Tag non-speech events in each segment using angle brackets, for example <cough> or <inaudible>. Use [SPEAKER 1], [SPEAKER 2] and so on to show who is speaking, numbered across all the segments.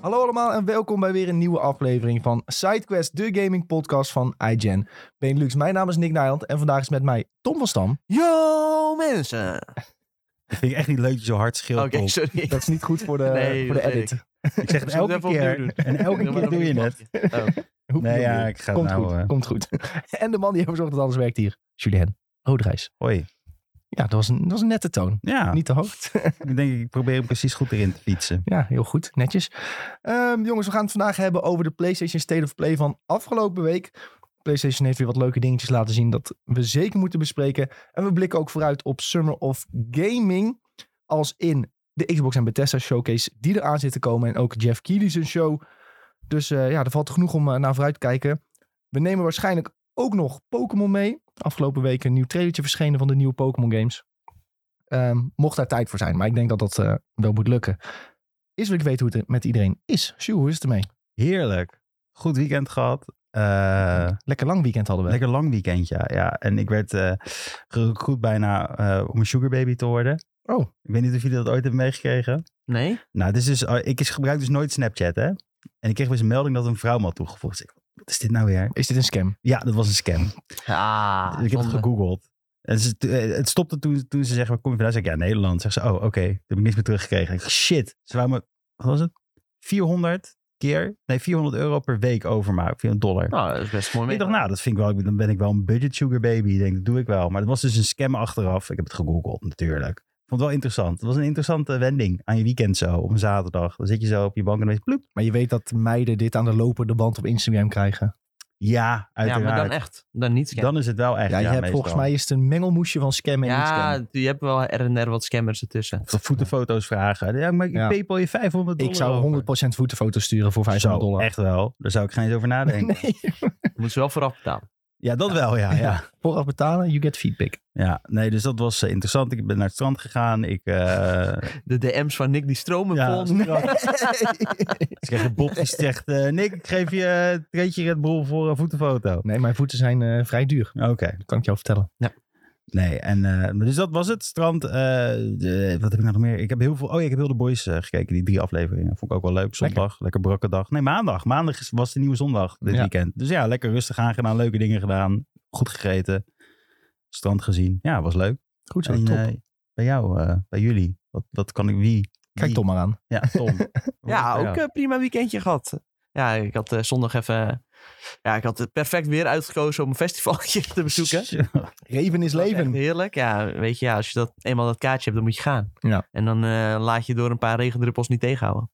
[SPEAKER 1] Hallo allemaal en welkom bij weer een nieuwe aflevering van SideQuest, de gaming podcast van iGen Benelux. Mijn naam is Nick Nijland en vandaag is met mij Tom van Stam.
[SPEAKER 2] Yo mensen!
[SPEAKER 3] Dat vind ik echt niet leuk dat je zo hard
[SPEAKER 2] Oké,
[SPEAKER 3] schreeuwt. Bob.
[SPEAKER 2] sorry.
[SPEAKER 1] Dat is niet goed
[SPEAKER 3] <laughs>
[SPEAKER 1] voor de,
[SPEAKER 2] Nee,
[SPEAKER 1] voor de
[SPEAKER 2] dat weet
[SPEAKER 1] edit. <laughs>
[SPEAKER 3] ik zeg het
[SPEAKER 2] Zullen we
[SPEAKER 3] elke
[SPEAKER 2] het even opnieuw
[SPEAKER 3] keer. En elke keer doe je het.
[SPEAKER 2] het.
[SPEAKER 1] Hoeft
[SPEAKER 3] Nee,
[SPEAKER 1] niet
[SPEAKER 3] ja,
[SPEAKER 1] opnieuw.
[SPEAKER 3] ik ga het
[SPEAKER 1] komt
[SPEAKER 3] nou,
[SPEAKER 1] goed,
[SPEAKER 3] eh.
[SPEAKER 1] komt goed. <laughs> En de man die ervoor zorgt dat alles werkt hier, Julien Roodrijs.
[SPEAKER 3] Hoi.
[SPEAKER 1] Ja, dat was een, dat was een nette toon.
[SPEAKER 3] Ja,
[SPEAKER 1] Niet te hoog.
[SPEAKER 3] ik denk ik probeer hem precies goed erin te fietsen.
[SPEAKER 1] eh, Ja, heel goed. Netjes. Ehm, jongens, we gaan het vandaag hebben over de PlayStation State of Play van afgelopen week. PlayStation heeft weer wat leuke dingetjes laten zien dat we zeker moeten bespreken. En we blikken ook vooruit op Summer of Gaming. Als in de Xbox en Bethesda showcase die eraan zit te komen. En ook Jeff Keighley zijn show. Dus eh, ja, er valt genoeg om eh, naar vooruit te kijken. We nemen waarschijnlijk ook nog Pokémon mee. Afgelopen week een nieuw trailertje verschenen van de nieuwe Pokémon games. Ehm, mocht daar tijd voor zijn, maar ik denk dat dat eh, wel moet lukken is wil ik weten hoe het met iedereen is. Sjoe, hoe is het ermee?
[SPEAKER 3] Heerlijk. Goed weekend gehad. Eh,
[SPEAKER 1] Lekker lang weekend hadden we.
[SPEAKER 3] lekker lang weekend, ja. ja. En ik werd eh goed bijna eh, om een sugar baby te worden.
[SPEAKER 1] Oh.
[SPEAKER 3] Ik weet niet of jullie dat ooit hebben meegekregen.
[SPEAKER 2] Nee?
[SPEAKER 3] Nou, het is dus, eh, ik is- gebruik dus nooit Snapchat, hè. En ik kreeg dus een melding dat een vrouw me had toegevoegd. Dus ik, wat is dit nou weer?
[SPEAKER 1] Is dit een scam?
[SPEAKER 3] Ja, dat was een scam.
[SPEAKER 2] Ah,
[SPEAKER 3] ik heb het
[SPEAKER 2] zonde.
[SPEAKER 3] gegoogeld. En ze, eh, het stopte toen, toen ze zeggen, waar kom je vandaan? Zeg ik, ja, Nederland. Zeg ze, oh, oké. Toen heb ik niks meer teruggekregen. Ik, shit. Ze wou me, wat was het? 400 keer, nee, 400 euro per week overmaken. 400 dollar.
[SPEAKER 2] Nou, dat is best mooi mee.
[SPEAKER 3] ik dacht, nou, dat vind ik wel, dan ben ik wel een budget sugar baby. Ik denk, dat doe ik wel. Maar dat was dus een scam achteraf. Ik heb het gegoogeld, natuurlijk. Ik vond het wel interessant. Het was een interessante wending aan je weekend zo, op een zaterdag. Dan zit je zo op je bank en dan is het ploep.
[SPEAKER 1] Maar je weet dat meiden dit aan de lopende band op Instagram krijgen.
[SPEAKER 3] Ja,
[SPEAKER 2] ja,
[SPEAKER 3] nou uiteraard.
[SPEAKER 2] maar dan
[SPEAKER 3] dan,
[SPEAKER 2] echt. Dan niet scammen.
[SPEAKER 3] is het wel echt.
[SPEAKER 1] ja, je hebt
[SPEAKER 3] meestal.
[SPEAKER 1] volgens mij is het een mengelmoesje van scam en niet
[SPEAKER 2] ja,
[SPEAKER 1] scam.
[SPEAKER 2] je hebt wel her en der wat scammers ertussen.
[SPEAKER 3] <laughs> Of de voetenfoto's vragen. Ja, maar ik
[SPEAKER 1] Ja.
[SPEAKER 3] paypal je 500 dollar
[SPEAKER 1] Ik zou
[SPEAKER 3] over.
[SPEAKER 1] 100% voetenfoto's sturen voor 500
[SPEAKER 3] Zo,
[SPEAKER 1] dollar.
[SPEAKER 3] Echt wel. Daar zou ik geen eens over <laughs> nadenken.
[SPEAKER 1] <laughs> Nee,
[SPEAKER 2] Je moet ze wel vooraf betalen.
[SPEAKER 3] Ja, dat wel. Ja, ja.
[SPEAKER 1] vooraf betalen, you get feedback.
[SPEAKER 3] ja, nee, dus dat was eh, interessant. Ik ben naar het strand gegaan. Ik, eh,
[SPEAKER 2] De DM's van Nick die stromen
[SPEAKER 3] Ja,
[SPEAKER 2] vol. <laughs>
[SPEAKER 3] strand. <laughs> ik kreeg een Bob die zegt: eh, Nick, ik geef je een treetje Red Bull voor een voetenfoto.
[SPEAKER 1] Nee, mijn voeten zijn eh, vrij duur.
[SPEAKER 3] Oké,
[SPEAKER 1] Dat kan ik jou vertellen.
[SPEAKER 3] nee. En, eh, maar dus dat was het. Strand. eh, de- wat heb ik nou nog meer? Ik heb heel veel. Oh ja, ik heb heel de boys eh, gekeken. Die drie afleveringen. Vond ik ook wel leuk. Zondag. Lekker, brakke dag. Nee, maandag. Maandag is- was de nieuwe zondag dit
[SPEAKER 1] Ja.
[SPEAKER 3] weekend. Dus ja, lekker rustig aangedaan. Leuke dingen gedaan. Goed gegeten. Strand gezien. Ja, was leuk.
[SPEAKER 1] Goed zo,
[SPEAKER 3] En,
[SPEAKER 1] top.
[SPEAKER 3] eh, bij jou, eh, bij jullie. Wat, wat kan ik wie?
[SPEAKER 1] Kijk
[SPEAKER 3] wie-
[SPEAKER 1] Tom maar aan.
[SPEAKER 3] Ja, Tom.
[SPEAKER 2] Ja, ook
[SPEAKER 3] Ja.
[SPEAKER 2] een prima weekendje gehad. Ja, ik had eh, zondag even... Ja, ik had het perfect weer uitgekozen om een festivaltje <laughs> te bezoeken.
[SPEAKER 1] Reven is
[SPEAKER 2] Dat was echt
[SPEAKER 1] leven.
[SPEAKER 2] Heerlijk. Ja, weet je, ja, als je dat, eenmaal dat kaartje hebt, dan moet je gaan.
[SPEAKER 1] Ja.
[SPEAKER 2] En dan eh, laat je door een paar regendruppels niet tegenhouden.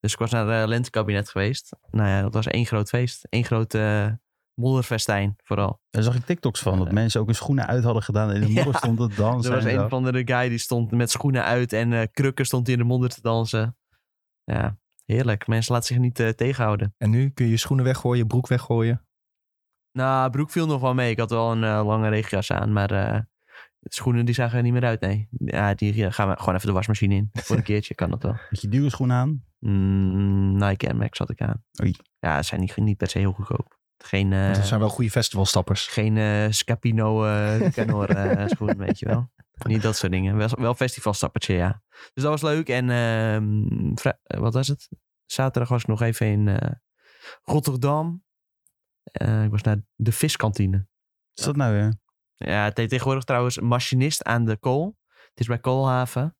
[SPEAKER 2] Dus ik was naar het lentekabinet geweest. Nou ja, dat was één groot feest. Eén groot eh, modderfestijn vooral.
[SPEAKER 3] Daar zag ik TikToks van. Dat mensen ook hun schoenen uit hadden gedaan. En in de
[SPEAKER 2] Ja.
[SPEAKER 3] modder stond het dansen.
[SPEAKER 2] er was
[SPEAKER 3] en zo.
[SPEAKER 2] een van de guy die stond met schoenen uit en eh, krukken stond hij in de modder te dansen. Ja, heerlijk. Mensen laten zich niet eh, tegenhouden.
[SPEAKER 1] En nu kun je je schoenen weggooien, je broek weggooien.
[SPEAKER 2] Nou, broek viel nog wel mee. Ik had wel een eh, lange regenjas aan, maar eh, de schoenen die zagen er niet meer uit, nee. Ja, die eh, gaan we gewoon even de wasmachine in. Voor een <laughs> keertje kan dat wel.
[SPEAKER 3] Met je dure schoen aan.
[SPEAKER 2] Mm, Nike Air Max had ik aan.
[SPEAKER 3] Oei.
[SPEAKER 2] Ja, ze zijn niet, niet per se heel goedkoop. Geen, eh,
[SPEAKER 1] dat zijn wel goede festivalstappers.
[SPEAKER 2] geen eh, Scapino eh Canor eh schoen, weet je wel. Niet dat soort dingen. Wel, wel festivalstappertje, ja. Dus dat was leuk. En ehm, vrij- eh, wat was het? Zaterdag was ik nog even in eh, Rotterdam. Eh, ik was naar de viskantine.
[SPEAKER 3] Wat is dat nou weer?
[SPEAKER 2] Ja, het heet tegenwoordig trouwens machinist aan de kool. Het is bij Koolhaven.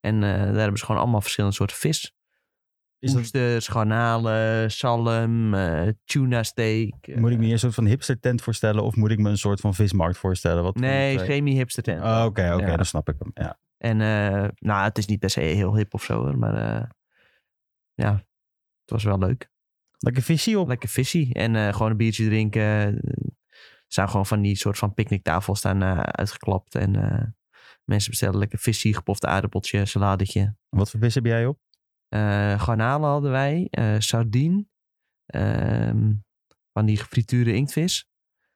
[SPEAKER 2] En eh, daar hebben ze gewoon allemaal verschillende soorten vis.
[SPEAKER 3] Is dat,
[SPEAKER 2] Oesters, garnalen, zalm, eh, tuna steak. eh,
[SPEAKER 3] moet ik me hier een soort van hipster tent voorstellen? Of moet ik me een soort van vismarkt voorstellen? Wat van
[SPEAKER 2] Nee,
[SPEAKER 3] die twee?
[SPEAKER 2] semi-hipster tent.
[SPEAKER 3] Oh, Oké, oké.
[SPEAKER 2] Ja.
[SPEAKER 3] Dan snap ik hem. Ja.
[SPEAKER 2] En eh, nou, het is niet per se heel hip of zo, hoor, maar eh, ja, het was wel leuk.
[SPEAKER 3] Lekker visie op.
[SPEAKER 2] Lekker visie en eh, gewoon een biertje drinken. Er staan gewoon van die soort van picknicktafels staan eh, uitgeklapt en eh, mensen bestellen lekker visie, gepofte aardappeltje, saladetje.
[SPEAKER 3] Wat voor vis heb jij op?
[SPEAKER 2] Eh, garnalen hadden wij, eh sardine, ehm, van die gefrituurde inktvis.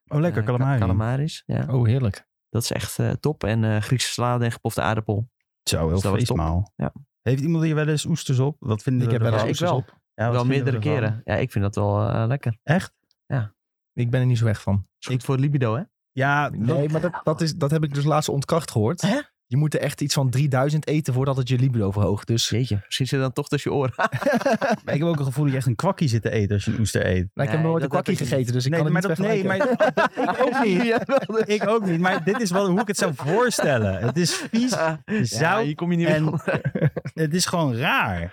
[SPEAKER 3] Oh, lekker.
[SPEAKER 2] Eh, ka-
[SPEAKER 3] calamari.
[SPEAKER 2] Calamaris, ja.
[SPEAKER 1] Oh, heerlijk.
[SPEAKER 2] Dat is echt eh, top. En eh, Griekse salade en gepofte aardappel.
[SPEAKER 3] Zo, heel
[SPEAKER 2] Dus dat was top.
[SPEAKER 3] feestmaal.
[SPEAKER 2] Ja.
[SPEAKER 3] Heeft iemand hier wel eens oesters op? Wat vinden
[SPEAKER 1] Ik heb
[SPEAKER 3] we
[SPEAKER 1] wel eens
[SPEAKER 2] ik
[SPEAKER 3] ervan?
[SPEAKER 1] oesters
[SPEAKER 2] wel.
[SPEAKER 1] op.
[SPEAKER 3] Ja, wat
[SPEAKER 2] wel
[SPEAKER 3] vinden we
[SPEAKER 2] meerdere
[SPEAKER 3] ervan?
[SPEAKER 2] keren. Ja, ik vind dat wel eh, lekker.
[SPEAKER 3] Echt?
[SPEAKER 1] Ik ben er niet zo weg van.
[SPEAKER 2] Is goed voor libido, hè?
[SPEAKER 3] Ja, dat-
[SPEAKER 1] Nee, maar dat, dat, is, dat heb ik dus laatst ontkracht gehoord.
[SPEAKER 2] Hè?
[SPEAKER 1] Je moet er echt iets van 3000 eten voordat het je libido verhoogt. Dus
[SPEAKER 2] Jeetje, misschien zit het dan toch tussen je oren.
[SPEAKER 3] Maar ik heb ook het gevoel dat je echt een kwakkie zit te eten als je een oester eet.
[SPEAKER 1] Nou, ik heb
[SPEAKER 2] Nee,
[SPEAKER 1] nog nooit een
[SPEAKER 2] dat heb
[SPEAKER 1] kwakkie
[SPEAKER 2] ik niet.
[SPEAKER 1] gegeten, dus ik
[SPEAKER 3] nee,
[SPEAKER 1] kan
[SPEAKER 3] maar
[SPEAKER 1] het niet
[SPEAKER 3] dat, nee, maar <laughs> ik ook niet.
[SPEAKER 2] <laughs> Ja, wel. dus.
[SPEAKER 3] Ik ook niet. Maar dit is wel hoe ik het zou voorstellen. Het is <laughs> vies.
[SPEAKER 2] ja, hier kom je niet meer
[SPEAKER 3] en-
[SPEAKER 2] van.
[SPEAKER 3] Het is gewoon raar.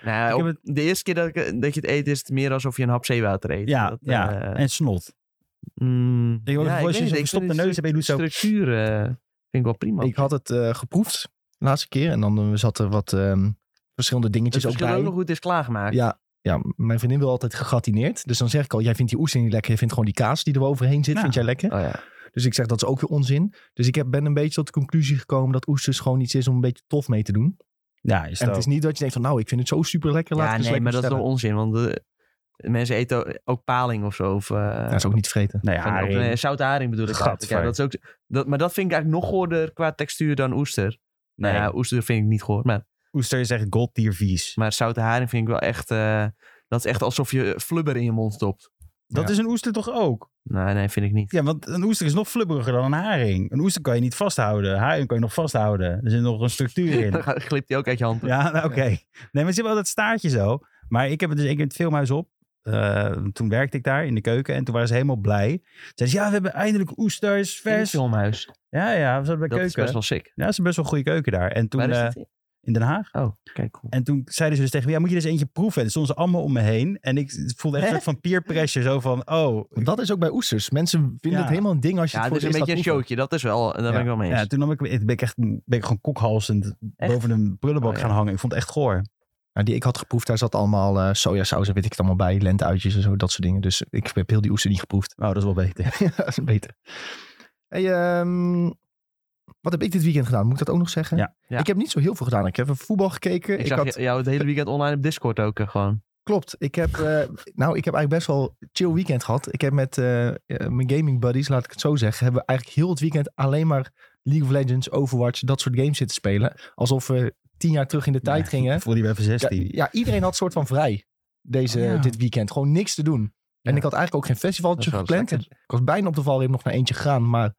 [SPEAKER 2] <laughs> Nou,
[SPEAKER 3] Ik heb
[SPEAKER 2] op- De eerste keer dat, ik, eh, dat je het eet, is het meer alsof je een hap zeewater eet.
[SPEAKER 3] Ja,
[SPEAKER 2] Dat,
[SPEAKER 3] ja.
[SPEAKER 2] eh,
[SPEAKER 3] en snot.
[SPEAKER 2] mm,
[SPEAKER 3] Ik hoor
[SPEAKER 2] ja,
[SPEAKER 3] het
[SPEAKER 2] ik
[SPEAKER 3] als je
[SPEAKER 2] weet
[SPEAKER 3] zo'n
[SPEAKER 2] niet, ik
[SPEAKER 3] gestopte
[SPEAKER 2] vind de
[SPEAKER 3] neus hebt en je doet zo-
[SPEAKER 2] Structuur eh, vind ik wel prima.
[SPEAKER 1] Ik had het eh, geproefd de laatste keer. En dan eh, zat er wat ehm, verschillende
[SPEAKER 2] het
[SPEAKER 1] dingetjes
[SPEAKER 2] is
[SPEAKER 1] ook
[SPEAKER 2] ook
[SPEAKER 1] bij.
[SPEAKER 2] nog goed is klaargemaakt.
[SPEAKER 1] Ja, ja, mijn vriendin wil altijd gegatineerd. Dus dan zeg ik al, jij vindt die oester niet lekker. Je vindt gewoon die kaas die er overheen zit,
[SPEAKER 3] Ja.
[SPEAKER 1] vind jij lekker.
[SPEAKER 2] Oh, ja.
[SPEAKER 1] Dus ik zeg, dat is ook weer onzin. Dus ik heb, ben een beetje tot de conclusie gekomen dat oesters gewoon iets is om een beetje tof mee te doen.
[SPEAKER 3] Ja, is
[SPEAKER 1] En het
[SPEAKER 3] dat.
[SPEAKER 1] is niet dat je denkt van, nou, ik vind het zo super lekker. Laat
[SPEAKER 2] Ja,
[SPEAKER 1] ik eens
[SPEAKER 2] nee, maar
[SPEAKER 1] lekker
[SPEAKER 2] dat is
[SPEAKER 1] bestellen.
[SPEAKER 2] toch onzin. Want de, mensen eten ook- ook paling of zo. Of, eh,
[SPEAKER 1] Ja, dat is ook niet vreten.
[SPEAKER 3] Nou ja,
[SPEAKER 2] van- of,
[SPEAKER 3] haring.
[SPEAKER 2] eh, zout haring bedoel ik. eigenlijk. Ja,
[SPEAKER 3] Gadver.
[SPEAKER 2] dat is ook, dat, maar dat vind ik eigenlijk nog goorder qua textuur dan oester.
[SPEAKER 3] Nee,
[SPEAKER 2] Nou ja, oester vind ik niet goor. Maar,
[SPEAKER 3] oester is echt gold tier vies.
[SPEAKER 2] maar zoute haring vind ik wel echt... eh, dat is echt alsof je flubber in je mond stopt. Nou,
[SPEAKER 3] Dat
[SPEAKER 1] Ja.
[SPEAKER 3] is een oester toch ook?
[SPEAKER 2] Nee, nee, vind ik niet.
[SPEAKER 3] Ja, want een oester is nog flubberiger dan een haring. Een oester kan je niet vasthouden. Haring kan je nog vasthouden. Er zit nog een structuur in.
[SPEAKER 2] <laughs> Dan gaat- glipt hij ook uit je hand.
[SPEAKER 3] Ja, nou, oké. Nee, maar ze hebben wel dat staartje zo. Maar ik heb het dus één keer in het filmhuis op. Eh, toen werkte ik daar in de keuken en toen waren ze helemaal blij. Zeiden ze, ja, we hebben eindelijk oesters
[SPEAKER 2] In het
[SPEAKER 3] vers.
[SPEAKER 2] filmhuis.
[SPEAKER 3] Ja, ja, we zaten bij
[SPEAKER 2] Dat is
[SPEAKER 3] keuken.
[SPEAKER 2] best wel sick.
[SPEAKER 3] Ja, dat is best wel een goede keuken daar. En toen
[SPEAKER 2] Waar is
[SPEAKER 3] eh,
[SPEAKER 2] het?
[SPEAKER 3] in Den Haag.
[SPEAKER 2] Oh, kijk. Cool.
[SPEAKER 3] En toen zeiden ze dus tegen me, ja, moet je dus eentje proeven? En toen stonden ze allemaal om me heen. En ik voelde echt een
[SPEAKER 1] Hè?
[SPEAKER 3] soort van peer pressure. Zo van, oh.
[SPEAKER 1] Want dat is ook bij oesters. Mensen vinden
[SPEAKER 3] Ja.
[SPEAKER 1] het helemaal een ding als je
[SPEAKER 2] Ja,
[SPEAKER 1] het
[SPEAKER 2] het
[SPEAKER 1] voor
[SPEAKER 2] is een
[SPEAKER 1] het
[SPEAKER 2] beetje een
[SPEAKER 1] eerst laat proeven.
[SPEAKER 2] showtje. Dat is wel... Daar ben ik wel mee eens.
[SPEAKER 3] Ja, toen nam ik, ben ik echt ben ik gewoon kokhalsend
[SPEAKER 2] Echt?
[SPEAKER 3] boven een prullenbak
[SPEAKER 2] Oh, ja.
[SPEAKER 3] gaan hangen. Ik vond het echt goor.
[SPEAKER 1] Nou, die ik had geproefd, daar zat allemaal eh, sojasaus en weet ik het allemaal bij. Lenteuitjes en zo, dat soort dingen. Dus ik heb heel die oester niet geproefd. <laughs>
[SPEAKER 3] Oh, dat is wel beter.
[SPEAKER 1] dat is beter. Hey, ehm, wat heb ik dit weekend gedaan? Moet ik dat ook nog zeggen?
[SPEAKER 3] Ja.
[SPEAKER 2] Ja.
[SPEAKER 1] Ik heb niet zo heel veel gedaan. Ik heb even voetbal gekeken.
[SPEAKER 2] Ik,
[SPEAKER 1] Ik
[SPEAKER 2] zag
[SPEAKER 1] had,
[SPEAKER 2] jou het hele weekend online op Discord ook eh, gewoon.
[SPEAKER 1] Klopt. Ik heb, eh, nou, ik heb eigenlijk best wel chill weekend gehad. Ik heb met eh, eh, mijn gaming buddies, laat ik het zo zeggen, hebben we eigenlijk heel het weekend alleen maar League of Legends, Overwatch, dat soort games zitten spelen. Alsof we tien jaar terug in de tijd gingen.
[SPEAKER 3] Ik voelde je bij even
[SPEAKER 1] Ja,
[SPEAKER 3] 16.
[SPEAKER 1] ja, iedereen had soort van vrij deze,
[SPEAKER 3] Oh, ja.
[SPEAKER 1] dit weekend. Gewoon niks te doen. En
[SPEAKER 2] Ja.
[SPEAKER 1] ik had eigenlijk ook geen festivaltje
[SPEAKER 2] Dat is wel
[SPEAKER 1] gepland. Ik was bijna op de valreep nog naar eentje gegaan, maar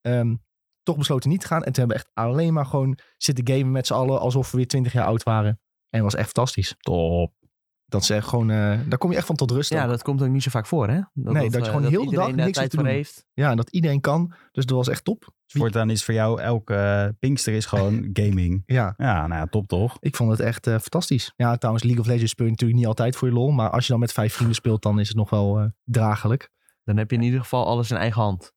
[SPEAKER 1] ehm, toch besloten niet te gaan. En toen hebben we echt alleen maar gewoon zitten gamen met z'n allen alsof we weer twintig jaar oud waren. En was echt fantastisch.
[SPEAKER 3] Top.
[SPEAKER 1] Dat ze echt gewoon, eh, daar kom je echt van tot rust.
[SPEAKER 2] Ja,
[SPEAKER 1] ook.
[SPEAKER 2] dat komt ook niet zo vaak voor, hè?
[SPEAKER 1] Nee, dat je
[SPEAKER 2] eh,
[SPEAKER 1] gewoon heel de
[SPEAKER 2] iedereen
[SPEAKER 1] dag
[SPEAKER 2] daar
[SPEAKER 1] niks
[SPEAKER 2] tijd
[SPEAKER 1] te
[SPEAKER 2] voor
[SPEAKER 1] doen.
[SPEAKER 2] heeft.
[SPEAKER 1] ja, en dat iedereen kan. Dus dat was echt top.
[SPEAKER 3] Voortaan is voor jou elke eh, Pinkster is gewoon gaming.
[SPEAKER 1] Ja,
[SPEAKER 3] Ja, nou ja, top toch?
[SPEAKER 1] ik vond het echt eh, fantastisch. Ja, trouwens, League of Legends speel je natuurlijk niet altijd voor je lol. Maar als je dan met vijf vrienden speelt, dan is het nog wel eh, dragelijk.
[SPEAKER 2] Dan heb je in ieder geval alles in eigen hand.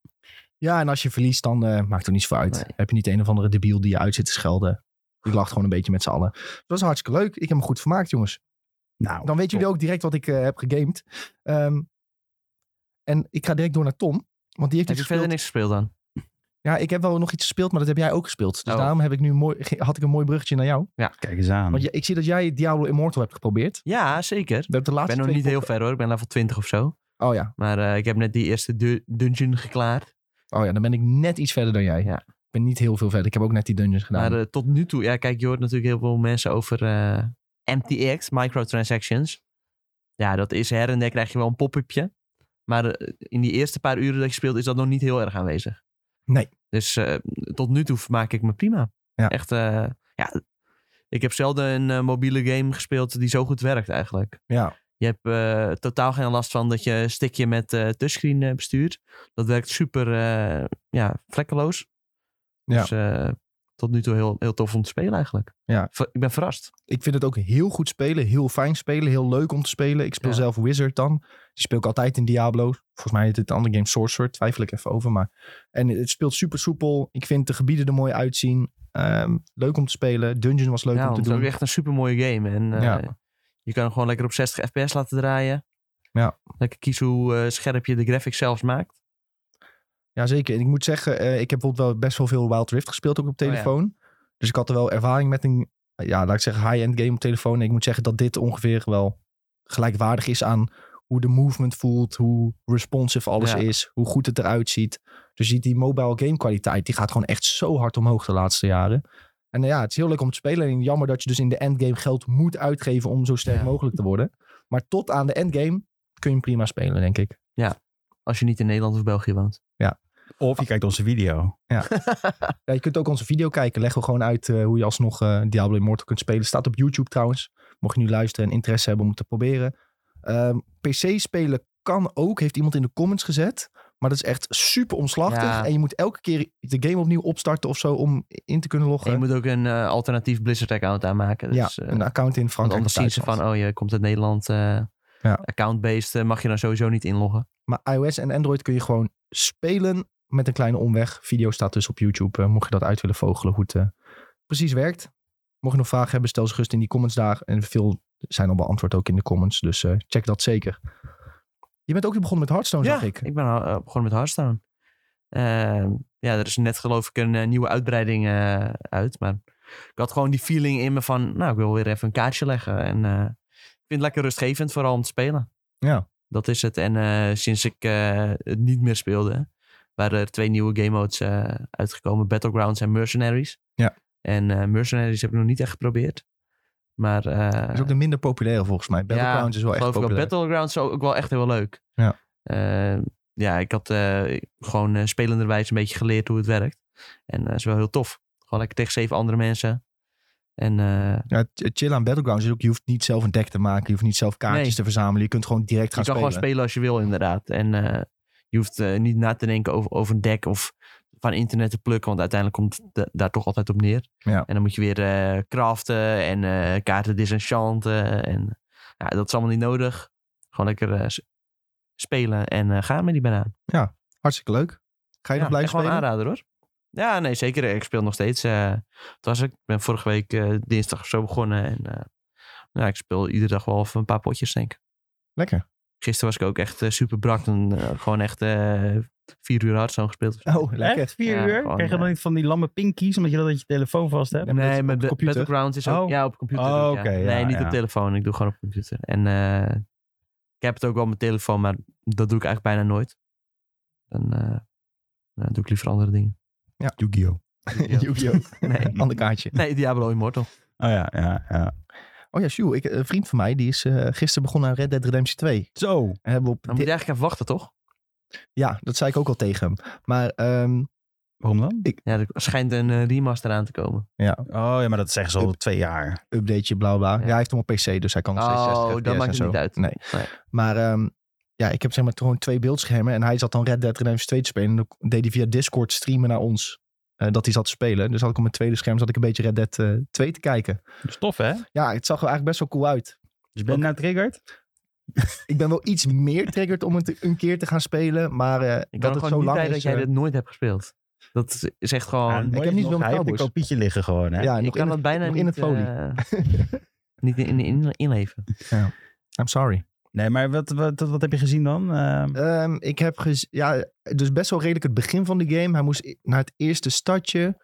[SPEAKER 1] Ja, en als je verliest, dan eh, maakt het niet zoveel uit.
[SPEAKER 2] Nee.
[SPEAKER 1] Heb je niet een of andere debiel die je uit zit te schelden. Ik lacht gewoon een beetje met z'n allen. Dat was hartstikke leuk. Ik heb me goed vermaakt, jongens.
[SPEAKER 3] Nou,
[SPEAKER 1] Dan weten jullie ook direct wat ik eh, heb gegamed. Ehm, en ik ga direct door naar Tom. Want die heeft
[SPEAKER 2] Heb
[SPEAKER 1] iets
[SPEAKER 2] je
[SPEAKER 1] gespeeld.
[SPEAKER 2] verder niks gespeeld dan?
[SPEAKER 1] Ja, ik heb wel nog iets gespeeld, maar dat heb jij ook gespeeld. Dus
[SPEAKER 2] Oh.
[SPEAKER 1] daarom heb ik nu een mooi, ge- had ik een mooi bruggetje naar jou.
[SPEAKER 3] kijk eens aan.
[SPEAKER 1] Want je- ik zie dat jij Diablo Immortal hebt geprobeerd.
[SPEAKER 2] Ja, zeker.
[SPEAKER 1] We hebben de
[SPEAKER 2] Ik
[SPEAKER 1] laatste
[SPEAKER 2] ben nog
[SPEAKER 1] twee
[SPEAKER 2] niet heel
[SPEAKER 1] podca-
[SPEAKER 2] ver hoor. Ik ben level 20 of zo.
[SPEAKER 1] Oh ja.
[SPEAKER 2] Maar eh, ik heb net die eerste du- dungeon geklaard.
[SPEAKER 1] oh ja, dan ben ik net iets verder dan jij.
[SPEAKER 2] Ja.
[SPEAKER 1] Ik ben niet heel veel verder. Ik heb ook net die dungeons gedaan.
[SPEAKER 2] Maar eh, tot nu toe, ja, kijk, je hoort natuurlijk heel veel mensen over eh, MTX, microtransactions. Ja, dat is her en der krijg je wel een pop-upje. Maar eh, in die eerste paar uren dat je speelt, is dat nog niet heel erg aanwezig.
[SPEAKER 1] Nee.
[SPEAKER 2] Dus eh, tot nu toe maak ik me prima.
[SPEAKER 1] Ja.
[SPEAKER 2] Echt, eh, ja. Ik heb zelden een eh, mobiele game gespeeld die zo goed werkt eigenlijk.
[SPEAKER 1] Ja.
[SPEAKER 2] Je hebt eh, totaal geen last van dat je een stickje met eh, touchscreen eh, bestuurt. Dat werkt super eh, ja, vlekkeloos.
[SPEAKER 1] Ja.
[SPEAKER 2] Dus eh, tot nu toe heel, heel tof om te spelen eigenlijk.
[SPEAKER 1] Ja.
[SPEAKER 2] Ver- ik ben verrast.
[SPEAKER 1] Ik vind het ook heel goed spelen, heel fijn spelen, heel leuk om te spelen. Ik speel
[SPEAKER 2] Ja.
[SPEAKER 1] zelf Wizard dan. Die speel ik altijd in Diablo. Volgens mij heet het de andere game Sorcerer, twijfel ik even over. Maar... En het speelt super soepel. Ik vind de gebieden er mooi uitzien. Ehm, leuk om te spelen. Dungeon was leuk
[SPEAKER 2] ja,
[SPEAKER 1] om
[SPEAKER 2] want
[SPEAKER 1] te
[SPEAKER 2] het is
[SPEAKER 1] doen.
[SPEAKER 2] ook echt een super mooie game. En eh,
[SPEAKER 1] Ja.
[SPEAKER 2] je kan hem gewoon lekker op 60 fps laten draaien.
[SPEAKER 1] Ja.
[SPEAKER 2] Lekker kiezen hoe eh, scherp je de graphics zelfs maakt.
[SPEAKER 1] Jazeker. En ik moet zeggen, eh, ik heb bijvoorbeeld wel best wel veel Wild Rift gespeeld, ook op
[SPEAKER 2] Oh ja.
[SPEAKER 1] telefoon. Dus ik had er wel ervaring met een, ja, laat ik zeggen, high-end game op telefoon. En ik moet zeggen dat dit ongeveer wel gelijkwaardig is aan hoe de movement voelt, hoe responsive alles
[SPEAKER 2] Ja.
[SPEAKER 1] is, hoe goed het eruit ziet. Dus je ziet die mobile game kwaliteit, die gaat gewoon echt zo hard omhoog de laatste jaren. En eh, ja, het is heel leuk om te spelen. En jammer dat je dus in de endgame geld moet uitgeven om zo sterk
[SPEAKER 2] Ja.
[SPEAKER 1] mogelijk te worden. Maar tot aan de endgame kun je hem prima spelen, denk ik.
[SPEAKER 2] Als je niet in Nederland of België woont.
[SPEAKER 3] Of je kijkt onze video.
[SPEAKER 1] Ja, je kunt ook onze video kijken. Leggen we gewoon uit eh, hoe je alsnog eh, Diablo Immortal kunt spelen. Staat op YouTube trouwens. Mocht je nu luisteren en interesse hebben om het te proberen. Ehm, PC spelen kan ook, heeft iemand in de comments gezet. Maar dat is echt super omslachtig.
[SPEAKER 2] Ja.
[SPEAKER 1] En je moet elke keer de game opnieuw opstarten of zo om in te kunnen
[SPEAKER 2] En
[SPEAKER 1] loggen.
[SPEAKER 2] je moet ook een eh, alternatief Blizzard-account aanmaken. Dus,
[SPEAKER 1] ja,
[SPEAKER 2] eh,
[SPEAKER 1] een account in
[SPEAKER 2] want
[SPEAKER 1] Frankrijk.
[SPEAKER 2] anders
[SPEAKER 1] of
[SPEAKER 2] zien ze van,
[SPEAKER 1] Duitsland.
[SPEAKER 2] oh, je komt uit Nederland. eh,
[SPEAKER 1] Ja.
[SPEAKER 2] Account-based eh, mag je dan sowieso niet inloggen.
[SPEAKER 1] Maar iOS en Android kun je gewoon spelen met een kleine omweg. Video staat dus op YouTube. eh, mocht je dat uit willen vogelen, hoe het eh, precies werkt. Mocht je nog vragen hebben, stel ze gerust in die comments daar. En veel zijn al beantwoord ook in de comments. Dus eh, check dat zeker. Je bent ook weer begonnen met Hearthstone, zag ik.
[SPEAKER 2] ben eh, begonnen met Hearthstone. Eh, ja, er is net geloof ik een eh, nieuwe uitbreiding eh, uit. Maar ik had gewoon die feeling in me van, nou, ik wil weer even een kaartje leggen. En eh, ik vind het lekker rustgevend, vooral om te spelen.
[SPEAKER 1] Ja.
[SPEAKER 2] Dat is het. En eh, sinds ik eh, het niet meer speelde, waren er twee nieuwe game modes eh, uitgekomen. Battlegrounds en Mercenaries.
[SPEAKER 1] Ja.
[SPEAKER 2] En eh, Mercenaries heb ik nog niet echt geprobeerd. Maar eh,
[SPEAKER 1] Dat is ook de minder populaire volgens mij. Battlegrounds is wel echt
[SPEAKER 2] geloof ik wel.
[SPEAKER 1] populair.
[SPEAKER 2] Battlegrounds is ook wel echt heel leuk.
[SPEAKER 1] Ja.
[SPEAKER 2] Eh, ja, ik had eh, gewoon eh, spelenderwijs een beetje geleerd hoe het werkt. En dat is wel heel tof. Gewoon lekker tegen zeven andere mensen. En eh,
[SPEAKER 1] Ja, het- het chill aan Battlegrounds is ook, je hoeft niet zelf een deck te maken. Je hoeft niet zelf kaartjes
[SPEAKER 2] Nee.
[SPEAKER 1] te verzamelen. Je kunt gewoon direct
[SPEAKER 2] je kan
[SPEAKER 1] gaan
[SPEAKER 2] gewoon
[SPEAKER 1] spelen.
[SPEAKER 2] spelen als je wil, inderdaad. En eh, je hoeft eh, niet na te denken over, over een deck of van internet te plukken. Want uiteindelijk komt het da- daar toch altijd op neer.
[SPEAKER 1] Ja.
[SPEAKER 2] En dan moet je weer eh, craften en eh, kaarten disenchanten. En ja, dat is allemaal niet nodig. Gewoon lekker eh, s- spelen en eh, gaan met die banaan.
[SPEAKER 1] Hartstikke leuk. Ga je nog
[SPEAKER 2] ja,
[SPEAKER 1] blijven
[SPEAKER 2] echt wel
[SPEAKER 1] spelen?
[SPEAKER 2] een aanrader hoor. Ja, nee, zeker. Ik speel nog steeds. eh, het was ik. Ik ben vorige week eh, dinsdag of zo begonnen. En eh, nou, ik speel iedere dag wel even een paar potjes, denk ik.
[SPEAKER 1] Lekker.
[SPEAKER 2] Gisteren was ik ook echt eh, super brak. En, eh, gewoon echt eh, vier uur hard zo gespeeld.
[SPEAKER 1] Oh, lekker.
[SPEAKER 3] Echt? Vier
[SPEAKER 2] Ja,
[SPEAKER 3] uur?
[SPEAKER 2] gewoon,
[SPEAKER 3] Krijg je dan
[SPEAKER 2] eh,
[SPEAKER 3] niet van die lamme pinkies omdat je dat uit je telefoon vast hebt?
[SPEAKER 1] Nee, maar dat is
[SPEAKER 2] Nee,
[SPEAKER 1] op
[SPEAKER 2] met
[SPEAKER 1] de
[SPEAKER 2] Ba-
[SPEAKER 1] computer?
[SPEAKER 2] Battlegrounds is ook...
[SPEAKER 3] Oh.
[SPEAKER 2] Ja, op computer.
[SPEAKER 3] Oh,
[SPEAKER 2] ook, ja.
[SPEAKER 3] oké, ja,
[SPEAKER 2] nee, niet
[SPEAKER 3] ja.
[SPEAKER 2] op telefoon. Ik doe gewoon op computer. En eh, ik heb het ook wel op mijn telefoon, maar dat doe ik eigenlijk bijna nooit. Dan eh, nou, doe ik liever andere
[SPEAKER 1] <laughs>
[SPEAKER 2] dingen.
[SPEAKER 3] Yu-Gi-Oh!
[SPEAKER 1] Yu-Gi-Oh!
[SPEAKER 2] Nee,
[SPEAKER 1] Ander kaartje.
[SPEAKER 2] nee Diablo Immortal.
[SPEAKER 3] Oh ja, ja, ja.
[SPEAKER 1] Oh ja, Sjoe, ik, een vriend van mij die is eh, gisteren begonnen aan Red Dead Redemption 2.
[SPEAKER 3] Zo.
[SPEAKER 1] En hebben we op
[SPEAKER 2] Dan
[SPEAKER 1] di-
[SPEAKER 2] moet je eigenlijk even wachten, toch?
[SPEAKER 1] Ja, dat zei ik ook al tegen hem. Maar ehm,
[SPEAKER 3] Waarom dan?
[SPEAKER 2] Ja, er schijnt een eh, remaster aan te komen.
[SPEAKER 3] Oh ja, maar dat zeggen ze al twee jaar.
[SPEAKER 1] updateje, bla bla.
[SPEAKER 2] Ja.
[SPEAKER 1] Ja. hij heeft hem op PC, dus hij kan nog steeds 60
[SPEAKER 2] Oh,
[SPEAKER 1] FPS
[SPEAKER 2] dat
[SPEAKER 1] en
[SPEAKER 2] maakt het
[SPEAKER 1] zo.
[SPEAKER 2] niet uit.
[SPEAKER 1] Nee. Maar ehm, ja, ik heb zeg maar gewoon twee beeldschermen. En hij zat dan Red Dead Redemption 2 te spelen. En dan deed hij via Discord streamen naar ons. eh, dat hij zat te spelen. Dus had ik op mijn tweede scherm zat ik een beetje Red Dead eh, 2 te kijken.
[SPEAKER 3] Stof, hè?
[SPEAKER 1] Ja, het zag er eigenlijk best wel cool uit.
[SPEAKER 3] Dus ben je nou triggerd?
[SPEAKER 1] Ik ben wel iets meer triggerd om het een keer te gaan spelen. Maar eh, dat
[SPEAKER 2] Ik kan
[SPEAKER 1] het
[SPEAKER 2] gewoon
[SPEAKER 1] zo
[SPEAKER 2] niet
[SPEAKER 1] lang
[SPEAKER 2] bij
[SPEAKER 1] is...
[SPEAKER 2] dat jij
[SPEAKER 1] eh,
[SPEAKER 2] dit nooit hebt gespeeld. Dat is echt gewoon...
[SPEAKER 1] Ah, heb niet veel met
[SPEAKER 3] Hij heeft een
[SPEAKER 1] Cowboys.
[SPEAKER 3] kopietje liggen gewoon, hè?
[SPEAKER 1] ja,
[SPEAKER 2] ik
[SPEAKER 1] Ah, nog
[SPEAKER 2] kan
[SPEAKER 1] in
[SPEAKER 2] dat
[SPEAKER 1] het-
[SPEAKER 2] bijna
[SPEAKER 1] nog
[SPEAKER 2] niet...
[SPEAKER 1] in het folie.
[SPEAKER 2] eh, niet in, in, in- inleven.
[SPEAKER 1] <laughs> I'm sorry.
[SPEAKER 3] Nee, maar wat, wat, wat heb je gezien dan? Ehm,
[SPEAKER 1] Ehm, ik heb gez- ja, dus best wel redelijk het begin van de game. Hij moest i- naar het eerste stadje.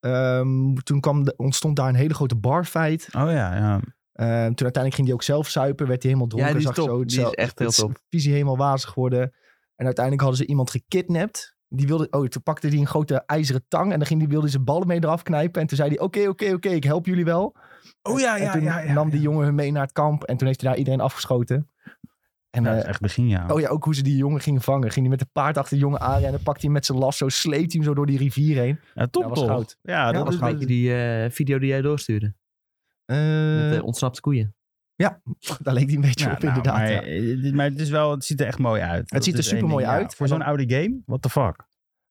[SPEAKER 1] Ehm, toen kwam de- ontstond daar een hele grote barfight.
[SPEAKER 3] oh ja, ja.
[SPEAKER 1] Ehm, toen uiteindelijk ging hij ook zelf zuipen. Werd hij helemaal dronken.
[SPEAKER 2] Ja, die is
[SPEAKER 1] zag
[SPEAKER 2] top.
[SPEAKER 1] Zo,
[SPEAKER 2] Die is echt heel
[SPEAKER 1] het is
[SPEAKER 2] top.
[SPEAKER 1] Visie helemaal wazig geworden. En uiteindelijk hadden ze iemand gekidnapt. Die wilde, oh, toen pakte hij een grote ijzeren tang. En dan ging die, wilde hij zijn ballen mee eraf knijpen. En toen zei hij, oké, oké, oké, ik help jullie wel.
[SPEAKER 3] Oh ja,
[SPEAKER 1] en toen nam die jongen hun mee naar het kamp. En toen heeft hij daar iedereen afgeschoten. En
[SPEAKER 3] Ja,
[SPEAKER 1] eh,
[SPEAKER 3] dat is echt begin, ja.
[SPEAKER 1] Oh ja, ook hoe ze die jongen gingen vangen. Ging hij met de paard achter de jongen aanrennen, pakte hij met zijn lasso, sleept hij hem zo door die rivier heen.
[SPEAKER 3] Ja, top
[SPEAKER 1] Ja, was
[SPEAKER 3] toch?
[SPEAKER 1] goud.
[SPEAKER 3] Ja,
[SPEAKER 1] Ja,
[SPEAKER 3] dat
[SPEAKER 1] was
[SPEAKER 3] is
[SPEAKER 1] goud.
[SPEAKER 2] Kijk je die eh, video die jij doorstuurde. Met eh, ontsnapte koeien.
[SPEAKER 1] eh, daar leek hij een beetje
[SPEAKER 3] Ja,
[SPEAKER 1] op,
[SPEAKER 3] nou,
[SPEAKER 1] inderdaad.
[SPEAKER 3] Maar,
[SPEAKER 1] ja.
[SPEAKER 3] eh, dit- maar het, is wel, het ziet er echt mooi uit. Dat
[SPEAKER 1] ziet er
[SPEAKER 3] is één
[SPEAKER 1] supermooi
[SPEAKER 3] ding, ja.
[SPEAKER 1] uit.
[SPEAKER 3] Voor zo'n oude game, what the fuck?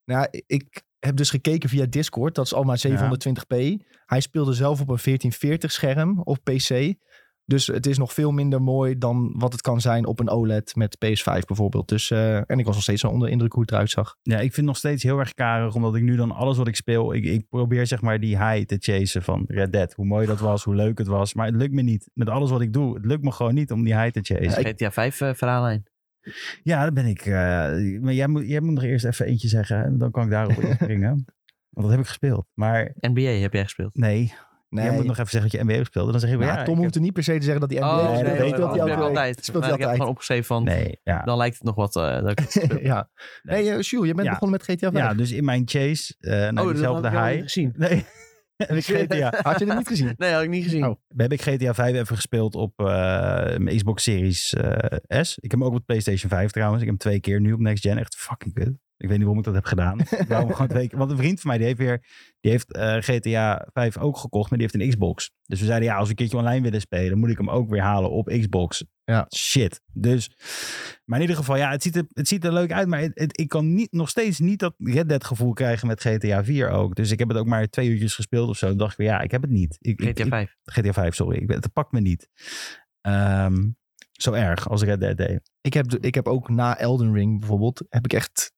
[SPEAKER 1] Nou, ja, ik heb dus gekeken via Discord, dat is allemaal 720p. Hij speelde zelf op een 1440 scherm op PC. Dus het is nog veel minder mooi dan wat het kan zijn op een OLED met PS5 bijvoorbeeld. Dus, eh, en ik was nog steeds zo onder de indruk hoe het eruit zag.
[SPEAKER 3] Ja, ik vind het nog steeds heel erg karig, omdat ik nu dan alles wat ik speel, ik, ik probeer zeg maar die high te chasen van Red Dead. Hoe mooi dat was, hoe leuk het was, maar het lukt me niet. Met alles wat ik doe, het lukt me gewoon niet om die high te
[SPEAKER 2] Is
[SPEAKER 3] chasen.
[SPEAKER 1] ik-
[SPEAKER 2] GTA 5 eh, verhaallijn.
[SPEAKER 3] Ja, dan ben ik, eh, maar jij moet, jij moet nog eerst even eentje zeggen en dan kan ik
[SPEAKER 1] <laughs>
[SPEAKER 3] daarop inspringen. Want dat heb ik gespeeld. Maar
[SPEAKER 2] NBA heb jij gespeeld.
[SPEAKER 3] nee,
[SPEAKER 1] Nee,
[SPEAKER 3] jij moet nog even zeggen dat je NBA speelde. Dan zeg ik
[SPEAKER 1] Nou,
[SPEAKER 3] weer, ja,
[SPEAKER 1] Tom
[SPEAKER 3] ik
[SPEAKER 1] hoeft er niet per se te zeggen dat hij NBA
[SPEAKER 2] oh,
[SPEAKER 1] speelt.
[SPEAKER 3] nee,
[SPEAKER 1] dat
[SPEAKER 3] nee,
[SPEAKER 1] speelt
[SPEAKER 3] dat
[SPEAKER 1] hij
[SPEAKER 2] ik
[SPEAKER 1] elke
[SPEAKER 2] heb
[SPEAKER 1] week.
[SPEAKER 2] altijd.
[SPEAKER 1] Speelt
[SPEAKER 2] Maar
[SPEAKER 1] hij
[SPEAKER 2] ik heb
[SPEAKER 1] altijd.
[SPEAKER 2] gewoon opgeschreven van...
[SPEAKER 3] heb- Nee, ja.
[SPEAKER 2] Dan lijkt het nog wat... eh,
[SPEAKER 1] <laughs>
[SPEAKER 2] dat ik het gespeeld.
[SPEAKER 1] ja. Nee, eh, Sjoel, je bent
[SPEAKER 3] Ja.
[SPEAKER 1] begonnen met GTA 5.
[SPEAKER 3] Ja, dus in mijn chase eh naar
[SPEAKER 2] Oh, dat had ik
[SPEAKER 3] diezelfde
[SPEAKER 2] helemaal
[SPEAKER 3] high.
[SPEAKER 2] niet gezien.
[SPEAKER 3] Nee, heb ik <laughs> GTA,
[SPEAKER 1] Had je het niet gezien?
[SPEAKER 2] Nee, had ik niet gezien.
[SPEAKER 1] Oh.
[SPEAKER 3] heb ik GTA 5 even gespeeld op eh, mijn Xbox Series eh, S. Ik heb hem ook op de PlayStation 5 trouwens. Ik heb hem twee keer nu op Next Gen. Echt fucking kut. Ik weet niet waarom ik dat heb gedaan.
[SPEAKER 1] Nou,
[SPEAKER 3] Waarom gewoon twee keer- Want een vriend van mij die heeft weer die heeft, eh, GTA 5 ook gekocht, maar die heeft een Xbox. Dus we zeiden ja, als we een keertje online willen spelen, moet ik hem ook weer halen op Xbox.
[SPEAKER 1] Ja.
[SPEAKER 3] Shit. Dus, maar in ieder geval, ja, het ziet er, het ziet er leuk uit, maar het, het- ik kan niet, nog steeds niet dat Red Dead gevoel krijgen met GTA 4 ook. Dus ik heb het ook maar twee uurtjes gespeeld of zo. Toen dacht ik, weer, ja, ik heb het niet. Ik, ik-
[SPEAKER 2] GTA
[SPEAKER 3] ik-
[SPEAKER 2] 5.
[SPEAKER 3] GTA 5, sorry. Ik, ben- het pakt me niet. Ehm, zo erg als Red Dead deed.
[SPEAKER 1] Ik heb, de- ik heb ook na Elden Ring bijvoorbeeld, heb ik echt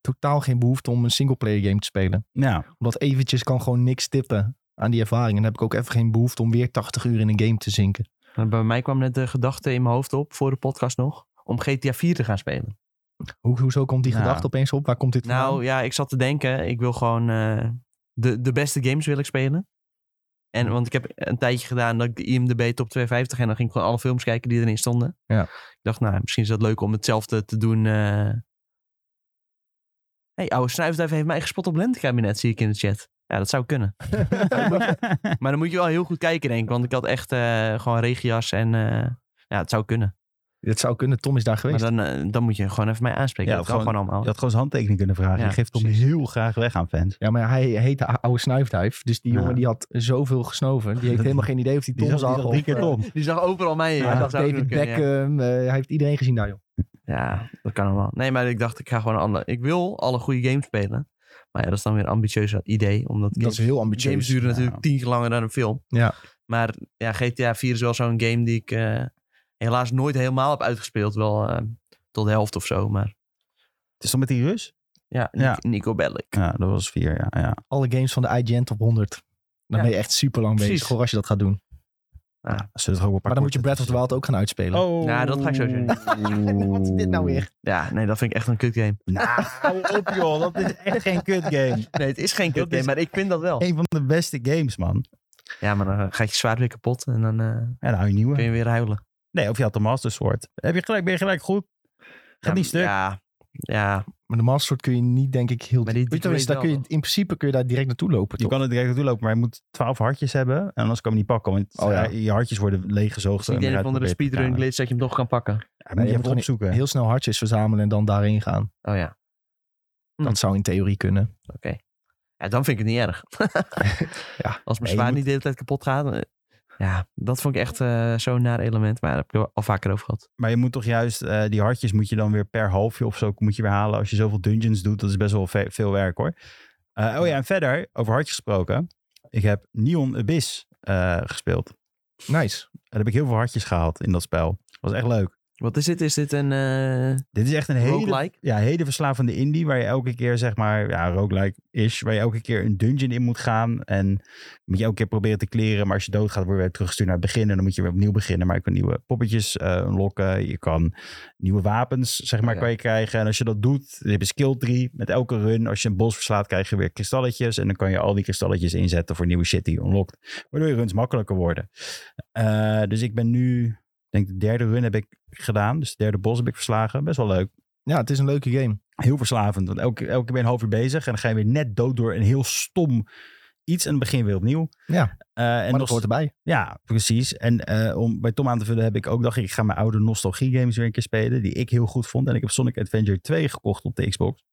[SPEAKER 1] totaal geen behoefte om een singleplayer game te spelen.
[SPEAKER 3] Ja,
[SPEAKER 1] <laughs> Omdat eventjes kan gewoon niks tippen aan die ervaring. En dan heb ik ook even geen behoefte om weer 80 uur in een game te zinken.
[SPEAKER 2] Maar Bij mij kwam net de gedachte in mijn hoofd op, voor de podcast nog, om GTA 4 te gaan spelen.
[SPEAKER 1] Hoe, hoezo komt die
[SPEAKER 3] Nou.
[SPEAKER 1] gedachte opeens op? Waar komt dit vandaan?
[SPEAKER 2] Nou ja, ik zat te denken, ik wil gewoon eh, de, de beste games wil ik spelen. En, want ik heb een tijdje gedaan dat ik de IMDb top 250 en dan ging ik gewoon alle films kijken die erin stonden.
[SPEAKER 1] Ja.
[SPEAKER 2] Ik dacht, nou, misschien is dat leuk om hetzelfde te doen. eh. hey, oude snuifduif heeft mij gespot op lentekabinet, zie ik in de chat. Ja, dat zou kunnen.
[SPEAKER 3] <laughs>
[SPEAKER 2] maar dan moet je wel heel goed kijken, denk ik. Want ik had echt eh, gewoon regias en eh, ja, het zou kunnen.
[SPEAKER 1] <laughs> Het zou kunnen, Tom is daar geweest.
[SPEAKER 2] Maar dan, eh, dan moet je gewoon even mij aanspreken.
[SPEAKER 3] Ja,
[SPEAKER 2] dat
[SPEAKER 3] of
[SPEAKER 2] kan gewoon allemaal.
[SPEAKER 3] je had gewoon zijn handtekening kunnen vragen.
[SPEAKER 2] Ja,
[SPEAKER 3] je geeft hem
[SPEAKER 2] precies.
[SPEAKER 3] heel graag weg aan fans.
[SPEAKER 1] Ja, maar hij heette oude snuifduif. Dus die
[SPEAKER 3] Ja.
[SPEAKER 1] jongen die had zoveel gesnoven. Die heeft
[SPEAKER 3] Dat-
[SPEAKER 1] helemaal geen idee of die
[SPEAKER 3] Die
[SPEAKER 1] Tom
[SPEAKER 3] zag, die
[SPEAKER 1] zag.
[SPEAKER 3] zag
[SPEAKER 1] of,
[SPEAKER 3] drie keer
[SPEAKER 1] eh,
[SPEAKER 3] Tom.
[SPEAKER 2] Die zag overal mij.
[SPEAKER 1] hij
[SPEAKER 2] ja,
[SPEAKER 1] dacht
[SPEAKER 2] dat zou
[SPEAKER 1] David
[SPEAKER 2] kunnen, ja.
[SPEAKER 1] Beckham. eh, hij heeft iedereen gezien daar, joh.
[SPEAKER 2] Ja, dat kan allemaal. Nee, maar ik dacht, ik ga gewoon een andere. Ik wil alle goede games spelen. Maar ja, dat is dan weer een ambitieus idee. Omdat
[SPEAKER 1] Dat
[SPEAKER 2] games,
[SPEAKER 1] is heel
[SPEAKER 2] games
[SPEAKER 1] ambitieus.
[SPEAKER 2] duren
[SPEAKER 3] ja.
[SPEAKER 2] natuurlijk tien keer langer dan een film.
[SPEAKER 1] Ja.
[SPEAKER 2] Maar ja, GTA 4 is wel zo'n game die ik eh, helaas nooit helemaal heb uitgespeeld. Wel eh, tot de helft of zo. Maar
[SPEAKER 3] Het is toch met die Rus?
[SPEAKER 2] ja,
[SPEAKER 3] Ja.
[SPEAKER 2] Nic- Nico Bellic.
[SPEAKER 3] Ja, dat was vier, ja. ja.
[SPEAKER 1] Alle games van de IGN top 100. Dan
[SPEAKER 2] Ja.
[SPEAKER 1] ben je echt super lang bezig
[SPEAKER 2] Precies.
[SPEAKER 1] hoor, als je dat gaat doen.
[SPEAKER 3] Zullen we er ook wel een paar
[SPEAKER 1] Maar dan moet je Breath of
[SPEAKER 3] korte
[SPEAKER 1] the Wild ook gaan uitspelen.
[SPEAKER 3] Oh.
[SPEAKER 2] Ja, Nou, dat ga ik sowieso
[SPEAKER 3] <laughs> doen.
[SPEAKER 1] Wat is dit nou weer?
[SPEAKER 2] Ja, nee, dat vind ik echt een kut game.
[SPEAKER 3] Nou, hou op joh. Dat is echt geen kut game.
[SPEAKER 2] Nee, het is geen
[SPEAKER 3] Dat
[SPEAKER 2] kut game,
[SPEAKER 3] is-
[SPEAKER 2] maar ik vind dat wel.
[SPEAKER 3] Een van de beste games, man.
[SPEAKER 2] Ja, maar dan eh, gaat je zwaard weer kapot en dan eh,
[SPEAKER 3] Ja, nou, een nieuwe.
[SPEAKER 2] kun je weer huilen.
[SPEAKER 3] Nee, of je had de Master Sword. Heb je gelijk, ben je gelijk goed. Gaat
[SPEAKER 2] ja,
[SPEAKER 3] niet stuk.
[SPEAKER 2] Ja, ja,
[SPEAKER 1] Maar de Master Sword kun je niet, denk ik, heel...
[SPEAKER 2] Maar die- die
[SPEAKER 1] Weet je,
[SPEAKER 2] kun je
[SPEAKER 1] daar
[SPEAKER 2] wel,
[SPEAKER 1] kun je,
[SPEAKER 2] toch?
[SPEAKER 1] in principe kun je daar direct naartoe lopen,
[SPEAKER 3] Je
[SPEAKER 1] toch?
[SPEAKER 3] kan het direct naartoe lopen, maar je moet twaalf hartjes hebben. En anders kan je hem niet pakken, want
[SPEAKER 1] Oh, ja.
[SPEAKER 3] eh, je hartjes worden leeggezoogd.
[SPEAKER 2] het is niet
[SPEAKER 3] en
[SPEAKER 2] een of
[SPEAKER 3] eruit
[SPEAKER 2] andere
[SPEAKER 3] geprobeerd te
[SPEAKER 2] speedrun
[SPEAKER 3] halen.
[SPEAKER 2] glitch dat je hem toch kan pakken.
[SPEAKER 3] Ja, moet
[SPEAKER 1] Nee,
[SPEAKER 3] je
[SPEAKER 1] je
[SPEAKER 3] even
[SPEAKER 1] moet
[SPEAKER 3] opzoeken.
[SPEAKER 1] Heel snel hartjes verzamelen en dan daarin gaan.
[SPEAKER 2] Oh ja. Hm.
[SPEAKER 1] Dat zou in theorie kunnen.
[SPEAKER 2] ja, dan vind ik het niet erg. <laughs>
[SPEAKER 1] Ja,
[SPEAKER 2] Als mijn
[SPEAKER 3] je
[SPEAKER 2] zwaar
[SPEAKER 3] moet-
[SPEAKER 2] niet de hele tijd kapot gaat. eh, Ja, dat vond ik echt eh, zo'n naar element. Maar daar heb ik het al vaker over gehad.
[SPEAKER 3] Maar je moet toch juist, eh, die hartjes moet je dan weer per halfje of zo moet je weer halen. Als je zoveel dungeons doet, dat is best wel ve- veel werk hoor. Eh, oh ja, en verder, over hartjes gesproken. Ik heb Neon Abyss eh, gespeeld. En
[SPEAKER 1] Nice.
[SPEAKER 3] daar heb ik heel veel hartjes gehaald in dat spel. Was echt leuk.
[SPEAKER 2] Wat is dit? Is dit een eh
[SPEAKER 3] Dit is echt een hele,
[SPEAKER 2] roguelike?
[SPEAKER 3] ja, hele verslavende indie waar je elke keer zeg maar, ja, roguelike-ish, waar je elke keer een dungeon in moet gaan. En moet je elke keer proberen te kleren. Maar als je doodgaat, word je weer teruggestuurd naar het begin. En dan moet je weer opnieuw beginnen. Maar je kan nieuwe poppetjes eh, lokken. Je kan nieuwe wapens, zeg maar,
[SPEAKER 2] Oh ja.
[SPEAKER 3] kan je krijgen. En als je dat doet, dan heb je skill 3. Met elke run, als je een bos verslaat, krijg je weer kristalletjes. En dan kan je al die kristalletjes inzetten voor nieuwe shit die je unlockt. Waardoor je runs makkelijker worden. Eh, dus ik ben nu, ik denk de derde run heb ik gedaan. Dus de derde bos heb ik verslagen. Best wel leuk.
[SPEAKER 1] Ja, het is een leuke game.
[SPEAKER 3] Heel verslavend. Want elke, elke keer ben je een half uur bezig. En dan ga je weer net dood door een heel stom iets. En dan begin je weer opnieuw.
[SPEAKER 1] Ja,
[SPEAKER 3] Eh, en
[SPEAKER 1] maar
[SPEAKER 3] nog-
[SPEAKER 1] dat hoort erbij.
[SPEAKER 3] ja, precies. En eh, om bij Tom aan te vullen heb ik ook dacht ik, ik ga mijn oude nostalgie games weer een keer spelen. Die ik heel goed vond. En ik heb Sonic Adventure 2 gekocht op de Xbox.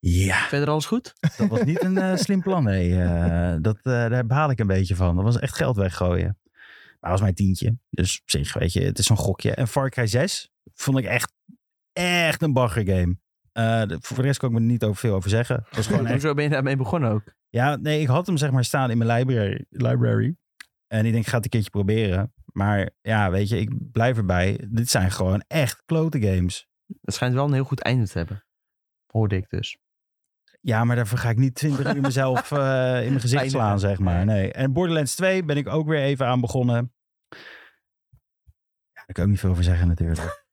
[SPEAKER 3] Ja,
[SPEAKER 2] Verder alles goed?
[SPEAKER 3] dat was niet een eh, slim plan. Nee, Eh, dat, eh, daar baal ik een beetje van. Dat was echt geld weggooien. Maar dat was mijn tientje. Dus op zich, weet je, het is zo'n gokje. En Far Cry 6 vond ik echt, echt een bagger game. Eh, de- voor de rest kan ik me er niet over veel over zeggen. Het
[SPEAKER 2] <laughs>
[SPEAKER 3] was gewoon echt
[SPEAKER 2] Hoezo ben je daarmee begonnen ook?
[SPEAKER 3] ja, nee, ik had hem zeg maar staan in mijn library. library. En ik denk, ik ga het een keertje proberen. Maar ja, weet je, ik blijf erbij. Dit zijn gewoon echt klote games.
[SPEAKER 2] Het schijnt wel een heel goed einde te hebben. Hoorde ik dus.
[SPEAKER 3] Ja, maar daarvoor ga ik niet 20 uur mezelf eh, in mijn gezicht
[SPEAKER 2] Eindigen.
[SPEAKER 3] slaan, zeg maar. Nee. En Borderlands 2 ben ik ook weer even aan begonnen. Ja, daar kan ik ook niet veel over zeggen natuurlijk.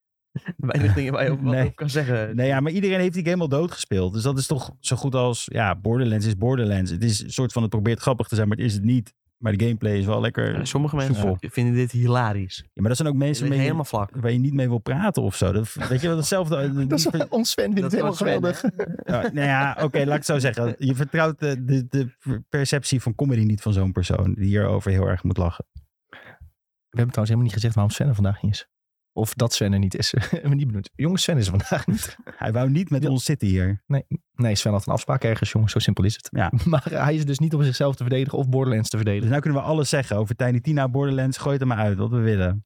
[SPEAKER 2] Weinig dingen waar je op, wat
[SPEAKER 3] Nee.
[SPEAKER 2] op kan zeggen.
[SPEAKER 3] Nee, ja, maar iedereen heeft die game al doodgespeeld. Dus dat is toch zo goed als... Ja, Borderlands is Borderlands. Het is een soort van, het probeert grappig te zijn, maar het is het niet. Maar de gameplay is wel lekker...
[SPEAKER 2] Ja, Sommige mensen
[SPEAKER 3] Soepel.
[SPEAKER 2] vinden dit hilarisch.
[SPEAKER 3] Ja, maar dat zijn ook
[SPEAKER 2] Ze
[SPEAKER 3] mensen...
[SPEAKER 2] liggen
[SPEAKER 3] mee-
[SPEAKER 2] helemaal vlak.
[SPEAKER 3] waar je niet mee wil praten of zo. Dat, weet je wel, hetzelfde.
[SPEAKER 1] <laughs> Dat is, ons Sven vindt
[SPEAKER 2] Dat
[SPEAKER 1] het
[SPEAKER 2] is
[SPEAKER 1] helemaal
[SPEAKER 2] ons Sven,
[SPEAKER 1] geweldig.
[SPEAKER 3] Oh, nou ja, oké, laat ik het zo zeggen. Je vertrouwt de, de, de perceptie van comedy niet van zo'n persoon die hierover heel erg moet lachen.
[SPEAKER 1] We hebben trouwens helemaal niet gezegd waarom Sven er vandaag niet is. Of dat Sven er niet is. <laughs> maar niet benoemd. Jongens, Sven is er vandaag niet.
[SPEAKER 3] Hij wou niet met
[SPEAKER 1] Ja.
[SPEAKER 3] ons zitten hier.
[SPEAKER 1] Nee, Sven had een afspraak ergens, jongens. Zo simpel is het.
[SPEAKER 3] Ja.
[SPEAKER 1] <laughs> Maar hij is dus niet om zichzelf te verdedigen of Borderlands te verdedigen.
[SPEAKER 3] Dus nou kunnen we alles zeggen over Tiny Tina, Borderlands. Gooi het er maar uit, wat we willen.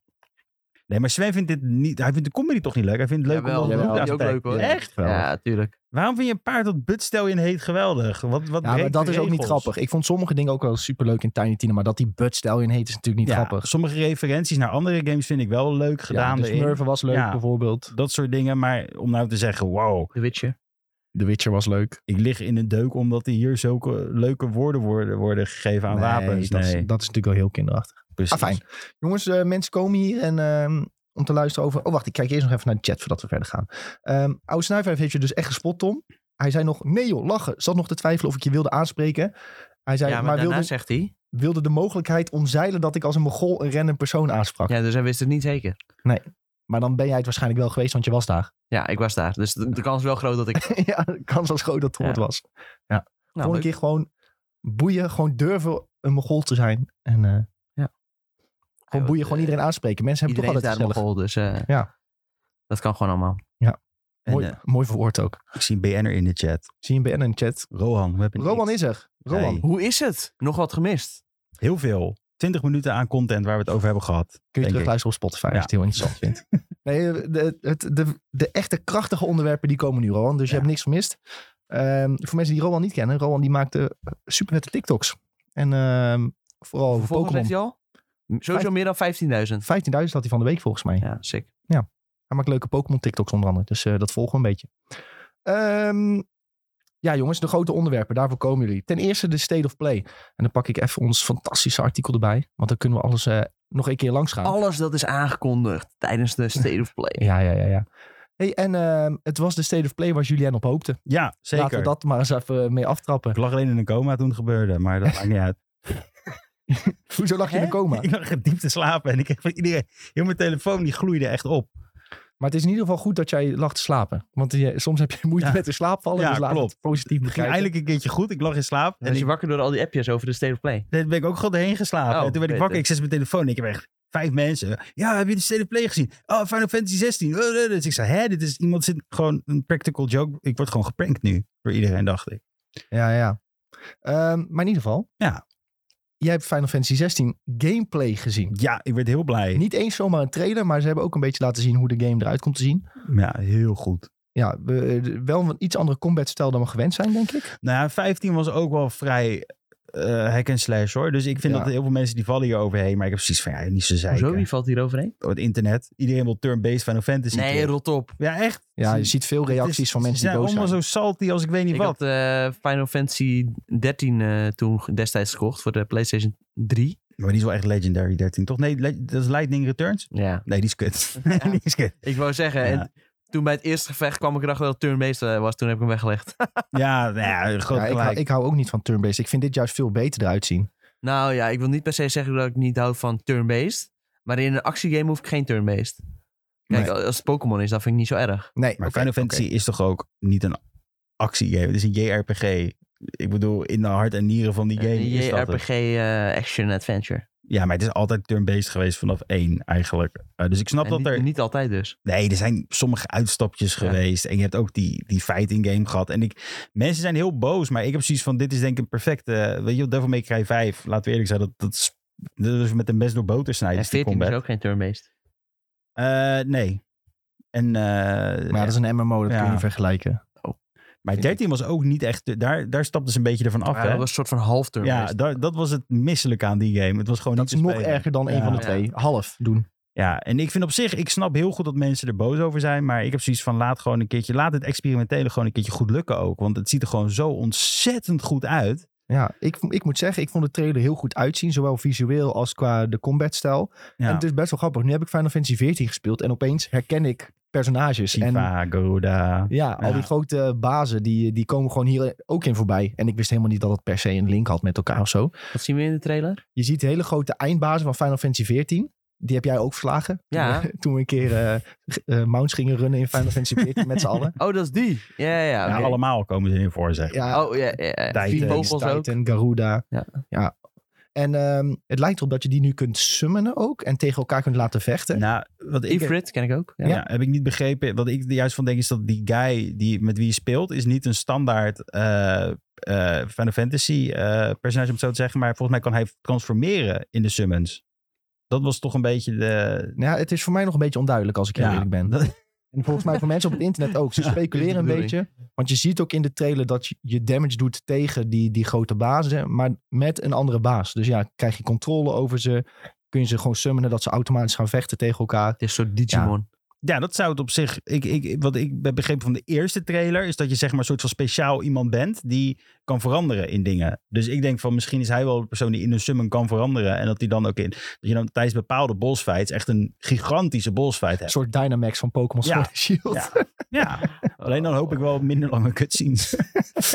[SPEAKER 3] Nee, maar Sven vindt dit niet... Hij vindt de comedy toch niet leuk? Hij vindt het leuk
[SPEAKER 2] Jawel,
[SPEAKER 3] om dat
[SPEAKER 1] jawel.
[SPEAKER 3] te
[SPEAKER 2] Die ook leuk, hoor.
[SPEAKER 3] Echt wel.
[SPEAKER 2] Ja, tuurlijk.
[SPEAKER 3] Waarom vind je een paard dat butstel in heet geweldig? Wat, wat
[SPEAKER 1] Ja, maar
[SPEAKER 3] breekt
[SPEAKER 1] dat
[SPEAKER 3] de
[SPEAKER 1] is ook niet
[SPEAKER 3] regels?
[SPEAKER 1] grappig. Ik vond sommige dingen ook wel superleuk in Tiny Tina. Maar dat die Bud Stallion heet is natuurlijk niet
[SPEAKER 3] Ja,
[SPEAKER 1] grappig.
[SPEAKER 3] Sommige referenties naar andere games vind ik wel leuk gedaan.
[SPEAKER 1] ja, de
[SPEAKER 3] erin.
[SPEAKER 1] Smurfen was leuk
[SPEAKER 3] Ja.
[SPEAKER 1] bijvoorbeeld.
[SPEAKER 3] Dat soort dingen. Maar om nou te zeggen, wow,
[SPEAKER 2] De Witcher.
[SPEAKER 1] The Witcher was leuk.
[SPEAKER 3] ik lig in een deuk omdat er hier zulke leuke woorden worden, worden gegeven aan wapens.
[SPEAKER 1] dat, is,
[SPEAKER 3] Nee,
[SPEAKER 1] dat is natuurlijk wel heel kinderachtig.
[SPEAKER 3] precies.
[SPEAKER 1] Ah, fijn. Jongens, eh, mensen komen hier en... ehm, om te luisteren over... Oh, wacht. Ik kijk eerst nog even naar de chat voordat we verder gaan. Ehm Oude Snuifwijf heeft je dus echt gespot, Tom. Hij zei nog... Nee joh, lachen. Zat nog te twijfelen of ik je wilde aanspreken. Hij zei...
[SPEAKER 2] ja, maar,
[SPEAKER 1] maar
[SPEAKER 2] daarna
[SPEAKER 1] wilde,
[SPEAKER 2] zegt hij.
[SPEAKER 1] wilde de mogelijkheid omzeilen dat ik als een mogol een random persoon aansprak.
[SPEAKER 2] Ja, dus hij wist het niet zeker.
[SPEAKER 1] Maar dan ben jij het waarschijnlijk wel geweest, want je was daar. <laughs>
[SPEAKER 2] Ja, ik was daar. Dus de, de kans is wel groot dat <laughs> ik...
[SPEAKER 1] ja, de kans was groot dat het
[SPEAKER 2] Ja.
[SPEAKER 1] het was.
[SPEAKER 2] Nou,
[SPEAKER 1] Volgende
[SPEAKER 2] leuk.
[SPEAKER 1] keer gewoon boeien, gewoon durven een mogol te zijn. En eh, gewoon boeien, gewoon
[SPEAKER 2] Eh,
[SPEAKER 1] iedereen aanspreken. Mensen hebben
[SPEAKER 2] Iedereen is
[SPEAKER 1] toch
[SPEAKER 2] daar
[SPEAKER 1] altijd
[SPEAKER 2] nog
[SPEAKER 1] gezellig.
[SPEAKER 2] al, dus eh,
[SPEAKER 1] Ja.
[SPEAKER 2] dat kan gewoon allemaal.
[SPEAKER 3] En,
[SPEAKER 1] Mooi,
[SPEAKER 3] eh,
[SPEAKER 1] mooi verwoord ook.
[SPEAKER 3] ik zie een BN'er in de chat.
[SPEAKER 1] Zie je een BN in de chat.
[SPEAKER 3] Rohan, we hebben
[SPEAKER 1] Roman
[SPEAKER 3] iets.
[SPEAKER 1] is er. Roman.
[SPEAKER 3] Hey.
[SPEAKER 2] Hoe is het? Nog wat gemist?
[SPEAKER 3] Heel veel. 20 minuten aan content waar we het over hebben gehad.
[SPEAKER 1] Kun
[SPEAKER 3] denk
[SPEAKER 1] je
[SPEAKER 3] ik.
[SPEAKER 1] terugluisteren op Spotify als
[SPEAKER 3] Ja.
[SPEAKER 1] je het heel interessant vindt.
[SPEAKER 2] <laughs>
[SPEAKER 1] Nee, eh, de, het, de, de echte krachtige onderwerpen die komen nu, Rowan. Dus je
[SPEAKER 3] Ja.
[SPEAKER 1] hebt niks vermist. Ehm, voor mensen die Rowan niet kennen. Rowan die maakte super vette TikToks. En ehm, vooral over
[SPEAKER 2] Vervolgens
[SPEAKER 1] Pokémon.
[SPEAKER 2] zegt hij al? Sowieso
[SPEAKER 1] Vijf-
[SPEAKER 2] meer dan 15.000.
[SPEAKER 1] 15.000 had hij van de week volgens mij.
[SPEAKER 2] Ja, sick.
[SPEAKER 1] Hij maakt leuke Pokémon-TikToks onder andere. Dus eh, dat volgen we een beetje. Ehm, ja, jongens, de grote onderwerpen. Daarvoor komen jullie. Ten eerste de State of Play. En dan pak ik even ons fantastische artikel erbij. Want dan kunnen we alles eh, nog een keer langs gaan.
[SPEAKER 2] Alles dat is aangekondigd tijdens de State of Play.
[SPEAKER 1] Ja, ja, ja, ja. Hey, en ehm, het was de State of Play waar Julian op hoopte.
[SPEAKER 3] Ja,
[SPEAKER 1] Laten
[SPEAKER 3] zeker.
[SPEAKER 1] we dat maar eens even mee aftrappen.
[SPEAKER 3] Ik lag alleen in een coma toen het gebeurde,
[SPEAKER 1] <laughs>
[SPEAKER 3] maar dat maakt niet uit.
[SPEAKER 1] Hoezo lag je in
[SPEAKER 3] Hè?
[SPEAKER 1] een coma?
[SPEAKER 3] <laughs> Ik lag diep te slapen en ik kreeg van iedereen... Heel mijn telefoon die gloeide echt op.
[SPEAKER 1] <laughs> Maar het is in ieder geval goed dat jij lag te slapen. Want je- soms heb je moeite
[SPEAKER 3] Ja.
[SPEAKER 1] met de slaapvallen.
[SPEAKER 3] Ja,
[SPEAKER 1] dus laten we het
[SPEAKER 3] klopt.
[SPEAKER 1] positief
[SPEAKER 3] Het ging
[SPEAKER 1] bekijken.
[SPEAKER 3] eindelijk een keertje goed. Ik lag in slaap.
[SPEAKER 2] <laughs> Dan is
[SPEAKER 3] En ik,
[SPEAKER 2] je wakker door al die appjes over de State of Play.
[SPEAKER 3] daar ben ik ook gewoon heen geslapen.
[SPEAKER 2] Oh,
[SPEAKER 3] en toen werd ik
[SPEAKER 2] beter.
[SPEAKER 3] wakker. Ik zet mijn telefoon en ik heb echt vijf mensen. Ja, heb je de State of Play gezien? Oh, Final Fantasy 16. Eh, eh, eh. Dus ik zei, hè, dit is iemand zit gewoon een practical joke. Ik word gewoon geprankt nu door iedereen, dacht ik.
[SPEAKER 1] Ja, ja. Ehm, maar in ieder geval.
[SPEAKER 3] Ja.
[SPEAKER 1] Jij hebt Final Fantasy 16 gameplay gezien.
[SPEAKER 3] Ja, ik werd heel blij.
[SPEAKER 1] Niet eens zomaar een trailer, maar ze hebben ook een beetje laten zien hoe de game eruit komt te zien.
[SPEAKER 3] Ja, heel goed.
[SPEAKER 1] Ja, we- eh, wel een iets andere combatstijl dan we gewend zijn, denk ik.
[SPEAKER 3] Nou ja, 15 was ook wel vrij eh hack and slash hoor. Dus ik vind
[SPEAKER 1] Ja.
[SPEAKER 3] dat heel veel mensen die vallen hier overheen. Maar ik heb precies van, ja, niet zo
[SPEAKER 2] Hoezo?
[SPEAKER 3] zeiken.
[SPEAKER 2] Wie valt hier overheen?
[SPEAKER 3] Door het internet. Iedereen wil turn-based Final Fantasy.
[SPEAKER 2] Nee,
[SPEAKER 3] terug.
[SPEAKER 2] rot op.
[SPEAKER 3] Ja, echt.
[SPEAKER 1] Ja, je
[SPEAKER 3] Ze-
[SPEAKER 1] ziet veel reacties
[SPEAKER 3] het is-
[SPEAKER 1] van mensen
[SPEAKER 3] ze
[SPEAKER 1] die boos zijn.
[SPEAKER 3] allemaal zo salty als ik weet niet
[SPEAKER 2] Ik
[SPEAKER 3] wat.
[SPEAKER 2] had eh, Final Fantasy 13 eh, toen destijds gekocht voor de PlayStation 3.
[SPEAKER 3] Maar die is wel echt Legendary 13, toch? Nee, Le- dat is Lightning Returns?
[SPEAKER 2] Ja.
[SPEAKER 3] Nee, die is
[SPEAKER 1] <laughs>
[SPEAKER 3] kut.
[SPEAKER 2] Ja.
[SPEAKER 3] die is kut.
[SPEAKER 2] Ik wou zeggen,
[SPEAKER 3] Ja.
[SPEAKER 2] en toen bij het eerste gevecht kwam ik erachter dat het turn-based eh, was. Toen heb ik hem
[SPEAKER 3] <laughs>
[SPEAKER 2] weggelegd.
[SPEAKER 3] Ja, nou ja, groot
[SPEAKER 1] Ja, ik, hou-
[SPEAKER 3] gelijk.
[SPEAKER 1] ik hou ook niet van turn-based. Ik vind dit juist veel beter eruit zien.
[SPEAKER 2] nou ja, ik wil niet per se zeggen dat ik niet hou van turn-based. Maar in een actiegame hoef ik geen turn-based. Kijk,
[SPEAKER 1] Nee.
[SPEAKER 2] als het Pokémon is, dat vind ik niet zo erg.
[SPEAKER 1] Nee,
[SPEAKER 3] maar
[SPEAKER 1] oké,
[SPEAKER 3] Final Fantasy is toch ook niet een actiegame? Het is een JRPG. Ik bedoel, in de hart en nieren van die game
[SPEAKER 2] Een
[SPEAKER 3] is dat dus. het.
[SPEAKER 2] JRPG eh, action adventure.
[SPEAKER 3] Ja, maar het is altijd turn-based geweest vanaf één eigenlijk. Eh, dus ik snap
[SPEAKER 2] En
[SPEAKER 3] dat
[SPEAKER 2] niet,
[SPEAKER 3] er...
[SPEAKER 2] niet altijd dus.
[SPEAKER 3] Nee, er zijn sommige uitstapjes
[SPEAKER 2] Ja.
[SPEAKER 3] geweest. En je hebt ook die, die fighting game gehad. En ik, mensen zijn heel boos. Maar ik heb precies van, dit is denk ik een perfecte... Weet je, Devil May Cry 5. Laten we eerlijk zijn, dat, dat, is, dat is met een mes door boter snijden.
[SPEAKER 2] en
[SPEAKER 3] is die
[SPEAKER 2] 14
[SPEAKER 3] combat.
[SPEAKER 2] is ook geen turn-based.
[SPEAKER 3] Eh, nee. En, eh,
[SPEAKER 1] Maar ja, dat is een MMO, dat kun
[SPEAKER 3] Ja.
[SPEAKER 1] je niet vergelijken.
[SPEAKER 3] maar 13 was ook niet echt... Daar, daar stapten ze een beetje ervan af.
[SPEAKER 2] Ja,
[SPEAKER 3] hè?
[SPEAKER 2] dat was een soort van half
[SPEAKER 3] ja,
[SPEAKER 2] turn-based.
[SPEAKER 3] daar- dat was het misselijk aan die game. Het was gewoon
[SPEAKER 1] Dat
[SPEAKER 3] niet
[SPEAKER 1] is
[SPEAKER 3] te
[SPEAKER 1] nog
[SPEAKER 3] spelen.
[SPEAKER 1] erger dan een
[SPEAKER 3] Ja.
[SPEAKER 1] van de
[SPEAKER 2] Ja.
[SPEAKER 1] twee. Half doen.
[SPEAKER 3] Ja, en ik vind op zich, ik snap heel goed dat mensen er boos over zijn. Maar ik heb zoiets van laat gewoon een keertje, laat het experimentele gewoon een keertje goed lukken ook. Want het ziet er gewoon zo ontzettend goed uit.
[SPEAKER 1] Ja, ik, ik moet zeggen, ik vond de trailer heel goed uitzien. Zowel visueel als qua de combatstijl. En dus-
[SPEAKER 3] Ja.
[SPEAKER 1] het is best wel grappig. Nu heb ik Final Fantasy 14 gespeeld en opeens herken ik personages. En
[SPEAKER 3] Shiva, Garuda.
[SPEAKER 1] ja, al
[SPEAKER 3] Ja.
[SPEAKER 1] die grote bazen, die, die komen gewoon hier ook in voorbij. En ik wist helemaal niet dat het per se een link had met elkaar of zo.
[SPEAKER 2] Wat zien we in de trailer?
[SPEAKER 1] Je ziet hele grote eindbazen van Final Fantasy 14. Die heb jij ook verslagen.
[SPEAKER 2] Ja.
[SPEAKER 1] Toen we, toen we een keer eh eh, mounts gingen runnen in Final Fantasy 14 met z'n
[SPEAKER 2] <laughs>
[SPEAKER 1] allen.
[SPEAKER 2] Oh, dat is die. Ja, ja, ja.
[SPEAKER 3] Ja,
[SPEAKER 2] oké.
[SPEAKER 3] allemaal komen ze in voor, zeg.
[SPEAKER 1] Ja,
[SPEAKER 2] Oh, ja, ja. ja.
[SPEAKER 3] Titan.
[SPEAKER 2] Die
[SPEAKER 1] Phoenix,
[SPEAKER 2] vogels ook.
[SPEAKER 1] Titan, Garuda.
[SPEAKER 2] Ja.
[SPEAKER 1] ja. En ehm, het lijkt erop dat je die nu kunt summonen ook. En tegen elkaar kunt laten vechten.
[SPEAKER 3] Nou, wat ik,
[SPEAKER 2] Ifrit ken ik ook. Ja.
[SPEAKER 3] ja. heb ik niet begrepen. Wat ik er juist van denk is dat die guy die, met wie je speelt... is niet een standaard eh eh, Final Fantasy eh, personage, om het zo te zeggen. Maar volgens mij kan hij transformeren in de summons. Dat was toch een beetje de...
[SPEAKER 1] Nou, het is voor mij nog een beetje onduidelijk als ik heel eerlijk ben.
[SPEAKER 3] <laughs> dat-
[SPEAKER 1] En volgens mij voor mensen op het internet ook. Ze
[SPEAKER 3] Ja,
[SPEAKER 1] speculeren
[SPEAKER 2] dit
[SPEAKER 1] een
[SPEAKER 2] bedoel ik.
[SPEAKER 1] beetje. Want je ziet ook in de trailer dat je- je damage doet tegen die, die grote bazen. Maar met een andere baas. Dus ja, krijg je controle over ze. Kun je ze gewoon summonen dat ze automatisch gaan vechten tegen elkaar.
[SPEAKER 2] Het is een soort Digimon.
[SPEAKER 3] Ja, dat zou het op zich. Ik, ik, wat ik heb begrepen van de eerste trailer is dat je zeg maar een soort van speciaal iemand bent die kan veranderen in dingen. Dus ik denk van misschien is hij wel de persoon die in een summon kan veranderen. En dat hij dan ook in. Dat je dan tijdens bepaalde bossfights echt een gigantische bossfight
[SPEAKER 1] Een
[SPEAKER 3] hebt.
[SPEAKER 1] soort Dynamax van Pokémon
[SPEAKER 3] Ja.
[SPEAKER 1] Sword and Shield.
[SPEAKER 3] Ja. Ja, <laughs> alleen dan hoop ik wel minder lange
[SPEAKER 1] <laughs>
[SPEAKER 3] cutscenes.
[SPEAKER 1] <laughs>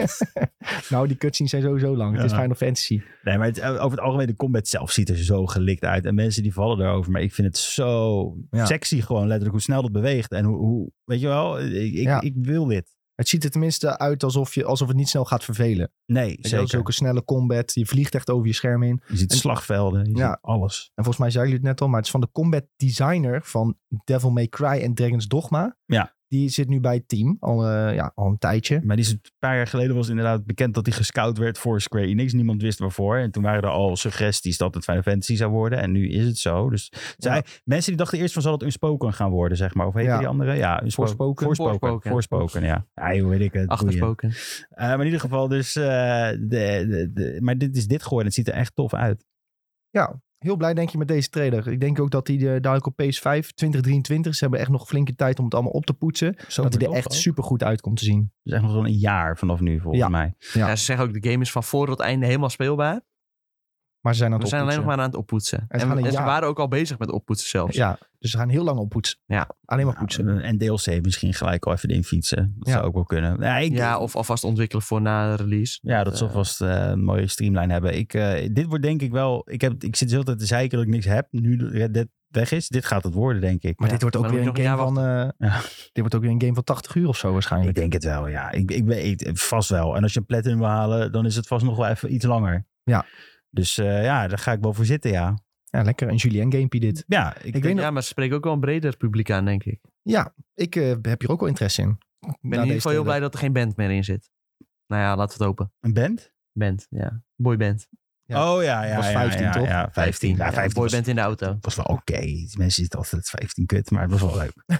[SPEAKER 1] Nou, die cutscenes zijn sowieso lang. Het is
[SPEAKER 3] Ja.
[SPEAKER 1] Final Fantasy.
[SPEAKER 3] Nee, maar het, eh, over het algemeen, de combat zelf ziet er zo gelikt uit. En mensen die vallen daarover. Maar ik vind het zo
[SPEAKER 1] Ja.
[SPEAKER 3] sexy gewoon letterlijk hoe snel dat beweegt. En hoe, hoe weet je wel, ik, ik,
[SPEAKER 1] Ja.
[SPEAKER 3] ik wil dit.
[SPEAKER 1] Het ziet er tenminste uit alsof, je, alsof het niet snel gaat vervelen.
[SPEAKER 3] Nee,
[SPEAKER 1] Zeker.
[SPEAKER 3] zeker.
[SPEAKER 1] Zulke snelle combat. Je vliegt echt over je scherm heen.
[SPEAKER 3] Je ziet
[SPEAKER 1] En-
[SPEAKER 3] slagvelden, je
[SPEAKER 1] Ja.
[SPEAKER 3] ziet alles.
[SPEAKER 1] En volgens mij zei jullie het net al, maar het is van de combat designer van Devil May Cry en Dragon's Dogma.
[SPEAKER 3] Ja.
[SPEAKER 1] Die zit nu bij het team al, eh, ja, al een tijdje.
[SPEAKER 3] Maar die is een paar jaar geleden was inderdaad bekend dat hij gescout werd voor Square Enix. Niemand wist waarvoor. En toen waren er al suggesties dat het Final Fantasy zou worden. En nu is het zo. Dus het zijn
[SPEAKER 1] Ja.
[SPEAKER 3] eigenlijk- mensen die dachten eerst van zal het Unspoken gaan worden, zeg maar. Of heet
[SPEAKER 1] Ja.
[SPEAKER 3] die andere? Ja, Unspo-
[SPEAKER 1] Forspoken.
[SPEAKER 3] Forspoken.
[SPEAKER 2] Forspoken.
[SPEAKER 3] Forspoken, ja. Ja, hoe weet ik het. boeien.
[SPEAKER 2] Achterspoken.
[SPEAKER 3] Eh, maar in ieder geval, dus... eh, de, de- de- maar dit is dit geworden. Het ziet er echt tof uit.
[SPEAKER 1] Heel blij denk je met deze trailer. Ik denk ook dat die eh, dadelijk op PS5 2023, ze hebben echt nog flinke tijd om het allemaal op te poetsen.
[SPEAKER 3] Zo
[SPEAKER 1] dat die er echt super goed uit komt te zien.
[SPEAKER 3] Dus echt nog zo'n een jaar vanaf nu, volgens
[SPEAKER 1] Ja.
[SPEAKER 3] mij.
[SPEAKER 1] Ja.
[SPEAKER 2] Ja, ze zeggen ook, de game is van voor tot einde helemaal speelbaar.
[SPEAKER 1] Maar ze zijn aan
[SPEAKER 2] We
[SPEAKER 1] het
[SPEAKER 2] zijn alleen nog
[SPEAKER 1] oppoetsen.
[SPEAKER 2] maar aan het oppoetsen.
[SPEAKER 1] Het
[SPEAKER 2] En,
[SPEAKER 1] gaan een
[SPEAKER 2] en ze
[SPEAKER 1] jaar.
[SPEAKER 2] waren ook al bezig met oppoetsen zelfs.
[SPEAKER 1] Ja, dus ze gaan heel lang oppoetsen.
[SPEAKER 2] Ja.
[SPEAKER 1] Alleen maar
[SPEAKER 3] Ja,
[SPEAKER 1] poetsen.
[SPEAKER 3] Eh, en DLC misschien gelijk al even in fietsen. Dat
[SPEAKER 1] Ja.
[SPEAKER 3] zou ook wel kunnen. Ja, ik,
[SPEAKER 2] Ja, of alvast ontwikkelen voor na de release.
[SPEAKER 3] Ja, dat zal
[SPEAKER 2] eh,
[SPEAKER 3] vast eh, een mooie streamline hebben. Ik, eh, dit wordt denk ik wel... Ik, heb, ik zit de hele tijd te zeiken dat ik niks heb. Nu Red Dead weg is, dit gaat het worden, denk ik.
[SPEAKER 1] Maar
[SPEAKER 2] Ja,
[SPEAKER 1] dit wordt ook
[SPEAKER 2] maar dan
[SPEAKER 1] weer een
[SPEAKER 2] moet je
[SPEAKER 1] game
[SPEAKER 2] nog
[SPEAKER 1] van... eh,
[SPEAKER 3] Ja.
[SPEAKER 1] Dit wordt ook weer een game van 80 uur of zo
[SPEAKER 3] Ik
[SPEAKER 1] waarschijnlijk.
[SPEAKER 3] denk het wel, ja. Ik, ik weet vast wel. En als je een platinum wil halen, dan is het vast nog wel even iets langer.
[SPEAKER 1] Ja.
[SPEAKER 3] Dus eh, ja, daar ga ik wel voor zitten, ja.
[SPEAKER 1] Ja, lekker. Een Julien gamepie dit.
[SPEAKER 3] Ja, ik,
[SPEAKER 1] Ik weet nog-
[SPEAKER 2] Ja, maar ze spreken ook wel een breder publiek aan, denk ik. Ik
[SPEAKER 1] Ja, ik eh, heb hier ook wel interesse in.
[SPEAKER 2] ben in ieder geval heel blij dat er geen band meer in zit. Nou ja, laten we het open.
[SPEAKER 3] een band?
[SPEAKER 2] Band, ja. Boyband.
[SPEAKER 1] Ja.
[SPEAKER 3] Oh ja, ja.
[SPEAKER 1] Was
[SPEAKER 3] ja,
[SPEAKER 1] 15
[SPEAKER 3] ja,
[SPEAKER 1] toch?
[SPEAKER 3] Ja, 15. Ja,
[SPEAKER 2] Ja,
[SPEAKER 3] 15 was,
[SPEAKER 2] boyband in de auto.
[SPEAKER 3] was wel oké. Die Mensen zitten altijd 15 kut, maar het was wel leuk.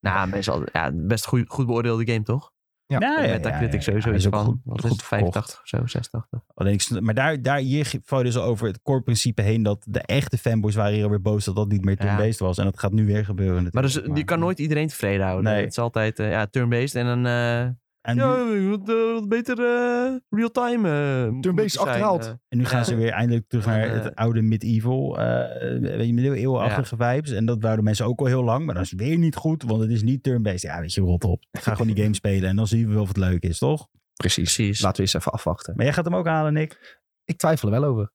[SPEAKER 2] Nou, mensen, hadden- ja, best goed, goed beoordeelde game, toch?
[SPEAKER 1] Ja.
[SPEAKER 2] Met Metacritic sowieso
[SPEAKER 3] Hij
[SPEAKER 2] iets
[SPEAKER 3] is ook
[SPEAKER 2] van.
[SPEAKER 3] goed-
[SPEAKER 2] Wat is
[SPEAKER 3] goed
[SPEAKER 2] het,
[SPEAKER 3] verkocht.
[SPEAKER 2] 85 of zo, 86.
[SPEAKER 3] Alleen ik, snap- maar daar, daar hier valt dus al over het core principe heen dat de echte fanboys waren hier alweer boos dat dat niet meer
[SPEAKER 2] Ja.
[SPEAKER 3] turn-based was. En dat gaat nu weer gebeuren
[SPEAKER 2] Maar dus,
[SPEAKER 3] natuurlijk,
[SPEAKER 2] je kan nooit iedereen tevreden houden.
[SPEAKER 3] Nee.
[SPEAKER 2] Het is altijd eh, ja, turn-based en een... eh,
[SPEAKER 3] En nu,
[SPEAKER 2] ja, wat, eh, wat beter eh, real-time eh, moet
[SPEAKER 1] Turn-based
[SPEAKER 2] het zijn,
[SPEAKER 1] achterhaald.
[SPEAKER 2] eh.
[SPEAKER 3] en nu gaan
[SPEAKER 2] ja.
[SPEAKER 3] ze weer eindelijk terug naar
[SPEAKER 2] En, eh,
[SPEAKER 3] het oude medieval, eh weet je, middeleeuwenachtige vibes. En dat wouden mensen ook al heel lang, maar dat is weer niet goed, want het is niet turn-based. Ja, weet je, rot op. Ga gewoon die game spelen en dan zien we wel of het leuk is, toch?
[SPEAKER 1] Precies.
[SPEAKER 2] Precies.
[SPEAKER 1] Laten we eens even afwachten.
[SPEAKER 3] Maar jij gaat hem ook halen, Nick.
[SPEAKER 1] Dus Ik twijfel er wel over.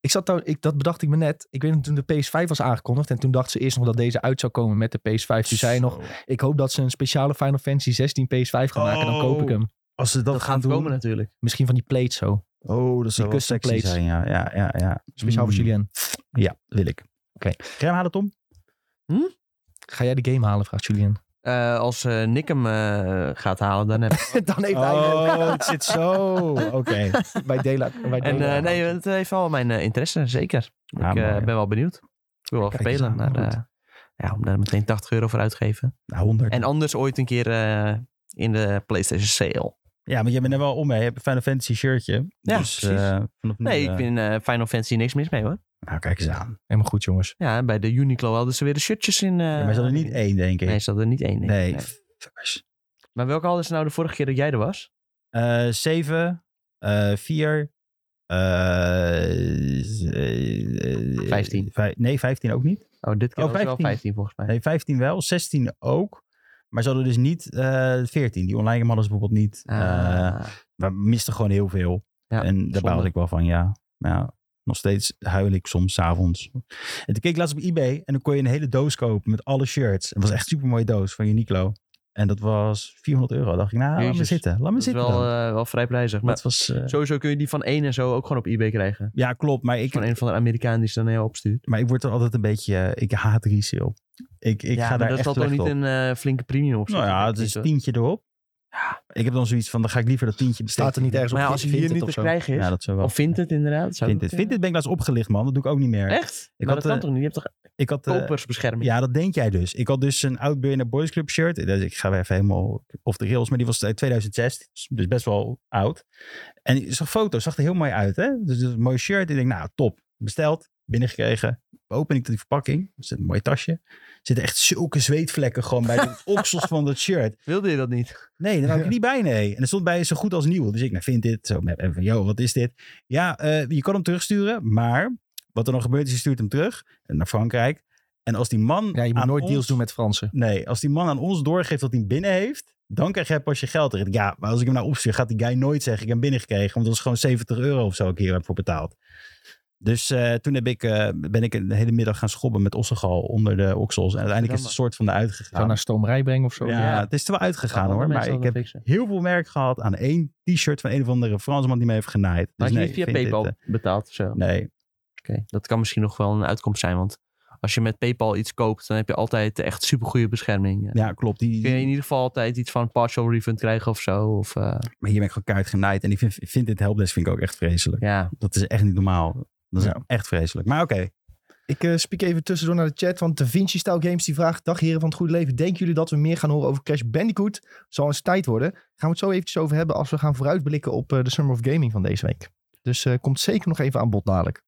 [SPEAKER 1] Ik zat trouwens- ik, dat bedacht ik me net. Ik weet nog, toen de PS5 was aangekondigd. En toen dacht ze eerst nog dat deze uit zou komen met de PS5. Toen zei je nog,
[SPEAKER 3] Zo.
[SPEAKER 1] ik hoop dat ze een speciale Final Fantasy 16 PS5 gaan maken. Dan koop ik hem.
[SPEAKER 3] Als ze dat,
[SPEAKER 2] dat
[SPEAKER 3] gaan
[SPEAKER 2] gaat
[SPEAKER 3] doen.
[SPEAKER 2] komen natuurlijk.
[SPEAKER 1] Misschien van die plate zo.
[SPEAKER 3] Oh, dat zou wel
[SPEAKER 1] custom
[SPEAKER 3] sexy
[SPEAKER 1] plates.
[SPEAKER 3] zijn, ja. Ja, ja, ja.
[SPEAKER 1] Speciaal voor
[SPEAKER 3] Mm.
[SPEAKER 1] Julien.
[SPEAKER 3] Ja, wil ik.
[SPEAKER 1] Oké.
[SPEAKER 3] Ga je hem halen, Tom?
[SPEAKER 1] Ga jij de game halen, vraagt Julien.
[SPEAKER 2] Eh, als eh, Nick hem eh, gaat halen, dan heb
[SPEAKER 3] <laughs>
[SPEAKER 1] Dan heeft hij hem
[SPEAKER 3] Oh, het zit zo. Oké.
[SPEAKER 1] bij Daylight. Bij
[SPEAKER 2] En eh,
[SPEAKER 1] Daylight.
[SPEAKER 2] nee, het heeft wel mijn eh, interesse, zeker.
[SPEAKER 3] Ja,
[SPEAKER 2] ik eh,
[SPEAKER 3] mooi.
[SPEAKER 2] ben wel benieuwd. Ik wil wel
[SPEAKER 1] Kijk eens
[SPEAKER 2] spelen,
[SPEAKER 1] aan,
[SPEAKER 2] maar
[SPEAKER 1] goed.
[SPEAKER 2] eh, ja, om daar meteen 80 euro voor uit te geven.
[SPEAKER 3] Nou, 100.
[SPEAKER 2] En anders ooit een keer eh, in de PlayStation Sale.
[SPEAKER 3] Ja, maar je bent er wel om mee. Je hebt een Final Fantasy shirtje.
[SPEAKER 2] Ja,
[SPEAKER 3] dus,
[SPEAKER 2] precies.
[SPEAKER 3] eh, vanaf nu,
[SPEAKER 2] Nee, ik
[SPEAKER 3] eh,
[SPEAKER 2] vind eh, Final Fantasy niks mis mee hoor.
[SPEAKER 3] Nou, kijk eens aan.
[SPEAKER 1] Helemaal goed, jongens.
[SPEAKER 2] Ja, bij de Uniqlo hadden ze weer de shirtjes in. eh,
[SPEAKER 3] Ja, maar ze hadden er niet één, denk ik.
[SPEAKER 2] Nee, ze hadden er niet één. denk ik.
[SPEAKER 3] Nee.
[SPEAKER 2] Nee.
[SPEAKER 3] Fuckers.
[SPEAKER 2] Maar welke hadden ze nou de vorige keer dat jij er was?
[SPEAKER 3] Eh, Zeven, eh, vier, eh, z- eh,
[SPEAKER 2] Vijftien.
[SPEAKER 3] vij- nee, vijftien ook niet.
[SPEAKER 2] Oh, dit keer
[SPEAKER 3] Oh,
[SPEAKER 2] was het wel
[SPEAKER 3] 15.
[SPEAKER 2] 15 volgens mij.
[SPEAKER 3] Nee, vijftien wel, zestien ook. Maar ze hadden dus niet veertien. Die online game hadden ze bijvoorbeeld niet. Eh,
[SPEAKER 2] Ah,
[SPEAKER 3] we misten gewoon heel veel.
[SPEAKER 2] ja,
[SPEAKER 3] en daar
[SPEAKER 2] zonde.
[SPEAKER 3] baalde ik wel van, ja. Maar ja, nog steeds huil ik soms 's avonds. En toen keek ik laatst op eBay en dan kon je een hele doos kopen met alle shirts. Het was echt een supermooie doos van Uniqlo. En dat was 400 euro. Dacht ik, nou, laat me
[SPEAKER 2] Jezus.
[SPEAKER 3] zitten. Laat me
[SPEAKER 2] Dat is
[SPEAKER 3] zitten.
[SPEAKER 2] wel,
[SPEAKER 3] dan.
[SPEAKER 2] eh, wel vrij prijzig. Maar
[SPEAKER 3] dat was, eh,
[SPEAKER 2] sowieso kun je die van één en zo ook gewoon op eBay krijgen.
[SPEAKER 3] ja, klopt. Maar ik,
[SPEAKER 2] Van een van de Amerikanen die ze dan naar jou opstuurt.
[SPEAKER 3] maar ik word er altijd een beetje... eh, ik haat resale. Ik, ik
[SPEAKER 2] ja,
[SPEAKER 3] ga
[SPEAKER 2] maar
[SPEAKER 3] daar
[SPEAKER 2] dat
[SPEAKER 3] echt
[SPEAKER 2] zal
[SPEAKER 3] slecht
[SPEAKER 2] toch
[SPEAKER 3] op.
[SPEAKER 2] niet een eh, flinke premium op
[SPEAKER 3] Nou
[SPEAKER 2] zitten?
[SPEAKER 3] ja,
[SPEAKER 2] Ik
[SPEAKER 3] het
[SPEAKER 2] weet
[SPEAKER 3] is
[SPEAKER 2] niet, hoor.
[SPEAKER 3] tientje erop. Ik heb dan zoiets van, dan ga ik liever dat tientje
[SPEAKER 1] Staat er niet ergens op.
[SPEAKER 2] Maar ja, als je
[SPEAKER 1] je
[SPEAKER 2] het hier
[SPEAKER 1] vindt
[SPEAKER 2] niet
[SPEAKER 1] het
[SPEAKER 2] te
[SPEAKER 1] of zo.
[SPEAKER 2] krijgen is.
[SPEAKER 3] Ja, dat zou wel.
[SPEAKER 2] Of vindt het inderdaad. Zou
[SPEAKER 3] Vind dit.
[SPEAKER 2] dat,
[SPEAKER 3] Vind dit ben ik laatst opgelicht, man. Dat doe ik ook niet meer.
[SPEAKER 2] eh, Echt?
[SPEAKER 3] Ik
[SPEAKER 2] maar
[SPEAKER 3] had,
[SPEAKER 2] dat kan
[SPEAKER 3] eh,
[SPEAKER 2] toch niet? Je hebt toch
[SPEAKER 3] Ik had, eh,
[SPEAKER 2] kopersbescherming?
[SPEAKER 3] ja, dat denk jij dus. Ik had dus een oud Burner Boys Club shirt. Dus ik ga weer even helemaal off the rails. Maar die was uit 2006. Dus best wel oud. En ik zag foto's. Zag er heel mooi uit, hè? Dus dat is een mooi shirt. Ik denk, nou, top. Besteld. Binnengekregen. Open ik die verpakking. Er zit een mooi tasje. Er zitten echt zulke zweetvlekken gewoon bij de oksels van dat shirt.
[SPEAKER 2] Wilde je dat niet?
[SPEAKER 3] Nee, daar
[SPEAKER 1] <laughs>
[SPEAKER 3] wou ik er niet bij, nee. En er stond bij zo goed als nieuw. Dus ik nou, vind dit. Zo met en van, yo, wat is dit? Ja, eh, je kan hem terugsturen, maar wat er dan gebeurt is, je stuurt hem terug naar Frankrijk. En als die man
[SPEAKER 1] Ja, je moet
[SPEAKER 3] aan
[SPEAKER 1] nooit
[SPEAKER 3] ons-
[SPEAKER 1] deals doen met Fransen.
[SPEAKER 3] Nee, als die man aan ons doorgeeft dat hij hem binnen heeft, dan krijg jij pas je geld erin. Ja, maar als ik hem nou opstuur, gaat die guy nooit zeggen, ik heb hem binnengekregen. Want dat is gewoon 70 euro of zo ik hier heb voor betaald. Dus eh, toen heb ik, eh, ben ik een hele middag gaan schobben met ossegal onder de oksels. En uiteindelijk is het
[SPEAKER 2] Verdamme.
[SPEAKER 3] een soort van de uitgegaan.
[SPEAKER 1] Zou naar stomerij brengen of zo.
[SPEAKER 3] ja,
[SPEAKER 2] ja.
[SPEAKER 3] het is er wel uitgegaan hoor.
[SPEAKER 2] Andere
[SPEAKER 3] Maar
[SPEAKER 2] mensen
[SPEAKER 3] ik
[SPEAKER 2] hadden
[SPEAKER 3] heb dus
[SPEAKER 2] fixen.
[SPEAKER 3] heel veel merk gehad aan één t-shirt van een of andere Fransman die me heeft genaaid. Dus
[SPEAKER 2] Maar had je
[SPEAKER 3] nee,
[SPEAKER 2] niet via
[SPEAKER 3] ik vind
[SPEAKER 2] PayPal
[SPEAKER 3] dit,
[SPEAKER 2] betaald of zo?
[SPEAKER 3] eh, nee,
[SPEAKER 2] Oké, Dat kan misschien nog wel een uitkomst zijn, want als je met PayPal iets koopt, dan heb je altijd echt supergoeie bescherming.
[SPEAKER 3] ja, klopt. Die,
[SPEAKER 2] Kun je in ieder geval altijd iets van partial refund krijgen of zo. Of, eh,
[SPEAKER 3] Maar hier ben ik gewoon kaart genaaid. En ik vind, vind dit helpdesk vind ik ook echt vreselijk.
[SPEAKER 2] ja.
[SPEAKER 3] Dat is echt niet normaal. Dat is
[SPEAKER 1] Ja.
[SPEAKER 3] echt vreselijk. Maar oké,
[SPEAKER 1] Ik eh spiek even tussendoor naar de chat, want Da Vinci Style Games die vraagt... Dag heren van het goede leven, denken jullie dat we meer gaan horen over Crash Bandicoot? Zal eens tijd worden. Gaan we het zo eventjes over hebben als we gaan vooruitblikken op eh, de Summer of Gaming van deze week. Dus eh, komt zeker nog even aan bod dadelijk.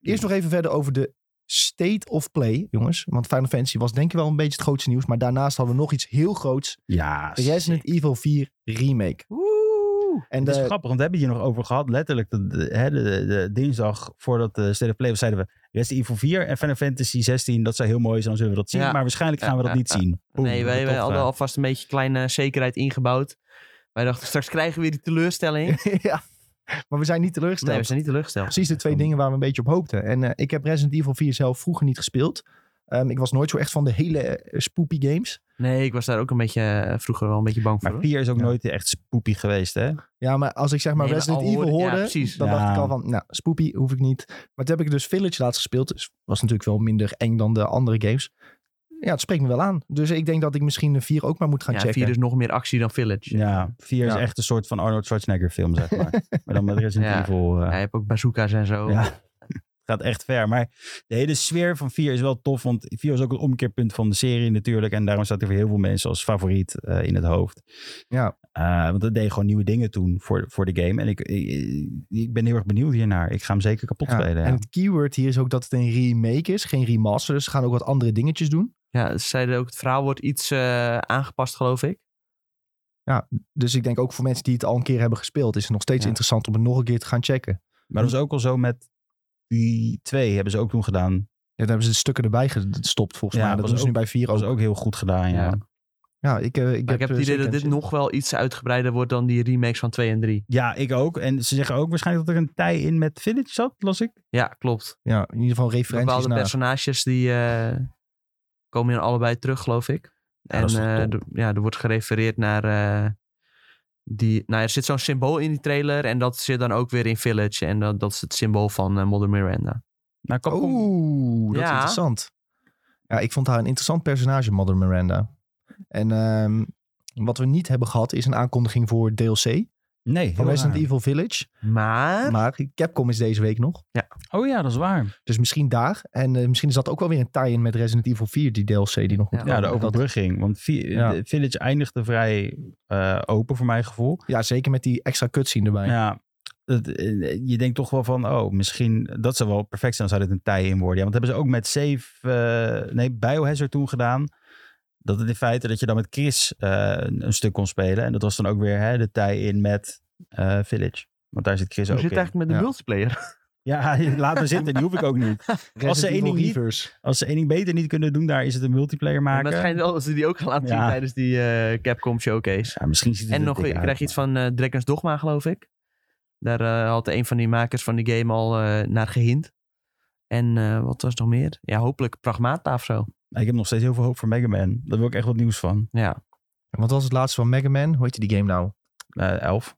[SPEAKER 1] Eerst nog even verder over de State of Play, jongens. Want Final Fantasy was denk ik wel een beetje het grootste nieuws. Maar daarnaast hadden we nog iets heel groots.
[SPEAKER 3] ja.
[SPEAKER 1] Resident Evil 4 Remake. En
[SPEAKER 3] Het is
[SPEAKER 1] de,
[SPEAKER 3] grappig, want we hebben het hier nog over gehad. Letterlijk, de, de, hè, de- de- de dinsdag voordat de State of Play was, zeiden we Resident Evil 4 en Final Fantasy 16. Dat zou heel mooi zijn, dan zullen we dat zien.
[SPEAKER 2] Ja.
[SPEAKER 3] Maar waarschijnlijk
[SPEAKER 2] Ja,
[SPEAKER 3] gaan we dat
[SPEAKER 2] ja,
[SPEAKER 3] niet
[SPEAKER 2] ja.
[SPEAKER 3] zien. Boem,
[SPEAKER 2] nee, wij,
[SPEAKER 3] dat
[SPEAKER 2] wij
[SPEAKER 3] toch,
[SPEAKER 2] hadden
[SPEAKER 3] eh,
[SPEAKER 2] alvast een beetje kleine zekerheid ingebouwd. Wij dachten, straks krijgen we weer die teleurstelling.
[SPEAKER 1] <laughs> ja. Maar we zijn niet teleurgesteld.
[SPEAKER 2] Nee, we zijn niet teleurgesteld.
[SPEAKER 1] precies de twee dingen waar we een beetje op hoopten. En eh, ik heb Resident Evil 4 zelf vroeger niet gespeeld. Ehm, ik was nooit zo echt van de hele eh, spoopy games.
[SPEAKER 2] Nee, ik was daar ook een beetje eh, vroeger wel een beetje bang voor.
[SPEAKER 3] Maar
[SPEAKER 2] hoor.
[SPEAKER 3] 4 is ook
[SPEAKER 1] Ja.
[SPEAKER 3] nooit echt spoopy geweest, hè?
[SPEAKER 1] Ja, maar als ik zeg maar
[SPEAKER 2] Nee, maar
[SPEAKER 1] Resident
[SPEAKER 2] al
[SPEAKER 1] Evil
[SPEAKER 2] hoorde- ja,
[SPEAKER 1] hoorde,
[SPEAKER 2] precies.
[SPEAKER 1] dan
[SPEAKER 3] Ja.
[SPEAKER 1] dacht ik al van, nou, spoopy hoef ik niet. Maar toen heb ik dus Village laatst gespeeld. Dus was natuurlijk wel minder eng dan de andere games. Ja, het spreekt me wel aan. Dus ik denk dat ik misschien de 4 ook maar moet gaan
[SPEAKER 2] ja,
[SPEAKER 1] checken.
[SPEAKER 2] vier dus is nog meer actie dan Village.
[SPEAKER 3] Ja, 4
[SPEAKER 1] Ja.
[SPEAKER 3] is echt een soort van Arnold Schwarzenegger film, zeg maar. maar dan met Resident
[SPEAKER 2] Ja.
[SPEAKER 3] Evil. eh,
[SPEAKER 2] Ja, je hebt ook bazooka's en zo.
[SPEAKER 3] Ja. <laughs> gaat echt ver. Maar de hele sfeer van 4 is wel tof. Want 4 was ook een omkeerpunt van de serie natuurlijk. En daarom staat er voor heel veel mensen als favoriet eh, in het hoofd.
[SPEAKER 1] Ja.
[SPEAKER 3] Eh, want dat deed gewoon nieuwe dingen toen voor, voor de game. En ik, ik, ik ben heel erg benieuwd hiernaar. Ik ga hem zeker kapot
[SPEAKER 1] Ja,
[SPEAKER 3] spelen. ja.
[SPEAKER 1] En het keyword hier is ook dat het een remake is, geen remaster. Dus ze gaan ook wat andere dingetjes doen.
[SPEAKER 2] Ja, ze zeiden ook, het verhaal wordt iets eh, aangepast, geloof ik.
[SPEAKER 1] Dus ik denk ook voor mensen die het al een keer hebben gespeeld, is het nog steeds
[SPEAKER 2] Ja.
[SPEAKER 1] interessant om het nog een keer te gaan checken.
[SPEAKER 3] Maar dat was ook al zo met die 2 hebben ze ook toen gedaan.
[SPEAKER 1] Ja, daar hebben ze de stukken erbij gestopt volgens
[SPEAKER 3] Ja,
[SPEAKER 1] mij. Dat
[SPEAKER 3] was
[SPEAKER 1] doen ze
[SPEAKER 3] ook-
[SPEAKER 1] nu bij 4
[SPEAKER 3] Dat
[SPEAKER 1] ook.
[SPEAKER 3] was ook heel goed gedaan,
[SPEAKER 2] Ja.
[SPEAKER 3] ja. Ja,
[SPEAKER 1] Ja, ik, eh, ik,
[SPEAKER 2] Maar
[SPEAKER 1] eh,
[SPEAKER 2] ik heb het idee
[SPEAKER 1] zeker
[SPEAKER 2] dat dit
[SPEAKER 1] een-
[SPEAKER 2] nog wel iets uitgebreider wordt dan die remakes van 2 en 3.
[SPEAKER 3] ik ook. En ze zeggen ook waarschijnlijk dat er een tij in met Village zat, las ik.
[SPEAKER 2] Ja, klopt.
[SPEAKER 1] Ja, in ieder geval referenties
[SPEAKER 2] Bepaalde
[SPEAKER 1] naar.
[SPEAKER 2] personages die eh, komen in allebei terug, geloof ik. en
[SPEAKER 3] dat is toch
[SPEAKER 2] eh,
[SPEAKER 3] top.
[SPEAKER 2] er- ja, er wordt gerefereerd naar... eh, die, nou, er zit zo'n symbool in die trailer en dat zit dan ook weer in Village. En dat, dat is het symbool van eh, Mother Miranda.
[SPEAKER 3] Maar Capcom,
[SPEAKER 1] Oeh, Oh, dat is
[SPEAKER 2] Ja.
[SPEAKER 1] interessant. Ja, ik vond haar een interessant personage, Mother Miranda. En ehm, wat we niet hebben gehad is een aankondiging voor DLC
[SPEAKER 3] nee,
[SPEAKER 1] van
[SPEAKER 3] heel
[SPEAKER 1] Resident
[SPEAKER 3] raar.
[SPEAKER 1] Evil Village.
[SPEAKER 2] Maar...
[SPEAKER 1] Maar Capcom is deze week nog.
[SPEAKER 3] Oh ja, dat is waar.
[SPEAKER 1] Dus misschien daar. En eh, misschien is dat ook wel weer een tie-in met Resident Evil 4, die DLC die nog moet
[SPEAKER 2] Ja,
[SPEAKER 3] Ja, de
[SPEAKER 1] komen. Dat-
[SPEAKER 3] overbrugging. Want vi-
[SPEAKER 1] Ja.
[SPEAKER 3] de Village eindigde vrij eh, open voor mijn gevoel.
[SPEAKER 1] ja, zeker met die extra cutscene erbij.
[SPEAKER 3] Ja. dat- eh, je denkt toch wel van, oh, misschien... Dat zou wel perfect zijn, zou dit een tij in worden. Ja, want dat hebben ze ook met Safe... eh, nee, Biohazard toen gedaan. Dat het in feite dat je dan met Chris eh, een, een stuk kon spelen. En dat was dan ook weer hè, de tij in met eh, Village. Want daar zit Chris
[SPEAKER 2] Hoe
[SPEAKER 3] ook
[SPEAKER 2] zit het
[SPEAKER 3] in.
[SPEAKER 2] eigenlijk met de
[SPEAKER 1] Ja.
[SPEAKER 2] multiplayer? <laughs>
[SPEAKER 3] Ja, <laughs> laat me zitten. Die hoef ik ook niet.
[SPEAKER 1] Resident
[SPEAKER 3] Als ze één
[SPEAKER 1] Evil
[SPEAKER 3] ding niet-
[SPEAKER 1] Reverse.
[SPEAKER 3] Als ze één ding beter niet kunnen doen, daar is het een multiplayer
[SPEAKER 2] Maar het
[SPEAKER 3] maken.
[SPEAKER 2] schijnt wel dat ze die ook gaan laten zien
[SPEAKER 3] Ja.
[SPEAKER 2] tijdens die eh, Capcom showcase.
[SPEAKER 3] Ja, misschien ziet het
[SPEAKER 2] En
[SPEAKER 3] er
[SPEAKER 2] nog,
[SPEAKER 3] dik
[SPEAKER 2] ik
[SPEAKER 3] uit,
[SPEAKER 2] krijg iets
[SPEAKER 3] maar-
[SPEAKER 2] van eh Dragon's Dogma, geloof ik. Daar eh, had een van die makers van die game al eh, naar gehind. En eh, wat was er nog meer? Ja, hopelijk Pragmata of zo.
[SPEAKER 3] Nou, Ik heb nog steeds heel veel hoop voor Mega Man. Daar wil ik echt wat nieuws van.
[SPEAKER 2] Ja.
[SPEAKER 1] En wat was het laatste van Mega Man? Hoe heette die game nou?
[SPEAKER 3] Eh, elf.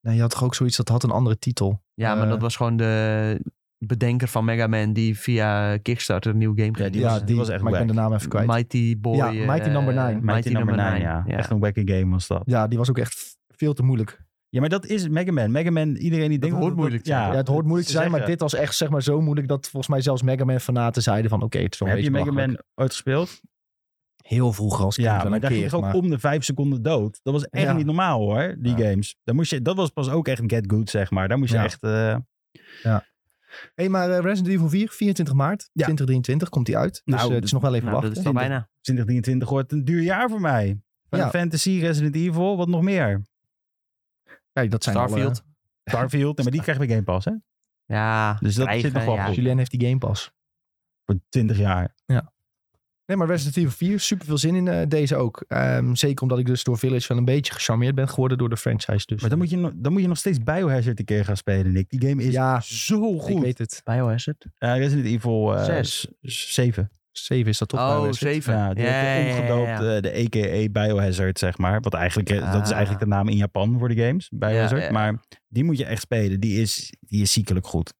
[SPEAKER 1] Nee, je had toch ook zoiets dat had een andere titel.
[SPEAKER 2] Ja, maar
[SPEAKER 1] Eh.
[SPEAKER 2] dat was gewoon de bedenker van Mega Man die via Kickstarter een nieuw game
[SPEAKER 3] Ja,
[SPEAKER 2] ging
[SPEAKER 3] die
[SPEAKER 1] ja,
[SPEAKER 2] maken.
[SPEAKER 3] was- was echt
[SPEAKER 1] maar ik ben de naam even kwijt.
[SPEAKER 2] Mighty Boy.
[SPEAKER 1] Ja,
[SPEAKER 2] eh,
[SPEAKER 1] Mighty Number Nine.
[SPEAKER 2] Mighty,
[SPEAKER 1] Mighty
[SPEAKER 3] Mighty Number 9, ja.
[SPEAKER 2] ja.
[SPEAKER 3] Echt een wacky game was dat.
[SPEAKER 1] Ja, die was ook echt f- veel te moeilijk.
[SPEAKER 3] Ja, maar dat is Mega Man. Mega Man, iedereen die denkt...
[SPEAKER 2] hoort moeilijk te
[SPEAKER 3] ja,
[SPEAKER 2] zijn.
[SPEAKER 1] Ja, het hoort moeilijk te
[SPEAKER 3] ze
[SPEAKER 1] zijn, maar
[SPEAKER 3] zeggen-
[SPEAKER 1] dit was echt zeg maar, zo moeilijk dat volgens mij zelfs Mega Man fanaten zeiden van oké, het is wel een
[SPEAKER 3] Heb je
[SPEAKER 1] beetje
[SPEAKER 3] Mega Man
[SPEAKER 1] belachelijk.
[SPEAKER 3] ooit gespeeld?
[SPEAKER 1] Heel vroeger als kind
[SPEAKER 3] Ja,
[SPEAKER 1] wel
[SPEAKER 3] maar
[SPEAKER 1] een
[SPEAKER 3] daar
[SPEAKER 1] keer.
[SPEAKER 3] ging je ook
[SPEAKER 1] maar-
[SPEAKER 3] om de vijf seconden dood. Dat was echt
[SPEAKER 1] Ja.
[SPEAKER 3] niet normaal hoor, die
[SPEAKER 1] Ja.
[SPEAKER 3] games. Daar moest je, dat was pas ook echt get good, zeg maar. Daar moest je
[SPEAKER 1] Ja.
[SPEAKER 3] echt... eh,
[SPEAKER 1] hey, maar eh, Resident Evil 4, 24 maart 2023 komt die uit. Dus
[SPEAKER 3] Nou,
[SPEAKER 1] eh, het is nog wel even
[SPEAKER 2] Nou, dat
[SPEAKER 1] wachten.
[SPEAKER 2] is al bijna.
[SPEAKER 3] 2023 wordt een duur jaar voor mij. Final
[SPEAKER 1] Ja.
[SPEAKER 3] Fantasy, Resident Evil, wat nog meer?
[SPEAKER 1] Kijk, dat zijn al, eh,
[SPEAKER 2] Starfield.
[SPEAKER 3] Starfield,
[SPEAKER 1] <laughs>
[SPEAKER 3] maar die krijg je bij Game Pass, hè?
[SPEAKER 2] Ja,
[SPEAKER 3] Dus dat
[SPEAKER 2] krijgen,
[SPEAKER 3] zit nog wel
[SPEAKER 2] ja.
[SPEAKER 3] goed.
[SPEAKER 1] Julien heeft die Game Pass.
[SPEAKER 3] Voor 20 jaar.
[SPEAKER 1] Nee, maar Resident Evil 4, super veel zin in eh, deze ook. Ehm, zeker omdat ik dus door Village wel een beetje gecharmeerd ben geworden door de franchise. Dus.
[SPEAKER 3] Maar dan moet je, nog- dan moet je nog steeds Biohazard een keer gaan spelen, Nick. Die game is
[SPEAKER 1] Ja,
[SPEAKER 3] zo
[SPEAKER 1] Ik
[SPEAKER 3] goed.
[SPEAKER 1] weet het.
[SPEAKER 2] Biohazard.
[SPEAKER 3] Eh, Resident Evil eh,
[SPEAKER 2] Zes.
[SPEAKER 3] s- 7.
[SPEAKER 1] 7 is dat toch?
[SPEAKER 2] Oh,
[SPEAKER 1] Biohazard?
[SPEAKER 2] 7.
[SPEAKER 3] Ja, die
[SPEAKER 2] ja,
[SPEAKER 3] heeft
[SPEAKER 2] ja,
[SPEAKER 3] omgedoopt
[SPEAKER 2] ja, ja.
[SPEAKER 3] eh, de a.k.a. Biohazard, zeg maar. Wat eigenlijk, eh, dat is
[SPEAKER 2] Ah.
[SPEAKER 3] eigenlijk de naam in Japan voor de games, Biohazard.
[SPEAKER 2] ja.
[SPEAKER 3] Maar die moet je echt spelen. Die is, die is ziekelijk goed.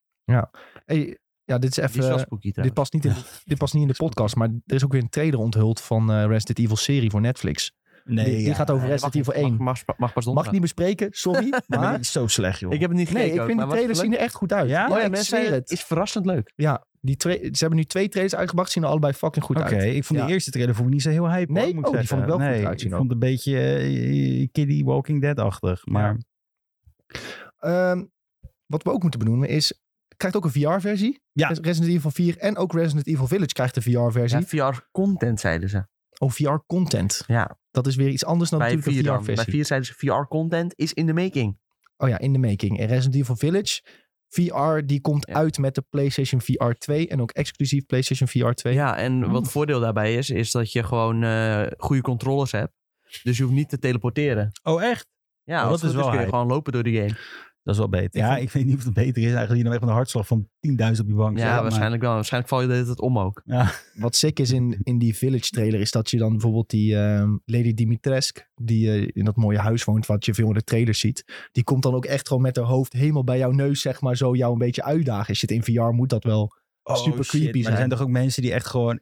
[SPEAKER 1] Hey, ja, dit is
[SPEAKER 2] Die is
[SPEAKER 1] even... eh,
[SPEAKER 2] wel spooky
[SPEAKER 1] dit,
[SPEAKER 2] trouwens.
[SPEAKER 1] past
[SPEAKER 2] <laughs>
[SPEAKER 1] niet in, dit past niet in de podcast, maar er is ook weer een trailer onthuld van eh, Resident Evil serie voor Netflix.
[SPEAKER 3] Nee,
[SPEAKER 1] die, die
[SPEAKER 3] ja.
[SPEAKER 1] gaat over
[SPEAKER 2] Nee,
[SPEAKER 1] Resident
[SPEAKER 2] mag-
[SPEAKER 1] Evil 1.
[SPEAKER 2] Mag, Eh, mag, mag, mag pas
[SPEAKER 1] Mag ik
[SPEAKER 2] donderdag.
[SPEAKER 1] niet bespreken,
[SPEAKER 2] <laughs>
[SPEAKER 1] sorry.
[SPEAKER 3] Nee, maar die
[SPEAKER 1] maar,
[SPEAKER 3] is zo slecht, joh.
[SPEAKER 2] Ik heb het niet gekeken
[SPEAKER 1] nee, ik
[SPEAKER 2] ook,
[SPEAKER 1] vind
[SPEAKER 2] maar
[SPEAKER 1] die
[SPEAKER 2] wat
[SPEAKER 1] trailers
[SPEAKER 2] leuk.
[SPEAKER 1] zien er echt goed uit. Oh
[SPEAKER 3] Ja?
[SPEAKER 1] Ja,
[SPEAKER 2] ja,
[SPEAKER 1] Ah, ik
[SPEAKER 2] mensen
[SPEAKER 1] zweer
[SPEAKER 2] zeiden,
[SPEAKER 1] het.
[SPEAKER 2] het is verrassend leuk.
[SPEAKER 1] Ja, die tra- ze hebben nu twee trailers uitgebracht, zien er allebei fucking goed
[SPEAKER 3] Oké,
[SPEAKER 1] uit.
[SPEAKER 3] ik vond
[SPEAKER 1] Ja.
[SPEAKER 3] de eerste trailer vond ik niet zo heel hype.
[SPEAKER 1] Nee?
[SPEAKER 3] hoor, moet
[SPEAKER 1] Oh, die
[SPEAKER 3] zeggen.
[SPEAKER 1] vond ik wel goed
[SPEAKER 3] nee,
[SPEAKER 1] uitzien
[SPEAKER 3] Ik
[SPEAKER 1] ook.
[SPEAKER 3] vond het een beetje eh, Kiddie Walking Dead-achtig. Maar
[SPEAKER 1] Ehm, wat we ook moeten benoemen is, krijgt ook een VR-versie.
[SPEAKER 3] Ja.
[SPEAKER 1] Resident Evil 4 en ook Resident Evil Village krijgt een VR-versie.
[SPEAKER 2] Ja, VR-content zeiden ze.
[SPEAKER 1] Oh, VR-content.
[SPEAKER 2] Ja.
[SPEAKER 1] Dat is weer iets anders dan
[SPEAKER 2] Bij
[SPEAKER 1] natuurlijk
[SPEAKER 2] 4
[SPEAKER 1] een
[SPEAKER 2] dan. Bij
[SPEAKER 1] VR-versie.
[SPEAKER 2] 4 zeiden ze VR-content is in de making.
[SPEAKER 1] Oh ja, in de making. En Resident Evil Village, VR, die komt
[SPEAKER 2] Ja.
[SPEAKER 1] uit met de PlayStation VR 2 en ook exclusief PlayStation VR 2.
[SPEAKER 2] Ja, en wat voordeel daarbij is, is dat je gewoon eh, goede controllers hebt. Dus je hoeft niet te teleporteren.
[SPEAKER 3] Oh, echt?
[SPEAKER 2] Ja,
[SPEAKER 3] dat
[SPEAKER 2] als het
[SPEAKER 3] is
[SPEAKER 2] goed
[SPEAKER 3] wel
[SPEAKER 2] kun je
[SPEAKER 3] hype.
[SPEAKER 2] gewoon lopen door die game.
[SPEAKER 3] Dat is wel beter.
[SPEAKER 1] Ik
[SPEAKER 3] ja,
[SPEAKER 1] vond-
[SPEAKER 3] ik weet niet of het beter is. Eigenlijk hier dan echt met een hartslag van 10.000 op je bank.
[SPEAKER 2] Ja,
[SPEAKER 3] zit, maar-
[SPEAKER 2] waarschijnlijk wel. Waarschijnlijk val je de hele tijd om ook.
[SPEAKER 1] Wat sick is in, in die Village trailer is dat je dan bijvoorbeeld die ehm, Lady Dimitrescu, die eh, in dat mooie huis woont wat je veel in de trailers ziet, die komt dan ook echt gewoon met haar hoofd helemaal bij jouw neus, zeg maar, zo jou een beetje uitdagen. Als je het in VR moet, dat wel.
[SPEAKER 3] Oh,
[SPEAKER 1] Super
[SPEAKER 3] shit,
[SPEAKER 1] creepy
[SPEAKER 3] Maar er zijn
[SPEAKER 1] zijn.
[SPEAKER 3] toch ook mensen die echt gewoon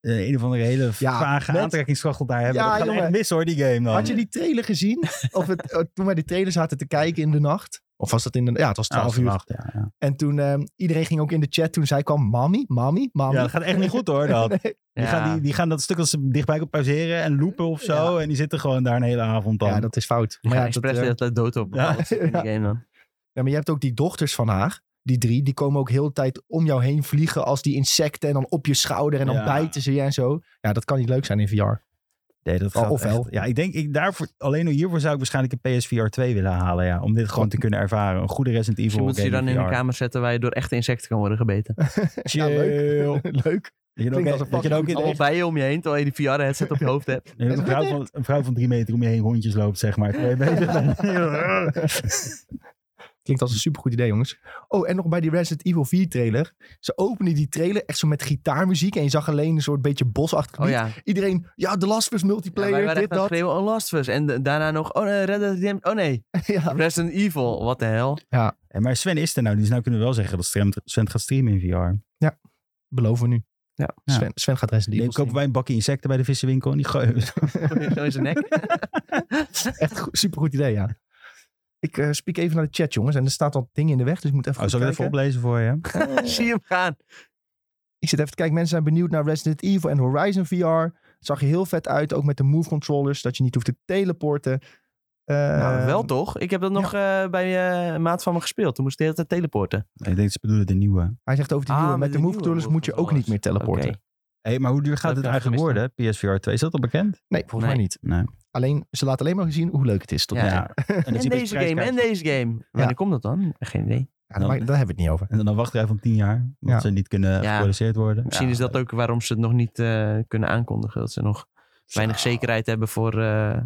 [SPEAKER 3] eh, een of andere hele vage
[SPEAKER 1] met-
[SPEAKER 3] aantrekkingskracht daar hebben.
[SPEAKER 1] Ja,
[SPEAKER 3] dat gaat
[SPEAKER 1] jongen.
[SPEAKER 3] echt mis hoor, die game dan.
[SPEAKER 1] Had je die trailer gezien? Of het, eh, toen wij die trailer zaten te kijken in de nacht? Of was dat in de... Ja, het was
[SPEAKER 3] Ja,
[SPEAKER 1] 12
[SPEAKER 3] als
[SPEAKER 1] uur.
[SPEAKER 3] vannacht, Ah, ja, ja.
[SPEAKER 1] En toen, ehm, iedereen ging ook in de chat toen zij kwam, mami, mami, mami. <laughs>
[SPEAKER 3] Ja, dat gaat echt niet goed hoor, dat.
[SPEAKER 1] Nee.
[SPEAKER 3] Die,
[SPEAKER 2] Ja.
[SPEAKER 3] gaan, die, die gaan dat stuk als ze dichtbij op pauzeren en loopen of zo. En die zitten gewoon daar een hele avond dan.
[SPEAKER 1] Ja, dat is fout.
[SPEAKER 2] Die
[SPEAKER 1] Maar,
[SPEAKER 2] gaan
[SPEAKER 1] ja, dat,
[SPEAKER 2] expres de
[SPEAKER 1] eh,
[SPEAKER 2] hele tijd dood op.
[SPEAKER 3] Ja.
[SPEAKER 2] alles in die game dan.
[SPEAKER 1] ja, maar je hebt ook die dochters van haar, die drie, die komen ook heel de tijd om jou heen vliegen als die insecten en dan op je schouder en dan
[SPEAKER 3] Ja.
[SPEAKER 1] bijten ze je en zo. Ja, dat kan niet leuk zijn <laughs> in VR.
[SPEAKER 3] Nee, dat
[SPEAKER 1] Oh,
[SPEAKER 3] gaat
[SPEAKER 1] ofwel.
[SPEAKER 3] echt- Ja, ik denk, ik daarvoor, alleen al hiervoor zou ik waarschijnlijk een PSVR 2 willen halen. Ja, om dit gewoon te kunnen ervaren. Een goede Resident Evil
[SPEAKER 2] Misschien moeten ze je dan in een kamer zetten waar je door echte insecten kan worden gebeten.
[SPEAKER 1] Ja, leuk. <laughs> leuk.
[SPEAKER 3] Dat je dan
[SPEAKER 1] Klinkt als
[SPEAKER 3] ook,
[SPEAKER 1] een
[SPEAKER 3] dat je dan ook in de
[SPEAKER 2] Allemaal
[SPEAKER 3] echt-
[SPEAKER 2] bijen om je heen, terwijl je die VR-headset op je hoofd hebt.
[SPEAKER 3] dat je een, vrouw van, een vrouw van drie meter om je heen rondjes loopt,
[SPEAKER 1] <laughs>
[SPEAKER 3] zeg maar. Terwijl je bezig bent.
[SPEAKER 1] Klinkt als een supergoed idee, jongens. Oh, en nog bij die Resident Evil 4 trailer. Ze openden die trailer echt zo met gitaarmuziek. En je zag alleen een soort beetje bosachtig
[SPEAKER 2] Oh
[SPEAKER 1] gebied.
[SPEAKER 2] ja,
[SPEAKER 1] Iedereen, ja, The Last of Us
[SPEAKER 2] Ja,
[SPEAKER 1] multiplayer,
[SPEAKER 2] wij waren
[SPEAKER 1] dit,
[SPEAKER 2] echt aan het
[SPEAKER 1] dat.
[SPEAKER 2] schreeuwen, oh Last of Us. En de- daarna nog, oh nee, Red Dead Redemption, oh nee,
[SPEAKER 1] <laughs> ja.
[SPEAKER 2] <laughs> Resident Evil, wat de hel.
[SPEAKER 3] En maar Sven is er nou, dus nou kunnen we wel zeggen dat Sven, Sven gaat streamen in VR.
[SPEAKER 1] Beloven we nu.
[SPEAKER 2] Ja.
[SPEAKER 1] Sven, Sven gaat Resident
[SPEAKER 3] Nee,
[SPEAKER 1] Evil
[SPEAKER 3] kopen
[SPEAKER 1] streamen.
[SPEAKER 3] wij een bakje insecten bij de vissenwinkel en die gooien we
[SPEAKER 2] Zo in zijn nek. <laughs>
[SPEAKER 1] <laughs> Echt go- supergoed idee, ja. Ik eh spiek even naar de chat, jongens. En er staat al dingen in de weg, dus ik moet even
[SPEAKER 3] Oh,
[SPEAKER 1] goed
[SPEAKER 3] zal ik het even
[SPEAKER 1] kijken.
[SPEAKER 3] oplezen voor je?
[SPEAKER 2] Zie hem gaan.
[SPEAKER 1] Ik zit even te kijken. Mensen zijn benieuwd naar Resident Evil en Horizon VR. Het zag er heel vet uit, ook met de Move controllers. Dat je niet hoeft te teleporten. Eh,
[SPEAKER 2] nou, wel toch? Ik heb dat nog eh, bij eh, een maat van me gespeeld. Toen moest ik de hele tijd teleporten.
[SPEAKER 3] Ik denk, ze bedoelen de nieuwe.
[SPEAKER 1] Hij zegt over die
[SPEAKER 2] Ah,
[SPEAKER 1] nieuwe.
[SPEAKER 2] met
[SPEAKER 1] Met
[SPEAKER 2] de
[SPEAKER 1] de Move
[SPEAKER 2] nieuwe
[SPEAKER 1] controllers
[SPEAKER 2] Move
[SPEAKER 1] moet je ook niet
[SPEAKER 2] controllers.
[SPEAKER 1] meer teleporten.
[SPEAKER 2] Oké.
[SPEAKER 3] hey, maar hoe duur
[SPEAKER 2] heb
[SPEAKER 3] gaat het
[SPEAKER 2] ik
[SPEAKER 3] eigenlijk
[SPEAKER 2] gemist
[SPEAKER 3] worden, PSVR 2? Is dat al bekend?
[SPEAKER 1] Nee, volgens mij
[SPEAKER 2] Nee.
[SPEAKER 1] niet.
[SPEAKER 3] Nee.
[SPEAKER 1] Alleen, ze laten alleen maar zien hoe leuk het is. Tot
[SPEAKER 2] Ja.
[SPEAKER 1] nu toe.
[SPEAKER 3] <laughs> En, dus
[SPEAKER 2] En deze game, en deze game. Wanneer komt dat dan? Geen idee.
[SPEAKER 1] Ja, daar, maakt- daar hebben we het niet over.
[SPEAKER 3] En dan een wachtrij van 10 jaar, omdat
[SPEAKER 1] Ja.
[SPEAKER 3] ze niet kunnen
[SPEAKER 2] Ja.
[SPEAKER 3] geproduceerd worden.
[SPEAKER 2] Misschien is dat ook waarom ze het nog niet eh, kunnen aankondigen. Dat ze nog weinig zekerheid hebben voor eh,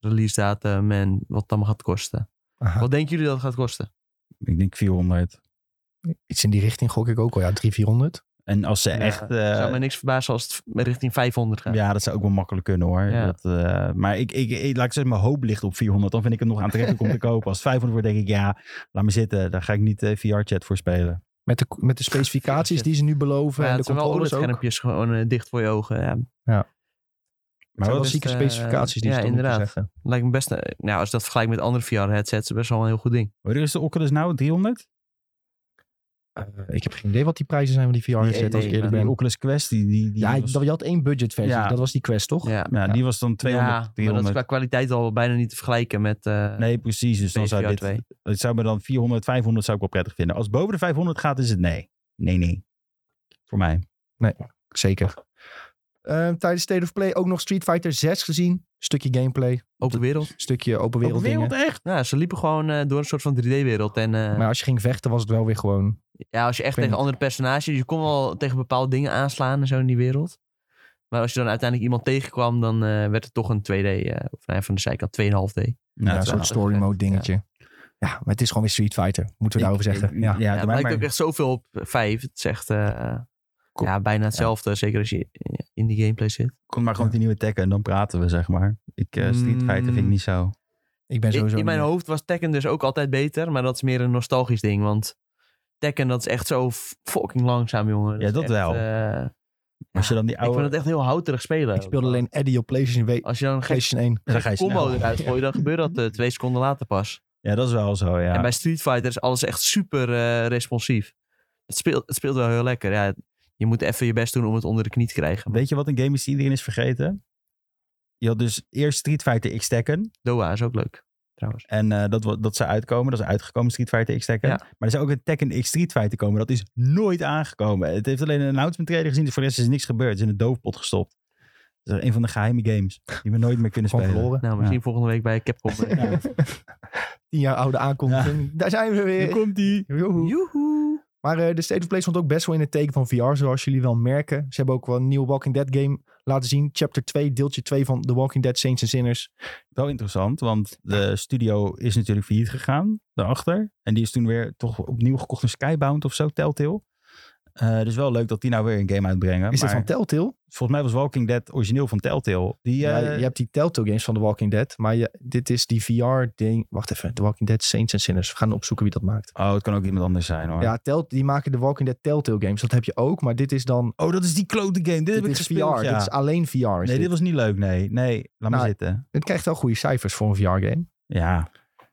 [SPEAKER 2] release datum en wat het allemaal gaat kosten.
[SPEAKER 1] Aha.
[SPEAKER 2] Wat denken jullie dat het gaat kosten?
[SPEAKER 3] Ik denk 400.
[SPEAKER 1] Iets in die richting gok ik ook al. Ja, 300, 400.
[SPEAKER 3] En als ze echt... eh,
[SPEAKER 2] zou me niks verbazen als het richting 500 gaat.
[SPEAKER 3] ja, dat zou ook wel makkelijk kunnen hoor.
[SPEAKER 2] Ja.
[SPEAKER 3] Dat, eh, maar ik, ik, ik- laat ik zeggen, mijn hoop ligt op 400. Dan vind ik het nog aantrekkelijk
[SPEAKER 2] <laughs>
[SPEAKER 3] om te kopen. Als het 500 wordt, denk ik, ja, laat me zitten. Daar ga ik niet eh, VR-chat voor spelen.
[SPEAKER 1] Met de, met de specificaties die ze nu beloven
[SPEAKER 2] Maar ja,
[SPEAKER 1] en de
[SPEAKER 2] het zijn wel
[SPEAKER 1] controllers ook.
[SPEAKER 2] OLED-schermpjes gewoon eh, dicht voor je ogen. Ja,
[SPEAKER 1] Maar
[SPEAKER 3] wat
[SPEAKER 1] wel
[SPEAKER 3] is-
[SPEAKER 1] zieke
[SPEAKER 2] eh,
[SPEAKER 1] specificaties die
[SPEAKER 2] ja,
[SPEAKER 1] ze dan moeten
[SPEAKER 2] inderdaad.
[SPEAKER 1] zeggen.
[SPEAKER 2] lijkt me best... eh, nou, als je dat vergelijkt met andere VR-headsets, best wel een heel goed ding.
[SPEAKER 3] Hoe duur is de Oculus nou? 300?
[SPEAKER 1] Eh, ik heb geen idee wat die prijzen zijn van die VR-headset
[SPEAKER 2] nee,
[SPEAKER 1] als ik eerlijk
[SPEAKER 2] maar
[SPEAKER 3] Die
[SPEAKER 1] ben.
[SPEAKER 3] Oculus Quest, die... die, die
[SPEAKER 1] Ja,
[SPEAKER 3] was,
[SPEAKER 1] je had één budgetversie.
[SPEAKER 3] dus- Ja.
[SPEAKER 1] Dat was die Quest, toch?
[SPEAKER 2] Ja,
[SPEAKER 3] ja, die was dan 200,
[SPEAKER 2] ja maar dat is
[SPEAKER 3] 300.
[SPEAKER 2] qua kwaliteit al bijna niet te vergelijken met eh
[SPEAKER 3] Nee, precies. Dus dan zou
[SPEAKER 2] PSVR 2.
[SPEAKER 3] dit... Het zou me dan 400, 500 zou ik wel prettig vinden. Als het boven de 500 gaat, is het nee. Nee, nee. Voor mij.
[SPEAKER 1] Zeker. Eh, tijdens State of Play ook nog Street Fighter 6 gezien. Stukje gameplay,
[SPEAKER 2] Open
[SPEAKER 1] <laughs>
[SPEAKER 2] wereld.
[SPEAKER 1] stukje open wereld
[SPEAKER 3] Wereld,
[SPEAKER 1] dingen.
[SPEAKER 3] wereld echt?
[SPEAKER 2] Ja, ze liepen gewoon eh, door een soort van 3D-wereld. En eh,
[SPEAKER 1] Maar als je ging vechten was het wel weer gewoon...
[SPEAKER 2] ja, als je echt
[SPEAKER 1] weet
[SPEAKER 2] tegen
[SPEAKER 1] niet.
[SPEAKER 2] andere personages... Je kon wel tegen bepaalde dingen aanslaan en zo in die wereld. Maar als je dan uiteindelijk iemand tegenkwam, dan eh, werd het toch een 2D... eh, of nou, ja, van de zijkant 2,5D.
[SPEAKER 1] Ja,
[SPEAKER 3] Nou,
[SPEAKER 1] een
[SPEAKER 3] dat is
[SPEAKER 1] soort
[SPEAKER 3] wel-
[SPEAKER 2] wel
[SPEAKER 1] story
[SPEAKER 2] vet,
[SPEAKER 1] mode dingetje. Ja. maar het is gewoon weer Street Fighter. Moeten we daarover zeggen.
[SPEAKER 3] Ik-
[SPEAKER 1] ja.
[SPEAKER 3] ja,
[SPEAKER 2] Ja,
[SPEAKER 3] doe
[SPEAKER 2] het
[SPEAKER 3] mij
[SPEAKER 2] lijkt
[SPEAKER 3] maar.
[SPEAKER 2] ook echt zoveel op 5. Het is echt eh,
[SPEAKER 1] Cool.
[SPEAKER 2] ja, bijna hetzelfde. Zeker als je in die gameplay zit.
[SPEAKER 3] Kom maar gewoon die nieuwe Tekken en dan praten we, zeg maar. Ik, eh Street Fighter vind ik niet zo.
[SPEAKER 1] Ik ben
[SPEAKER 2] In,
[SPEAKER 1] sowieso...
[SPEAKER 2] in mijn
[SPEAKER 1] niet-
[SPEAKER 2] hoofd was Tekken dus ook altijd beter. Maar dat is meer een nostalgisch ding. Want Tekken dat is echt zo f- fucking langzaam, jongen.
[SPEAKER 3] Ja,
[SPEAKER 2] is
[SPEAKER 3] dat
[SPEAKER 2] echt,
[SPEAKER 3] wel.
[SPEAKER 2] eh,
[SPEAKER 3] Als je dan die
[SPEAKER 2] Ik
[SPEAKER 3] oude...
[SPEAKER 2] vind het echt heel houterig spelen.
[SPEAKER 1] Ik speelde alleen Eddie op PlayStation, W-
[SPEAKER 2] Als je Oh, dan een gekke
[SPEAKER 1] PlayStation 1.
[SPEAKER 3] Dan ga je
[SPEAKER 2] combo
[SPEAKER 3] snel.
[SPEAKER 2] eruit gooit, dan gebeurt dat eh, twee seconden later pas.
[SPEAKER 3] Ja, dat is wel zo, ja.
[SPEAKER 2] En bij Street Fighter is alles echt super eh, responsief. Het speelt, het speelt wel heel lekker. Ja, je moet even je best doen om het onder de knie te krijgen.
[SPEAKER 3] Weet je wat een game is die iedereen is vergeten? Je had dus eerst Street Fighter X Tekken.
[SPEAKER 2] Doha is ook leuk, trouwens.
[SPEAKER 3] En eh, dat, wa- dat zou uitkomen. Dat is uitgekomen, Street Fighter X Tekken.
[SPEAKER 2] Ja.
[SPEAKER 3] Maar er zou ook een Tekken X Street Fighter komen. Dat is nooit aangekomen. Het heeft alleen een announcement trailer gezien. Dus voor de rest is niks gebeurd. Het is in een doofpot gestopt. Dat is een van de geheime games. Die we nooit meer kunnen
[SPEAKER 1] Gewoon
[SPEAKER 3] spelen.
[SPEAKER 1] verloren.
[SPEAKER 2] Nou, misschien volgende week bij Capcom. eh.
[SPEAKER 3] Ja.
[SPEAKER 1] <laughs> Tien jaar oude aankondiging. Daar zijn we weer.
[SPEAKER 3] komt die.
[SPEAKER 1] Joehoe.
[SPEAKER 2] Joehoe.
[SPEAKER 1] Maar eh, de State of Play stond ook best wel in het teken van VR, zoals jullie wel merken. Ze hebben ook wel een nieuwe Walking Dead game laten zien. Chapter 2, deeltje 2 van The Walking Dead Saints and Sinners.
[SPEAKER 3] Wel interessant, want de studio is natuurlijk failliet gegaan daarachter. En die is toen weer toch opnieuw gekocht door Skybound of zo, Telltale. Eh, dus wel leuk dat die nou weer een game uitbrengen.
[SPEAKER 1] Is dat
[SPEAKER 3] maar
[SPEAKER 1] van Telltale?
[SPEAKER 3] Volgens mij was Walking Dead origineel van Telltale. Die,
[SPEAKER 1] Ja,
[SPEAKER 3] eh,
[SPEAKER 1] je hebt die Telltale games van The Walking Dead, maar je, dit is die VR ding. Wacht even, The Walking Dead Saints and Sinners. We gaan opzoeken wie dat maakt.
[SPEAKER 3] Oh, het kan ook iemand anders zijn hoor.
[SPEAKER 1] Ja, Tell, die maken de Walking Dead Telltale games. Dat heb je ook, maar dit is dan...
[SPEAKER 3] Oh, dat is die klote game. Dit,
[SPEAKER 1] Dit
[SPEAKER 3] heb ik
[SPEAKER 1] is VR,
[SPEAKER 3] gespeeld, ja.
[SPEAKER 1] dit is alleen VR. Is
[SPEAKER 3] nee,
[SPEAKER 1] dit.
[SPEAKER 3] dit was niet leuk. Nee, nee laat
[SPEAKER 1] Nou,
[SPEAKER 3] maar zitten.
[SPEAKER 1] Het krijgt wel goede cijfers voor een VR game.
[SPEAKER 3] Ja,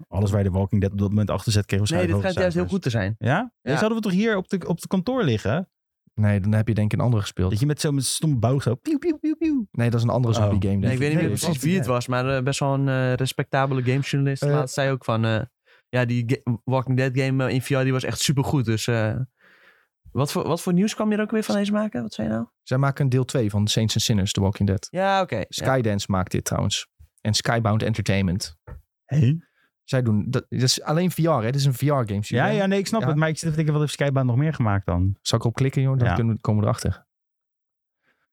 [SPEAKER 3] alles waar je de Walking Dead op dat moment achter zet, kreeg
[SPEAKER 2] Nee,
[SPEAKER 3] waarschijnlijk
[SPEAKER 2] dit gaat
[SPEAKER 3] hoge
[SPEAKER 2] juist heel
[SPEAKER 3] cijfers.
[SPEAKER 2] goed te zijn.
[SPEAKER 3] Ja?
[SPEAKER 2] Ja.
[SPEAKER 3] Deze hadden we toch hier op de, op de kantoor liggen?
[SPEAKER 1] Nee, dan heb je denk ik een andere gespeeld.
[SPEAKER 3] Dat je met zo'n stomme boog zo... Piu, piu, piu, piu.
[SPEAKER 1] Nee, dat is een andere
[SPEAKER 3] Oh.
[SPEAKER 1] zombie game.
[SPEAKER 2] Nee, ik weet niet
[SPEAKER 3] Nee,
[SPEAKER 2] meer
[SPEAKER 3] dat
[SPEAKER 2] precies
[SPEAKER 3] was-
[SPEAKER 2] wie het was, maar eh, best wel een eh, respectabele gamejournalist.
[SPEAKER 1] Eh.
[SPEAKER 2] laatst zei ook van, eh, ja, die ga- Walking Dead game eh, in VR die was echt supergoed. Dus eh, wat, voor, wat voor nieuws kwam je er ook weer van eens maken? Wat zei je nou?
[SPEAKER 1] Zij maken een deel 2 van Saints and Sinners, The Walking Dead.
[SPEAKER 2] Ja, oké. Ja.
[SPEAKER 1] Skydance maakt dit trouwens. En Skybound Entertainment.
[SPEAKER 3] Hey.
[SPEAKER 1] Zij doen, dat, dat is alleen VR, hè? Dit is een VR-game.
[SPEAKER 3] Ja, ja, nee, ik snap
[SPEAKER 1] Ja.
[SPEAKER 3] het. Maar ik zit te denken, wat heeft Skybound nog meer gemaakt dan?
[SPEAKER 1] Zal ik op klikken, joh? Dan
[SPEAKER 3] Ja.
[SPEAKER 1] kunnen we, komen we erachter.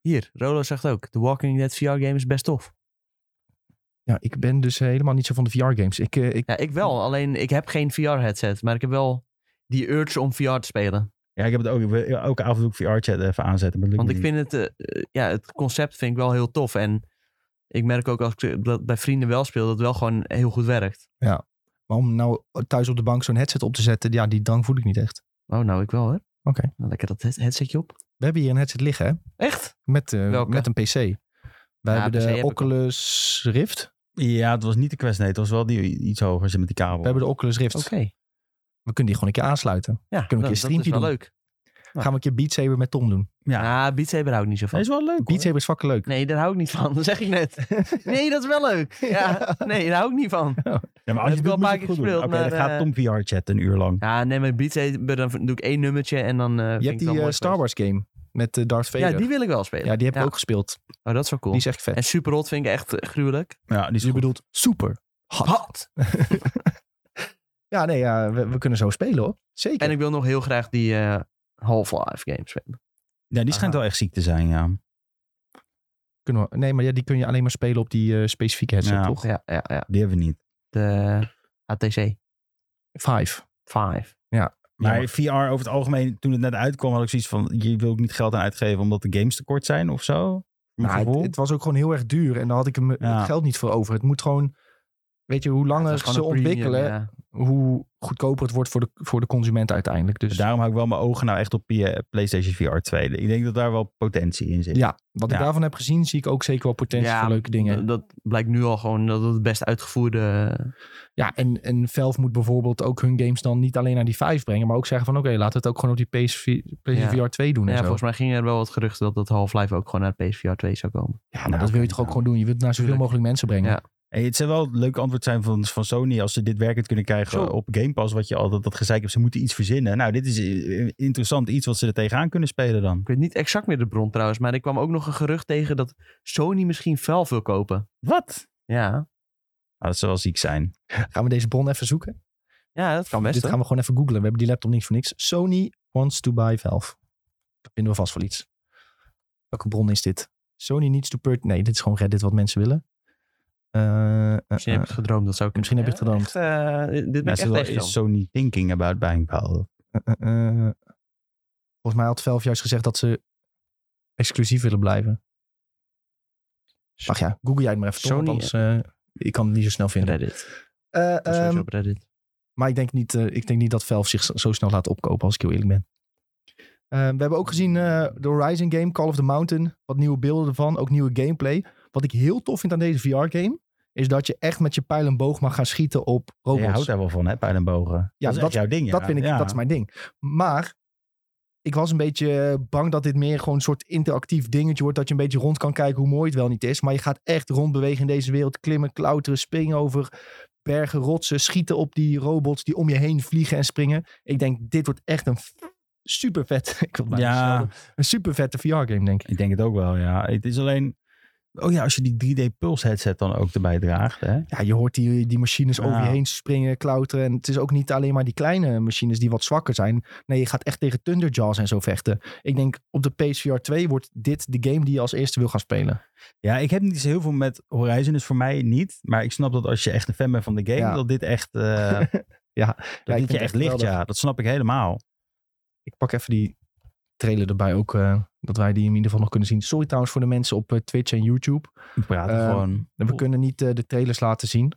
[SPEAKER 2] Hier, Rolo zegt ook, de Walking Dead VR game is best tof.
[SPEAKER 1] Ja, ik ben dus helemaal niet zo van de VR-games. Ik, eh, ik,
[SPEAKER 2] Ja, ik wel. Alleen, ik heb geen VR headset, maar ik heb wel die urge om VR te spelen.
[SPEAKER 3] Ja, ik heb het ook. ik wil Elke avond doe ik VR-chat even aanzetten. Maar dat lukt
[SPEAKER 2] Want
[SPEAKER 3] me
[SPEAKER 2] ik
[SPEAKER 3] niet.
[SPEAKER 2] vind het, eh, eh, ja, het concept vind ik wel heel tof. En ik merk ook als ik eh, dat bij vrienden wel speel, dat het wel gewoon heel goed werkt.
[SPEAKER 1] maar om nou thuis op de bank zo'n headset op te zetten, ja, die drang voel ik niet echt.
[SPEAKER 2] Oh, nou, ik wel hoor.
[SPEAKER 1] Oké.
[SPEAKER 2] Nou, lekker dat head- headsetje op.
[SPEAKER 1] We hebben hier een headset liggen, hè?
[SPEAKER 2] Echt?
[SPEAKER 1] Met, eh,
[SPEAKER 2] Welke?
[SPEAKER 1] met een PC. We hebben de
[SPEAKER 2] PC heb ik al.
[SPEAKER 1] Oculus Rift.
[SPEAKER 3] Ja, het was niet de Quest, nee. Het was wel die iets hoger zit met die kabel.
[SPEAKER 1] We hebben de Oculus Rift.
[SPEAKER 2] Oh. Oké.
[SPEAKER 1] We kunnen die gewoon een keer aansluiten.
[SPEAKER 2] Ja, nou,
[SPEAKER 1] we een
[SPEAKER 2] dat,
[SPEAKER 1] keer
[SPEAKER 2] dat is
[SPEAKER 1] streampje
[SPEAKER 2] wel
[SPEAKER 1] doen?
[SPEAKER 2] leuk.
[SPEAKER 1] Gaan we een keer Beat Saber met Tom doen.
[SPEAKER 2] Nou. Ja, ah, Beat Saber hou ik niet zo
[SPEAKER 3] Dat
[SPEAKER 2] van.
[SPEAKER 3] is wel leuk.
[SPEAKER 1] Beat
[SPEAKER 3] hoor.
[SPEAKER 1] Saber is fucking leuk.
[SPEAKER 2] Nee, daar hou ik niet van. <laughs> Dat zeg ik
[SPEAKER 1] <laughs>
[SPEAKER 2] net. Nee, dat is wel leuk. Ja, nee, daar hou ik niet van.
[SPEAKER 3] Ja, maar
[SPEAKER 2] heb ik wel
[SPEAKER 3] moet
[SPEAKER 2] een paar
[SPEAKER 3] je het goed
[SPEAKER 2] keer
[SPEAKER 3] doen.
[SPEAKER 2] gespeeld,
[SPEAKER 3] Oké,
[SPEAKER 2] maar,
[SPEAKER 3] dan gaat Tom VR-chat een uur lang.
[SPEAKER 2] Ja, nee, met Beat Saber dan doe ik één nummertje en dan... eh, vind
[SPEAKER 1] Je
[SPEAKER 2] ik
[SPEAKER 1] hebt
[SPEAKER 2] het
[SPEAKER 1] die
[SPEAKER 2] wel
[SPEAKER 1] eh,
[SPEAKER 2] mooi
[SPEAKER 1] Star Wars game met eh, Darth
[SPEAKER 2] geweest.
[SPEAKER 1] Vader.
[SPEAKER 2] Ja, die wil ik wel spelen.
[SPEAKER 1] Ja, die heb ik
[SPEAKER 2] Ja.
[SPEAKER 1] ook gespeeld.
[SPEAKER 2] Oh, dat is wel cool.
[SPEAKER 1] Die is echt vet.
[SPEAKER 2] En Superhot vind ik echt eh, gruwelijk.
[SPEAKER 3] Ja, die is
[SPEAKER 1] je
[SPEAKER 3] goed.
[SPEAKER 1] bedoelt super hot.
[SPEAKER 2] Hot!
[SPEAKER 1] Ja, nee, ja, we, we kunnen zo spelen hoor. Zeker.
[SPEAKER 2] En ik wil nog heel graag die eh, Half-Life games spelen.
[SPEAKER 3] Ja, die schijnt
[SPEAKER 1] Aha.
[SPEAKER 3] wel echt ziek te zijn, ja.
[SPEAKER 1] Kunnen we- nee, maar ja, die kun je alleen maar spelen op die eh, specifieke headset,
[SPEAKER 3] Ja.
[SPEAKER 1] toch?
[SPEAKER 2] Ja, ja, ja.
[SPEAKER 3] Die hebben we niet.
[SPEAKER 2] De ATC
[SPEAKER 1] Five.
[SPEAKER 2] 5.
[SPEAKER 1] Ja.
[SPEAKER 3] Maar
[SPEAKER 1] Jammer.
[SPEAKER 3] VR over het algemeen, toen het net uitkwam, had ik zoiets van... je wil ook niet geld aan uitgeven omdat de games tekort zijn of zo? Mijn
[SPEAKER 1] Nou, het,
[SPEAKER 3] gevoel.
[SPEAKER 1] het was ook gewoon heel erg duur. En daar had ik hem het
[SPEAKER 3] Ja.
[SPEAKER 1] geld niet voor over. Het moet gewoon... Weet je, hoe
[SPEAKER 2] Het
[SPEAKER 1] langer
[SPEAKER 2] was gewoon
[SPEAKER 1] eh, ze
[SPEAKER 2] een premium,
[SPEAKER 1] ontwikkelen,
[SPEAKER 2] ja.
[SPEAKER 1] hoe goedkoper het wordt voor de, voor de consument uiteindelijk. Dus
[SPEAKER 3] Daarom hou ik wel mijn ogen nou echt op eh, PlayStation VR 2. Ik denk dat daar wel potentie in zit.
[SPEAKER 1] ja, wat ik
[SPEAKER 3] Ja.
[SPEAKER 1] daarvan heb gezien, zie ik ook zeker wel potentie
[SPEAKER 2] Ja,
[SPEAKER 1] voor leuke dingen.
[SPEAKER 2] Dat, dat blijkt nu al gewoon dat het het best uitgevoerde...
[SPEAKER 1] Ja, en, en Valve moet bijvoorbeeld ook hun games dan niet alleen naar die 5 brengen, maar ook zeggen van oké, laten we het ook gewoon op die PS4, PlayStation VR 2 doen
[SPEAKER 2] Ja,
[SPEAKER 1] en zo.
[SPEAKER 2] eh, volgens mij gingen er wel wat geruchten dat dat Half-Life ook gewoon naar PSVR 2 zou komen.
[SPEAKER 1] ja, maar
[SPEAKER 3] Nou,
[SPEAKER 1] dat wil je
[SPEAKER 3] kan
[SPEAKER 1] toch ook
[SPEAKER 3] wel.
[SPEAKER 1] gewoon doen? Je wilt naar zoveel
[SPEAKER 2] Tuurlijk.
[SPEAKER 1] mogelijk mensen brengen.
[SPEAKER 2] Ja.
[SPEAKER 3] Hey, het zou wel een leuk antwoord zijn van, van Sony als ze dit werkend kunnen krijgen
[SPEAKER 1] Zo.
[SPEAKER 3] op Game Pass. Wat je altijd dat gezeik hebt, ze moeten iets verzinnen. Nou, dit is eh, interessant iets wat ze er tegenaan kunnen spelen dan.
[SPEAKER 2] Ik weet niet exact meer de bron trouwens, maar ik kwam ook nog een gerucht tegen dat Sony misschien Valve wil kopen.
[SPEAKER 3] Wat?
[SPEAKER 2] Ja,
[SPEAKER 3] Nou, dat zou wel ziek zijn.
[SPEAKER 1] Gaan we deze bron even zoeken?
[SPEAKER 2] ja dat kan best.
[SPEAKER 1] Dit
[SPEAKER 2] hoor.
[SPEAKER 1] gaan we gewoon even googlen. We hebben die laptop niet voor niks. Sony wants to buy Valve. Dat vinden we vast wel iets. Welke bron is dit? Sony needs to purchase... Nee, dit is gewoon Reddit wat mensen willen. Eh, eh,
[SPEAKER 2] Misschien heb
[SPEAKER 1] eh.
[SPEAKER 2] je het gedroomd, dat zou kunnen.
[SPEAKER 1] Misschien heb ik het gedroomd.
[SPEAKER 2] Echt, eh, dit- dit ben
[SPEAKER 3] Ja,
[SPEAKER 2] ik
[SPEAKER 3] Nou, ze
[SPEAKER 2] echt
[SPEAKER 3] wel-
[SPEAKER 2] tegen
[SPEAKER 3] is Sony thinking about buying Valve?
[SPEAKER 1] Eh, eh, eh. volgens mij had Valve juist gezegd dat ze exclusief willen blijven. Ach ja, google jij het maar even. Tom,
[SPEAKER 2] Sony,
[SPEAKER 1] want anders, eh, ik kan het niet zo snel vinden.
[SPEAKER 2] Reddit.
[SPEAKER 1] Eh,
[SPEAKER 2] Dat is sowieso
[SPEAKER 1] ehm,
[SPEAKER 2] op Reddit.
[SPEAKER 1] maar ik denk, niet, eh, ik denk niet dat Valve zich zo snel laat opkopen, als ik heel eerlijk ben. Eh, we hebben ook gezien eh, de Horizon game, Call of the Mountain. Wat nieuwe beelden ervan, ook nieuwe gameplay. Wat ik heel tof vind aan deze VR-game, is dat je echt met je pijl en boog mag gaan schieten op
[SPEAKER 3] Je
[SPEAKER 1] robots.
[SPEAKER 3] houdt daar wel van, hè, pijlenbogen.
[SPEAKER 1] Ja,
[SPEAKER 3] Ja, dat is
[SPEAKER 1] dat-
[SPEAKER 3] echt jouw ding.
[SPEAKER 1] Dat
[SPEAKER 3] ja.
[SPEAKER 1] vind ik,
[SPEAKER 3] Ja.
[SPEAKER 1] dat is mijn ding. Maar ik was een beetje bang dat dit meer gewoon een soort interactief dingetje wordt. Dat je een beetje rond kan kijken hoe mooi het wel niet is. Maar je gaat echt rondbewegen in deze wereld. Klimmen, klauteren, springen over bergen, rotsen. Schieten op die robots die om je heen vliegen en springen. Ik denk, dit wordt echt een super vet. <laughs> Ik wil het bijna
[SPEAKER 3] Ja,
[SPEAKER 1] schelden. Een super vette VR-game, denk ik.
[SPEAKER 3] ik denk het ook wel, ja. Het is alleen... Oh ja, als je die 3D Pulse headset dan ook erbij draagt, hè.
[SPEAKER 1] Ja, je hoort die, die machines over je
[SPEAKER 3] Ja.
[SPEAKER 1] heen springen, klauteren. En het is ook niet alleen maar die kleine machines die wat zwakker zijn. Nee, je gaat echt tegen Thunderjaws en zo vechten. Ik denk, op de PSVR 2 wordt dit de game die je als eerste wil gaan spelen.
[SPEAKER 3] Ja, ik heb niet zo heel veel met Horizon, dus voor mij niet. Maar ik snap dat als je echt een fan bent van de game,
[SPEAKER 1] Ja.
[SPEAKER 3] dat dit echt, eh,
[SPEAKER 1] <laughs> Ja, ik
[SPEAKER 3] dat dit
[SPEAKER 1] vind
[SPEAKER 3] je
[SPEAKER 1] het
[SPEAKER 3] echt
[SPEAKER 1] echt
[SPEAKER 3] ligt.
[SPEAKER 1] geweldig.
[SPEAKER 3] Ja, dat snap ik helemaal.
[SPEAKER 1] Ik pak even die trailer erbij ook, eh, dat wij die in ieder geval nog kunnen zien. Sorry trouwens voor de mensen op eh, Twitch en YouTube.
[SPEAKER 3] We praten
[SPEAKER 1] Eh,
[SPEAKER 3] gewoon. <laughs>
[SPEAKER 1] We kunnen niet eh, de trailers laten zien.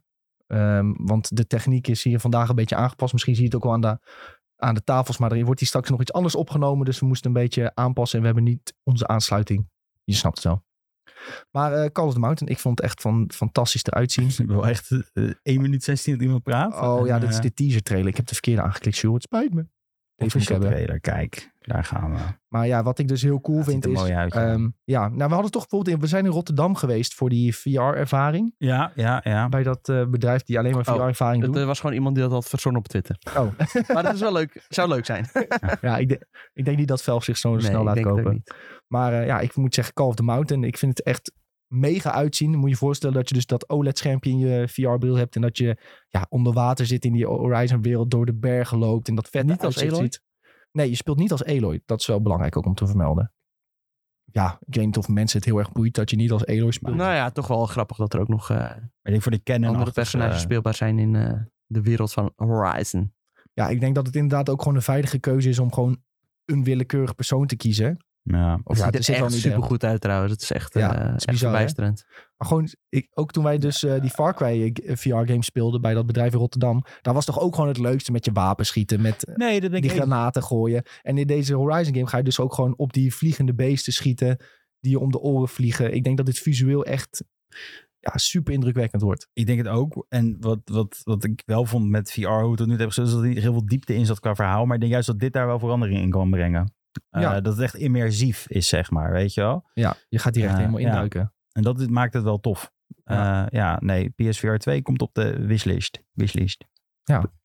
[SPEAKER 1] Ehm, want de techniek is hier vandaag een beetje aangepast. Misschien zie je het ook wel aan de, aan de tafels. Maar er wordt hier straks nog iets anders opgenomen. Dus we moesten een beetje aanpassen. En we hebben niet onze aansluiting. Je snapt het wel. Maar eh, Call of the Mountain, ik vond het echt van, fantastisch eruit zien.
[SPEAKER 3] Ik wil echt eh, 1 minuut 16 dat iemand praat.
[SPEAKER 1] Oh ja,
[SPEAKER 3] En,
[SPEAKER 1] dit is
[SPEAKER 3] eh,
[SPEAKER 1] de teaser trailer. Ik heb de verkeerde aangeklikt, Sjoerd. Het spijt me. Deze moet ik
[SPEAKER 3] official
[SPEAKER 1] hebben.
[SPEAKER 3] trailer. Kijk, daar gaan we.
[SPEAKER 1] Maar ja, wat ik dus heel cool
[SPEAKER 3] Het ziet
[SPEAKER 1] vind
[SPEAKER 3] er
[SPEAKER 1] is...
[SPEAKER 3] mooi uit. ja.
[SPEAKER 1] ehm, ja, nou we hadden toch bijvoorbeeld... in- we zijn in Rotterdam geweest voor die VR-ervaring.
[SPEAKER 3] ja, ja, ja.
[SPEAKER 1] Bij dat eh, bedrijf die alleen maar
[SPEAKER 2] Oh,
[SPEAKER 1] VR-ervaring doet.
[SPEAKER 2] Het eh, was gewoon iemand die dat had verzonnen op Twitter.
[SPEAKER 3] eh,
[SPEAKER 1] Oh.
[SPEAKER 2] Maar dat is wel leuk. Zou leuk zijn.
[SPEAKER 1] Ja, ik, de- ik denk niet dat Velf zich zo snel
[SPEAKER 2] ik
[SPEAKER 1] laat
[SPEAKER 2] denk het ook
[SPEAKER 1] kopen.
[SPEAKER 2] niet.
[SPEAKER 1] Maar eh, ja, ik moet zeggen Call of the Mountain. Ik vind het echt mega uitzien. Moet je je voorstellen dat je dus dat OLED-schermpje in je VR-bril hebt. En dat je ja, onder water zit in die Horizon-wereld, door de bergen loopt. En dat vet
[SPEAKER 2] Niet als Aloy?
[SPEAKER 1] ziet. Nee, je speelt niet als Eloy. Dat is wel belangrijk ook om te vermelden. Ja, ik weet niet of mensen het heel erg boeit dat je niet als Eloy speelt.
[SPEAKER 2] Nou ja, toch wel grappig dat er ook nog eh,
[SPEAKER 3] Ik denk voor de eh, kennen
[SPEAKER 2] andere personages speelbaar zijn in eh, de wereld van Horizon.
[SPEAKER 1] Ja, ik denk dat het inderdaad ook gewoon een veilige keuze is om gewoon een willekeurig persoon te kiezen.
[SPEAKER 3] Ja.
[SPEAKER 1] Of
[SPEAKER 2] Het ziet er echt
[SPEAKER 1] niet in.
[SPEAKER 2] super goed uit trouwens. Het is echt,
[SPEAKER 1] Ja,
[SPEAKER 2] eh,
[SPEAKER 1] het is
[SPEAKER 2] echt
[SPEAKER 1] bizar, hè?
[SPEAKER 2] verbijsterend.
[SPEAKER 1] Maar gewoon, ik, ook toen wij dus eh, die Far Cry VR-game speelden bij dat bedrijf in Rotterdam. Daar was toch ook gewoon het leukste met je wapen schieten, met eh,
[SPEAKER 3] Nee, dat denk
[SPEAKER 1] die
[SPEAKER 3] ik niet.
[SPEAKER 1] granaten gooien. En in deze Horizon game ga je dus ook gewoon op die vliegende beesten schieten. Die je om de oren vliegen. Ik denk dat dit visueel echt ja, super indrukwekkend wordt.
[SPEAKER 3] Ik denk het ook. En wat, wat, wat ik wel vond met VR, hoe het tot nu toe heb gezien, is dat er niet heel veel diepte in zat qua verhaal. Maar ik denk juist dat dit daar wel verandering in kan brengen. Eh,
[SPEAKER 1] Ja.
[SPEAKER 3] Dat het echt immersief is, zeg maar, weet je wel.
[SPEAKER 1] Ja, je gaat direct
[SPEAKER 3] Ja,
[SPEAKER 1] helemaal
[SPEAKER 3] ja.
[SPEAKER 1] induiken.
[SPEAKER 3] En dat dit maakt het wel tof.
[SPEAKER 1] Ja.
[SPEAKER 3] Ja, ja nee, PSVR 2 komt op de wishlist. Wishlist.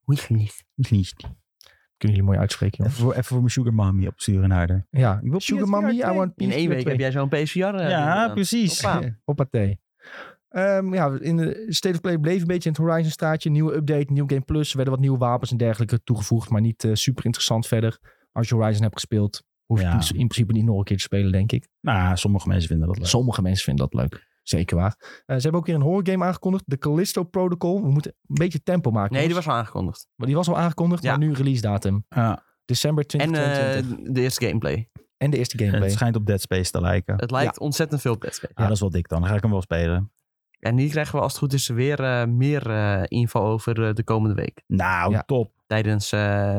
[SPEAKER 2] Wishlist.
[SPEAKER 3] Wishlist.
[SPEAKER 1] Kunnen jullie mooi uitspreken,
[SPEAKER 3] Even
[SPEAKER 1] jongens.
[SPEAKER 3] voor, even voor mijn sugar mommy opsturen naar haar.
[SPEAKER 1] Ja,
[SPEAKER 3] Ik wil
[SPEAKER 1] Sugar
[SPEAKER 3] PSVR
[SPEAKER 1] Mommy, I
[SPEAKER 3] 2.
[SPEAKER 1] want
[SPEAKER 2] In één
[SPEAKER 1] PSVR
[SPEAKER 2] week heb jij zo'n PSVR. eh,
[SPEAKER 3] Ja,
[SPEAKER 2] gedaan.
[SPEAKER 3] precies.
[SPEAKER 2] Hoppa.
[SPEAKER 1] Ja, Hoppatee. Ehm ja, in de State of Play bleef een beetje in het Horizon straatje. Nieuwe update, nieuw Game Plus. Er werden wat nieuwe wapens en dergelijke toegevoegd. Maar niet eh, super interessant verder. Als je Horizon hebt gespeeld, hoef je
[SPEAKER 3] Ja.
[SPEAKER 1] het in principe niet nog een keer te spelen, denk ik.
[SPEAKER 3] Nou, sommige mensen vinden dat leuk.
[SPEAKER 1] Sommige mensen vinden dat leuk. Zeker waar. Eh, ze hebben ook weer een horror game aangekondigd. De Callisto Protocol. We moeten een beetje tempo maken.
[SPEAKER 2] Nee, die was
[SPEAKER 1] jongens.
[SPEAKER 2] al aangekondigd.
[SPEAKER 1] Maar die was al aangekondigd,
[SPEAKER 2] Ja.
[SPEAKER 1] maar nu release datum.
[SPEAKER 3] Ja,
[SPEAKER 1] December
[SPEAKER 2] En
[SPEAKER 1] 2022. En,
[SPEAKER 2] eh, de eerste gameplay.
[SPEAKER 1] de eerste
[SPEAKER 3] het
[SPEAKER 1] gameplay.
[SPEAKER 2] <laughs>
[SPEAKER 3] schijnt op Dead Space te lijken.
[SPEAKER 2] Het lijkt ontzettend veel op Dead Space.
[SPEAKER 3] Ah, dat is wel dik dan. Dan ga ik hem wel spelen.
[SPEAKER 2] En hier krijgen we als het goed is weer eh, meer eh, info over eh, de komende week.
[SPEAKER 3] Nou,
[SPEAKER 1] Ja.
[SPEAKER 3] top.
[SPEAKER 2] Tijdens, eh,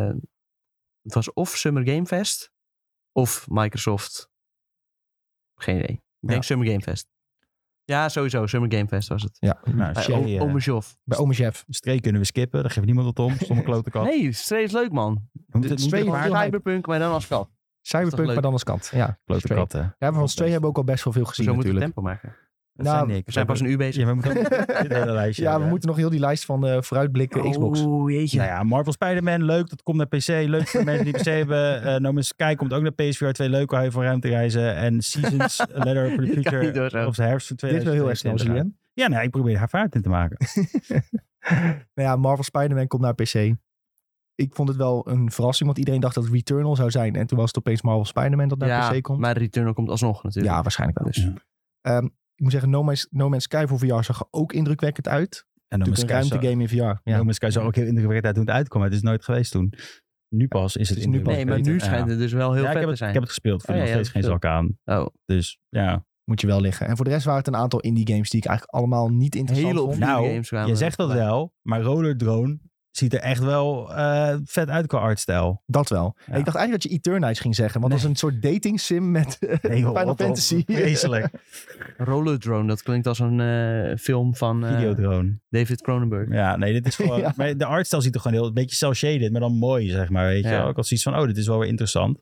[SPEAKER 2] het was of Summer Game Fest of Microsoft. Geen idee. Ik denk Summer Game Fest. Ja, sowieso. Summer Game Fest was het.
[SPEAKER 1] Ja,
[SPEAKER 3] Nou,
[SPEAKER 2] Bij
[SPEAKER 3] Shay,
[SPEAKER 2] o-
[SPEAKER 3] eh,
[SPEAKER 2] Ome Joff.
[SPEAKER 1] bij Ome Jeff.
[SPEAKER 3] streek kunnen we skippen. Daar geeft niemand het om. Stomme klote kat.
[SPEAKER 2] <laughs> Nee, Stray is leuk man.
[SPEAKER 3] We moeten
[SPEAKER 1] de
[SPEAKER 3] niet
[SPEAKER 1] twee-
[SPEAKER 3] tegen haar-
[SPEAKER 1] heel hype.
[SPEAKER 2] Cyberpunk, maar dan als kat. Dat is
[SPEAKER 1] Cyberpunk,
[SPEAKER 2] toch
[SPEAKER 1] maar dan als kant. Ja,
[SPEAKER 3] Klote
[SPEAKER 1] Stray.
[SPEAKER 3] katten.
[SPEAKER 1] ja van twee hebben we ook al best wel veel gezien
[SPEAKER 2] Zo moeten we
[SPEAKER 1] natuurlijk.
[SPEAKER 2] tempo maken.
[SPEAKER 3] Dat
[SPEAKER 1] Nou,
[SPEAKER 3] zijn niks.
[SPEAKER 2] We zijn pas een uur bezig.
[SPEAKER 3] Ja, we moeten <laughs> dit hele lijstje.
[SPEAKER 1] Ja, we
[SPEAKER 3] hebben.
[SPEAKER 1] moeten nog heel die lijst van eh, vooruitblikken Xbox.
[SPEAKER 2] Oeh, jeetje.
[SPEAKER 3] Nou Oh, ja, Marvel Spider-Man, leuk. Dat komt naar PC. Leuk voor mensen <laughs> die PC hebben. Eh no Man's Sky komt ook naar PSVR 2. Leuk al van ruimtereizen. En <laughs> Seasons, A Letter for the
[SPEAKER 2] Dit kan
[SPEAKER 3] Future.
[SPEAKER 2] niet door zo.
[SPEAKER 3] Op de herfst van
[SPEAKER 1] Dit is wel heel erg snel,
[SPEAKER 3] 2022.
[SPEAKER 1] Julien.
[SPEAKER 3] Ja, nee, ik probeer haar vaart in te <laughs> maken.
[SPEAKER 1] <laughs> nou ja, Marvel Spider-Man komt naar PC. Ik vond het wel een verrassing, want iedereen dacht dat het Returnal zou zijn. En toen was het opeens Marvel Spider-Man dat naar
[SPEAKER 2] Ja,
[SPEAKER 1] PC komt.
[SPEAKER 2] maar Returnal komt alsnog natuurlijk.
[SPEAKER 1] Ja, waarschijnlijk wel.
[SPEAKER 2] Dus.
[SPEAKER 3] Ja.
[SPEAKER 1] Ehm, ik moet zeggen, No Man's, no Man's Sky voor VR zag er ook indrukwekkend uit.
[SPEAKER 3] En No Man's
[SPEAKER 1] Natuurlijk een
[SPEAKER 3] Sky zag-
[SPEAKER 1] ruimtegame in VR. Ja.
[SPEAKER 3] No Man's Sky zag ook heel indrukwekkend uit toen het uitkwam. maar Het is nooit geweest toen. Nu pas is het
[SPEAKER 1] Het is nu pas
[SPEAKER 2] Nee, maar nu
[SPEAKER 3] indrukwekkend.
[SPEAKER 2] schijnt
[SPEAKER 3] Ja.
[SPEAKER 2] het dus wel heel
[SPEAKER 3] Ja, ik,
[SPEAKER 2] vet
[SPEAKER 3] heb
[SPEAKER 2] te
[SPEAKER 3] het,
[SPEAKER 2] zijn.
[SPEAKER 3] ik heb het gespeeld. Vind
[SPEAKER 2] Oh, ja,
[SPEAKER 3] nog steeds
[SPEAKER 2] ja,
[SPEAKER 3] geen zak aan.
[SPEAKER 2] Oh,
[SPEAKER 3] Dus ja.
[SPEAKER 1] Moet je wel liggen. En voor de rest waren het een aantal indie games die ik eigenlijk allemaal niet interessant
[SPEAKER 2] hele
[SPEAKER 1] vond.
[SPEAKER 2] opnieuw
[SPEAKER 3] Nou,
[SPEAKER 2] games kwamen.
[SPEAKER 3] Je zegt dat wel, maar Roller Drone ziet er echt wel eh, vet uit qua
[SPEAKER 1] <laughs>
[SPEAKER 3] artstijl.
[SPEAKER 1] Dat wel.
[SPEAKER 3] Ja.
[SPEAKER 1] En ik dacht eigenlijk dat je Eternites ging zeggen, want dat is een soort dating sim met
[SPEAKER 3] Nee, joh,
[SPEAKER 1] <laughs> Final
[SPEAKER 3] wat
[SPEAKER 1] <laughs>
[SPEAKER 3] een
[SPEAKER 1] Fantasy.
[SPEAKER 3] Vreselijk. <laughs>
[SPEAKER 2] Roller Drone, dat klinkt als een eh, film van eh,
[SPEAKER 3] Videodrone.
[SPEAKER 2] David Cronenberg.
[SPEAKER 3] Ja, nee,
[SPEAKER 1] <laughs>
[SPEAKER 3] dit is gewoon...
[SPEAKER 1] Ja.
[SPEAKER 3] maar de artstijl ziet er gewoon heel... Een beetje cel-shaded, maar dan mooi, zeg maar. Weet je
[SPEAKER 2] Ja.
[SPEAKER 3] wel? Ook als iets van, oh, dit is wel weer interessant.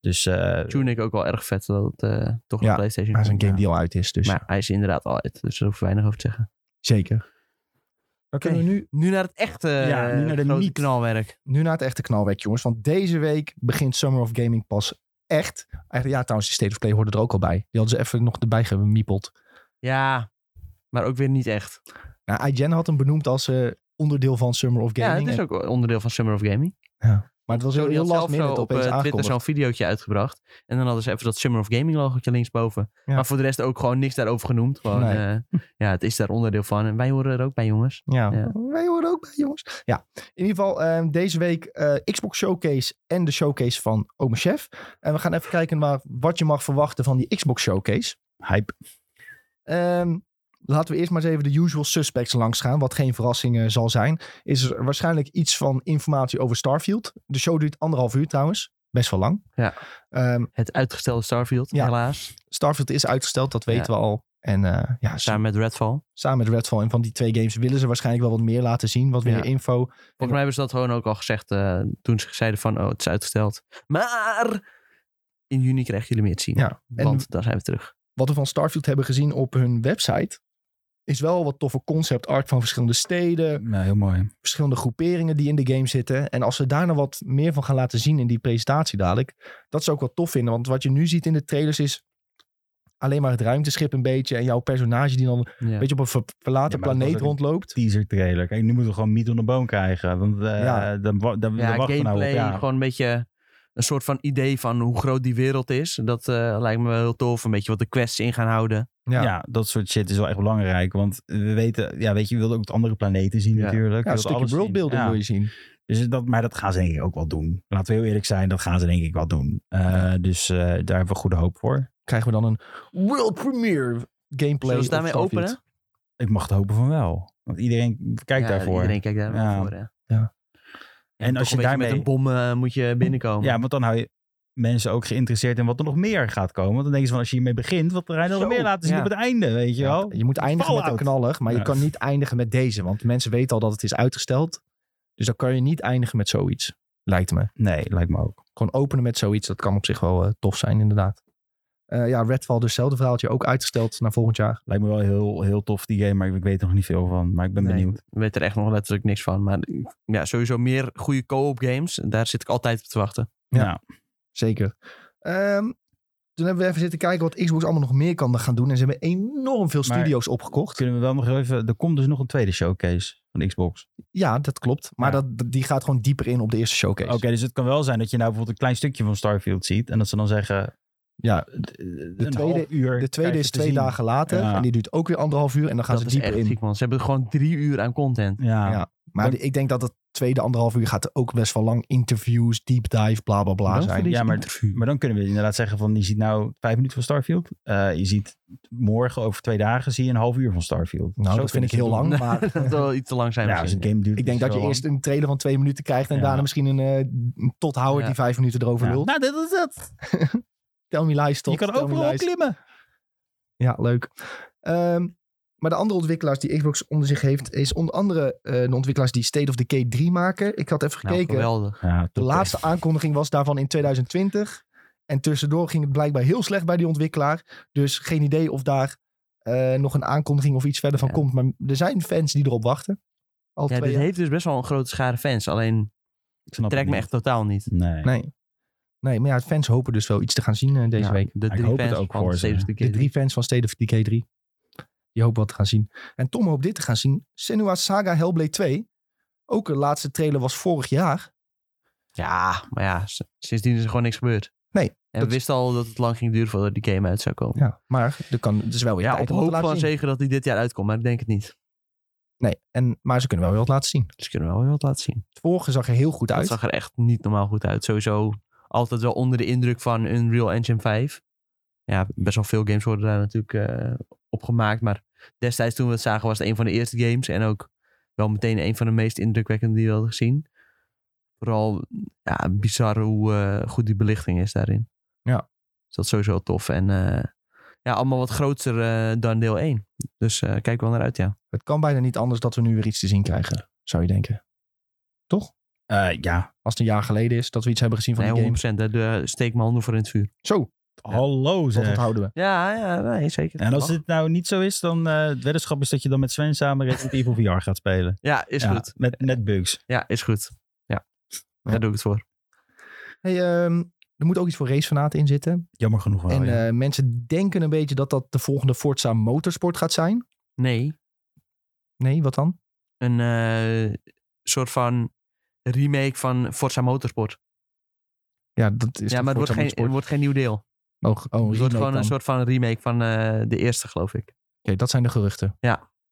[SPEAKER 3] Dus eh,
[SPEAKER 2] Tunic ook wel erg vet dat het eh, toch
[SPEAKER 1] Ja,
[SPEAKER 2] een PlayStation
[SPEAKER 1] Maar het is een game
[SPEAKER 2] komt.
[SPEAKER 1] die al uit is, dus
[SPEAKER 2] Ja. Maar hij is inderdaad al uit, dus daar hoef ik weinig over te zeggen.
[SPEAKER 1] zeker. Dan kunnen we nu,
[SPEAKER 2] Nu naar het echte
[SPEAKER 3] Ja, nu naar de
[SPEAKER 2] grote
[SPEAKER 3] niet-
[SPEAKER 2] knalwerk.
[SPEAKER 1] nu naar het echte knalwerk, jongens. Want deze week begint Summer of Gaming pas echt. Eigenlijk, ja, trouwens, die State of Play hoorde er ook al bij. Die hadden ze even nog erbij gemiepeld.
[SPEAKER 2] Ja, maar ook weer niet echt.
[SPEAKER 1] Ja, Nou, IGN had hem benoemd als eh, onderdeel van Summer of Gaming.
[SPEAKER 2] ja, het is
[SPEAKER 1] En-
[SPEAKER 2] ook onderdeel van Summer of Gaming.
[SPEAKER 1] maar het was heel,
[SPEAKER 2] Sony
[SPEAKER 1] heel
[SPEAKER 2] had
[SPEAKER 1] last
[SPEAKER 2] zelf zo
[SPEAKER 1] minute
[SPEAKER 2] op
[SPEAKER 1] opeens
[SPEAKER 2] eh, Twitter
[SPEAKER 1] aangekondigd.
[SPEAKER 2] zo'n videootje uitgebracht. En dan hadden ze even dat Summer of Gaming logotje linksboven.
[SPEAKER 1] Ja.
[SPEAKER 2] Maar voor de rest ook gewoon niks daarover genoemd. Gewoon,
[SPEAKER 1] Nee. <laughs>
[SPEAKER 2] eh, ja, het is daar onderdeel van. En wij horen er ook bij, jongens.
[SPEAKER 1] Ja.
[SPEAKER 2] Ja.
[SPEAKER 1] wij horen ook bij, jongens. Ja, in ieder geval ehm, deze week eh, Xbox Showcase en de showcase van Ome Chef. En we gaan even kijken naar wat je mag verwachten van die Xbox Showcase.
[SPEAKER 3] hype.
[SPEAKER 1] Ehm, laten we eerst maar eens even de usual suspects langs gaan, wat geen verrassing eh, zal zijn. Is er waarschijnlijk iets van informatie over Starfield. De show duurt anderhalf uur trouwens, best wel lang.
[SPEAKER 2] Ja.
[SPEAKER 1] Ehm,
[SPEAKER 2] Het uitgestelde Starfield,
[SPEAKER 1] Ja.
[SPEAKER 2] helaas.
[SPEAKER 1] Starfield is uitgesteld, dat weten we al. En eh, ja,
[SPEAKER 2] Samen met Redfall.
[SPEAKER 1] samen met Redfall en van die twee games willen ze waarschijnlijk wel wat meer laten zien, wat meer
[SPEAKER 2] Ja.
[SPEAKER 1] info.
[SPEAKER 2] Volgens mij hebben ze dat gewoon ook al gezegd eh, toen ze zeiden van, oh, het is uitgesteld. Maar in juni krijgen jullie meer te zien.
[SPEAKER 1] Ja, en-
[SPEAKER 2] want dan zijn we terug.
[SPEAKER 1] wat we van Starfield hebben gezien op hun website. Is wel wat toffe concept art van verschillende steden.
[SPEAKER 3] Ja, heel mooi.
[SPEAKER 1] Verschillende groeperingen die in de game zitten. En als we daar nou wat meer van gaan laten zien in die presentatie dadelijk. Dat zou ik wel tof vinden. Want wat je nu ziet in de trailers is alleen maar het ruimteschip een beetje. En jouw personage die dan een
[SPEAKER 2] Ja.
[SPEAKER 1] beetje op een ver- verlaten
[SPEAKER 3] Ja, maar dat was
[SPEAKER 1] planeet
[SPEAKER 3] ook een-
[SPEAKER 1] rondloopt.
[SPEAKER 3] Teaser trailer. Kijk, nu moeten we gewoon meat on de bone krijgen. Want eh
[SPEAKER 1] Ja.
[SPEAKER 3] dan, wa- dan,
[SPEAKER 2] Ja,
[SPEAKER 3] dan wachten we nou op.
[SPEAKER 2] gameplay,
[SPEAKER 3] Ja.
[SPEAKER 2] gewoon een beetje een soort van idee van hoe groot die wereld is. Dat eh, lijkt me wel heel tof. Een beetje wat de quests in gaan houden.
[SPEAKER 1] Ja.
[SPEAKER 3] Ja. dat soort shit is wel echt belangrijk. Want we weten, ja, weet je, je wilt ook de andere planeten zien
[SPEAKER 2] Ja.
[SPEAKER 3] natuurlijk.
[SPEAKER 1] Ja,
[SPEAKER 3] Je
[SPEAKER 1] een
[SPEAKER 3] wilt
[SPEAKER 1] stukje
[SPEAKER 3] alles zien.
[SPEAKER 1] worldbuilding
[SPEAKER 3] Ja.
[SPEAKER 1] wil je zien.
[SPEAKER 3] Dus dat, maar dat gaan ze denk ik ook wel doen. Laten we heel eerlijk zijn, dat gaan ze denk ik wel doen. Eh, dus eh, daar hebben we goede hoop voor.
[SPEAKER 1] Krijgen we dan een world premiere gameplay.
[SPEAKER 2] Zullen
[SPEAKER 1] of
[SPEAKER 2] ze daarmee
[SPEAKER 1] Starfield.
[SPEAKER 2] openen?
[SPEAKER 3] Ik mag het hopen van wel. Want iedereen kijkt
[SPEAKER 2] Ja,
[SPEAKER 3] daarvoor.
[SPEAKER 2] Iedereen kijkt daarvoor.
[SPEAKER 3] Ja.
[SPEAKER 2] Ja.
[SPEAKER 1] Ja.
[SPEAKER 2] En als je daarmee... Met een bom eh, moet je binnenkomen.
[SPEAKER 3] Ja, want dan hou je mensen ook geïnteresseerd in wat er nog meer gaat komen. Want dan denken ze van, als je hiermee begint, wat ga je dan nog
[SPEAKER 2] Zo,
[SPEAKER 3] meer laten zien
[SPEAKER 2] ja.
[SPEAKER 3] op het einde, weet je
[SPEAKER 1] Ja,
[SPEAKER 3] wel?
[SPEAKER 1] je moet eindigen met
[SPEAKER 3] Fallout.
[SPEAKER 1] een knallig, maar je
[SPEAKER 3] Ja.
[SPEAKER 1] kan niet eindigen met deze. Want mensen weten al dat het is uitgesteld. Dus dan kan je niet eindigen met zoiets. Lijkt me.
[SPEAKER 3] Nee, lijkt me ook.
[SPEAKER 1] Gewoon openen met zoiets, dat kan op zich wel eh, tof zijn inderdaad. Eh, ja, Redfall, dus hetzelfde verhaaltje, ook uitgesteld naar volgend jaar.
[SPEAKER 3] Lijkt me wel heel, heel tof die game, maar ik weet er nog niet veel van. Maar ik ben
[SPEAKER 2] Nee,
[SPEAKER 3] benieuwd.
[SPEAKER 2] Ik weet er echt nog letterlijk niks van. Maar ja, sowieso meer goede co-op games. Daar zit ik altijd op te wachten.
[SPEAKER 1] Ja.
[SPEAKER 3] Nou,
[SPEAKER 1] Zeker. Ehm, toen hebben we even zitten kijken wat Xbox allemaal nog meer kan gaan doen. En ze hebben enorm veel
[SPEAKER 3] Maar-
[SPEAKER 1] studio's opgekocht.
[SPEAKER 3] kunnen we wel nog even... Er komt dus nog een tweede showcase van Xbox.
[SPEAKER 1] Ja, dat klopt. Maar
[SPEAKER 3] Ja.
[SPEAKER 1] dat, die gaat gewoon dieper in op de eerste showcase.
[SPEAKER 3] Oké, dus het kan wel zijn dat je nou bijvoorbeeld een klein stukje van Starfield ziet. En dat ze dan zeggen,
[SPEAKER 1] ja, de,
[SPEAKER 3] De
[SPEAKER 1] tweede,
[SPEAKER 3] tweede uur.
[SPEAKER 1] de
[SPEAKER 3] krijg
[SPEAKER 1] tweede
[SPEAKER 3] je
[SPEAKER 1] is
[SPEAKER 3] te
[SPEAKER 1] twee
[SPEAKER 3] zien.
[SPEAKER 1] dagen later.
[SPEAKER 3] Ja.
[SPEAKER 1] En die duurt ook weer anderhalf uur. En dan gaan
[SPEAKER 2] dat
[SPEAKER 1] ze
[SPEAKER 2] is
[SPEAKER 1] dieper
[SPEAKER 2] echt
[SPEAKER 1] in.
[SPEAKER 2] ziek, man. Ze hebben gewoon drie uur aan content.
[SPEAKER 3] Ja.
[SPEAKER 1] Ja. Maar die- ik denk dat het tweede anderhalf uur gaat er ook best wel lang. Interviews, deep dive, bla bla bla
[SPEAKER 2] Bedankt
[SPEAKER 1] zijn.
[SPEAKER 2] voor deze
[SPEAKER 3] Ja, maar-
[SPEAKER 2] interview.
[SPEAKER 3] Maar dan kunnen we inderdaad zeggen van, je ziet nou vijf minuten van Starfield. Eh, je ziet morgen, over twee dagen, zie je een half uur van Starfield.
[SPEAKER 1] Nou,
[SPEAKER 3] Zo
[SPEAKER 1] dat vind
[SPEAKER 3] kunnen
[SPEAKER 1] ik
[SPEAKER 3] ze
[SPEAKER 1] heel
[SPEAKER 3] het doen.
[SPEAKER 1] lang. Maar
[SPEAKER 2] <laughs> dat zal wel iets te lang zijn.
[SPEAKER 3] Ja, als
[SPEAKER 2] misschien.
[SPEAKER 3] een game duurt dus
[SPEAKER 1] ik denk dat je
[SPEAKER 3] zo
[SPEAKER 1] eerst een trailer van twee minuten krijgt. En
[SPEAKER 3] Ja.
[SPEAKER 1] daarna misschien een eh tothouder
[SPEAKER 2] Ja.
[SPEAKER 1] die vijf minuten erover
[SPEAKER 3] lang. Ja.
[SPEAKER 1] lult.
[SPEAKER 3] Nou, dat is het.
[SPEAKER 1] Tel me lies, tot.
[SPEAKER 3] je kan
[SPEAKER 1] tell me
[SPEAKER 3] overal
[SPEAKER 1] lies.
[SPEAKER 3] klimmen.
[SPEAKER 1] Ja, leuk. Ehm, maar de andere ontwikkelaars die Xbox onder zich heeft, is onder andere eh, de ontwikkelaars die State of Decay 3 maken. Ik had even
[SPEAKER 2] Nou,
[SPEAKER 1] gekeken.
[SPEAKER 2] geweldig.
[SPEAKER 3] Ja,
[SPEAKER 1] de laatste aankondiging was daarvan in 2020. En tussendoor ging het blijkbaar heel slecht bij die ontwikkelaar. Dus geen idee of daar eh, nog een aankondiging of iets verder van
[SPEAKER 2] Ja.
[SPEAKER 1] komt. Maar er zijn fans die erop wachten. Al
[SPEAKER 2] Ja,
[SPEAKER 1] twee
[SPEAKER 2] dit
[SPEAKER 1] jaar.
[SPEAKER 2] heeft dus best wel een grote schare fans. Alleen trekt me echt totaal niet.
[SPEAKER 3] Nee.
[SPEAKER 1] Nee. nee, maar ja, fans hopen dus wel iets te gaan zien eh, deze
[SPEAKER 2] Ja,
[SPEAKER 1] week.
[SPEAKER 2] De
[SPEAKER 3] Ik
[SPEAKER 2] drie
[SPEAKER 3] hoop het
[SPEAKER 2] fans
[SPEAKER 3] ook
[SPEAKER 2] van
[SPEAKER 3] voor ze.
[SPEAKER 2] State of Decay
[SPEAKER 1] De drie fans van State of Decay 3. Die hopen wat te gaan zien. En Tom hoopt dit te gaan zien. Senua Saga Hellblade 2. Ook de laatste trailer was vorig jaar.
[SPEAKER 2] Ja, maar ja, s- sindsdien is er gewoon niks gebeurd.
[SPEAKER 1] Nee,
[SPEAKER 2] En
[SPEAKER 1] dat-
[SPEAKER 2] we wisten al dat het lang ging duren voordat die game uit zou komen.
[SPEAKER 1] Ja, maar er kan, het is wel weer
[SPEAKER 2] Ja,
[SPEAKER 1] tijd
[SPEAKER 2] op
[SPEAKER 1] om het te
[SPEAKER 2] hoop
[SPEAKER 1] laten
[SPEAKER 2] van
[SPEAKER 1] zien.
[SPEAKER 2] zeker dat die dit jaar uitkomt, maar ik denk het niet.
[SPEAKER 1] Nee, en, maar ze kunnen wel weer wat laten zien.
[SPEAKER 2] Dus kunnen we wel weer wat laten zien.
[SPEAKER 1] Het vorige zag er heel goed
[SPEAKER 2] Het
[SPEAKER 1] uit.
[SPEAKER 2] zag er echt niet normaal goed uit. Sowieso altijd wel onder de indruk van Unreal Engine 5. Ja, best wel veel games worden daar natuurlijk eh, op gemaakt. Maar destijds toen we het zagen was het een van de eerste games. En ook wel meteen een van de meest indrukwekkende die we hadden gezien. Vooral ja, bizar hoe eh, goed die belichting is daarin.
[SPEAKER 1] Ja.
[SPEAKER 2] Dus dat is sowieso tof. En eh, ja, allemaal wat groter eh, dan deel 1. Dus eh, kijk wel naar uit, ja.
[SPEAKER 1] Het kan bijna niet anders dat we nu weer iets te zien krijgen, zou je denken.
[SPEAKER 3] Eh, ja.
[SPEAKER 1] Als het een jaar geleden is dat we iets hebben gezien van
[SPEAKER 2] Nee,
[SPEAKER 1] die
[SPEAKER 2] 100%.
[SPEAKER 1] game.
[SPEAKER 2] Daar daar steek mijn handen voor in het vuur.
[SPEAKER 1] Zo,
[SPEAKER 3] Hallo
[SPEAKER 1] dat
[SPEAKER 3] zeg.
[SPEAKER 1] onthouden we.
[SPEAKER 2] Ja, ja nee, zeker.
[SPEAKER 3] En als
[SPEAKER 2] Mag.
[SPEAKER 3] dit nou niet zo is, dan eh het weddenschap is dat je dan met Sven samen Resident Evil VR gaat spelen.
[SPEAKER 2] Ja, is
[SPEAKER 3] Ja,
[SPEAKER 2] goed.
[SPEAKER 3] Met, met bugs.
[SPEAKER 2] Ja, is goed. Ja, daar
[SPEAKER 1] Ja.
[SPEAKER 2] doe ik het voor.
[SPEAKER 1] Hey, ehm, er moet ook iets voor racefanaten in zitten.
[SPEAKER 3] Jammer genoeg wel.
[SPEAKER 2] Oh,
[SPEAKER 1] en
[SPEAKER 3] ja.
[SPEAKER 1] eh, mensen denken een beetje dat dat de volgende Forza Motorsport gaat zijn.
[SPEAKER 2] Nee,
[SPEAKER 1] Nee, wat dan?
[SPEAKER 2] een eh, soort van remake van Forza Motorsport.
[SPEAKER 1] Ja, dat is
[SPEAKER 2] ja,
[SPEAKER 1] toch
[SPEAKER 2] maar het wordt,
[SPEAKER 1] Forza
[SPEAKER 2] geen,
[SPEAKER 1] Motorsport?
[SPEAKER 2] het wordt geen nieuw deel.
[SPEAKER 1] Oh, g- oh
[SPEAKER 2] het
[SPEAKER 1] remake
[SPEAKER 2] wordt gewoon
[SPEAKER 1] dan.
[SPEAKER 2] een soort van remake van eh, de eerste, geloof ik.
[SPEAKER 1] Oké, dat zijn de geruchten.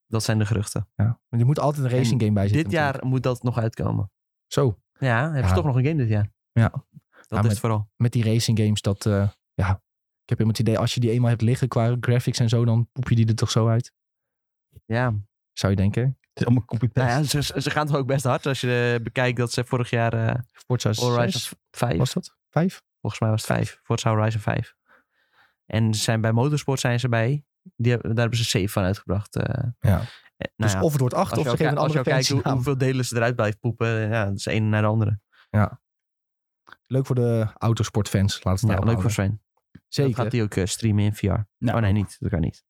[SPEAKER 2] Dat zijn de geruchten.
[SPEAKER 1] Ja. Want je moet altijd een racing game bij zitten.
[SPEAKER 2] dit jaar moet dat nog uitkomen.
[SPEAKER 1] natuurlijk. Zo,
[SPEAKER 2] Ja, hebben
[SPEAKER 1] Ja.
[SPEAKER 2] ze toch nog een game dit jaar?
[SPEAKER 1] Ja.
[SPEAKER 2] Dat
[SPEAKER 1] maar
[SPEAKER 2] is
[SPEAKER 1] met-
[SPEAKER 2] het vooral.
[SPEAKER 1] met die racing games, dat... eh, ja, ik heb helemaal het idee, als je die eenmaal hebt liggen qua graphics en zo, dan poep je die er toch zo uit.
[SPEAKER 2] Ja.
[SPEAKER 1] Zou je denken?
[SPEAKER 3] Het is allemaal copy-paste.
[SPEAKER 2] Nou ja, ze, ze gaan toch ook best hard als je eh, bekijkt dat ze vorig jaar eh
[SPEAKER 1] Forza 6
[SPEAKER 2] Horizon 5
[SPEAKER 1] was dat? Vijf?
[SPEAKER 2] Volgens mij was het 5. Forza Horizon 5. En ze zijn bij Motorsport zijn ze bij. Die hebben, daar hebben ze 7 van uitgebracht. eh.
[SPEAKER 1] Ja.
[SPEAKER 2] Eh, nou
[SPEAKER 1] dus
[SPEAKER 2] ja,
[SPEAKER 1] of het wordt
[SPEAKER 2] als
[SPEAKER 1] acht,
[SPEAKER 2] je
[SPEAKER 1] of ze
[SPEAKER 2] al
[SPEAKER 1] geven
[SPEAKER 2] ki-
[SPEAKER 1] een
[SPEAKER 2] als je al
[SPEAKER 1] andere
[SPEAKER 2] kijkt
[SPEAKER 1] fancy
[SPEAKER 2] hoe,
[SPEAKER 1] naam.
[SPEAKER 2] hoeveel delen ze eruit blijven poepen. eh, Ja, dat is de ene naar de andere.
[SPEAKER 1] Leuk voor de autosportfans, laat het
[SPEAKER 2] Ja,
[SPEAKER 1] daarop
[SPEAKER 2] leuk voor
[SPEAKER 1] houden.
[SPEAKER 2] Sven. Dat
[SPEAKER 1] Nou, Zeker. Nou.
[SPEAKER 2] gaat hij ook eh, streamen in VR. Oh nee, niet. Dat kan niet.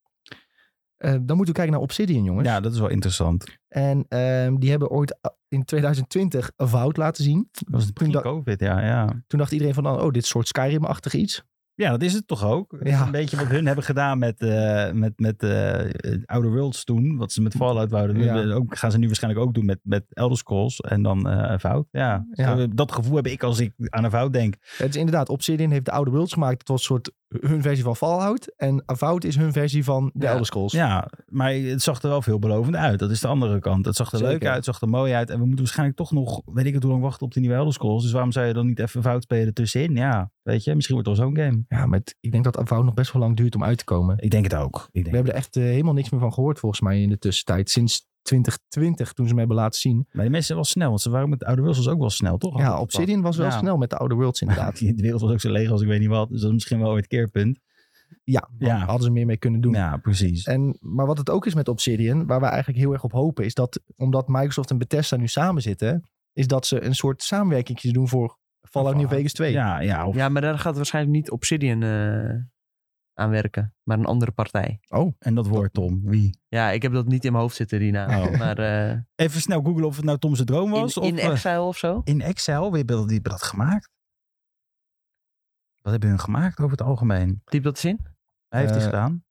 [SPEAKER 1] Eh, dan moeten we kijken naar Obsidian, jongens.
[SPEAKER 3] Ja, dat is wel interessant.
[SPEAKER 1] En ehm, die hebben ooit a- in 2020 een woud laten zien.
[SPEAKER 3] Dat was het
[SPEAKER 1] Toen dat-
[SPEAKER 3] pre-covid, ja, ja.
[SPEAKER 1] Toen dacht iedereen van, oh, dit is een soort Skyrim-achtig iets.
[SPEAKER 3] Ja, dat is het toch ook. Het is
[SPEAKER 1] Ja.
[SPEAKER 3] Een beetje wat hun hebben gedaan met, eh, met, met eh, Outer Worlds toen. Wat ze met Fallout wouden doen.
[SPEAKER 1] Ja.
[SPEAKER 3] Dat Ook, gaan ze nu waarschijnlijk ook doen met, met Elder Scrolls en dan eh Fout. Ja.
[SPEAKER 1] Ja.
[SPEAKER 3] Zo, Dat gevoel heb ik als ik aan een Fout denk.
[SPEAKER 1] Het is inderdaad, Obsidian heeft de oude Worlds gemaakt. Het was een soort eh, hun versie van Fallout. En Avowed is hun versie van de
[SPEAKER 2] Ja.
[SPEAKER 1] Elder Scrolls.
[SPEAKER 3] Ja, maar het zag er wel veelbelovend uit. Dat is de andere kant. Het zag er
[SPEAKER 1] Zeker.
[SPEAKER 3] leuk uit, het zag er mooi uit. En we moeten waarschijnlijk toch nog, weet ik het hoe lang, wachten op die nieuwe Elder Scrolls. Dus waarom zou je dan niet even Fout spelen tussenin? Ja, weet je, misschien wordt het wel zo'n game.
[SPEAKER 1] Ja, met, ik denk dat Avowed nog best wel lang duurt om uit te komen.
[SPEAKER 3] Ik denk het ook. Ik
[SPEAKER 1] We
[SPEAKER 3] denk.
[SPEAKER 1] hebben er echt eh, helemaal niks meer van gehoord, volgens mij, in de tussentijd. Sinds 2020, toen ze hem hebben laten zien.
[SPEAKER 3] Maar die mensen zijn wel snel, want ze waren met Outer Worlds ook wel snel, toch?
[SPEAKER 1] Ja, Obsidian was wel
[SPEAKER 3] Ja.
[SPEAKER 1] snel met de oude Worlds,
[SPEAKER 3] <laughs>
[SPEAKER 1] inderdaad.
[SPEAKER 3] Die- De wereld was ook zo leeg als ik weet niet wat. Dus dat is misschien wel ooit keerpunt.
[SPEAKER 1] Ja,
[SPEAKER 3] Ja.
[SPEAKER 1] daar hadden ze meer mee kunnen doen. Eh,
[SPEAKER 3] Ja, precies.
[SPEAKER 1] En, maar wat het ook is met Obsidian, waar we eigenlijk heel erg op hopen, is dat omdat Microsoft en Bethesda nu samen zitten, is dat ze een soort samenwerking doen voor Fallout New Vegas 2.
[SPEAKER 3] Ja, ja, of-
[SPEAKER 2] Ja, maar daar gaat waarschijnlijk niet Obsidian eh, aan werken. Maar een andere partij.
[SPEAKER 1] Oh,
[SPEAKER 3] en dat wordt Tom. Wie?
[SPEAKER 2] Ja, ik heb dat niet in mijn hoofd zitten, die naam.
[SPEAKER 3] Oh.
[SPEAKER 2] Maar eh,
[SPEAKER 3] Even snel googlen of het nou Tom's droom was.
[SPEAKER 2] in,
[SPEAKER 3] of,
[SPEAKER 2] in
[SPEAKER 3] eh,
[SPEAKER 2] Exile of zo?
[SPEAKER 3] in Excel? Wie hebben dat, wie hebben dat gemaakt? Wat hebben hun gemaakt over het algemeen?
[SPEAKER 2] Diep dat eens in?
[SPEAKER 3] Hij heeft die
[SPEAKER 1] Eh,
[SPEAKER 3] gedaan.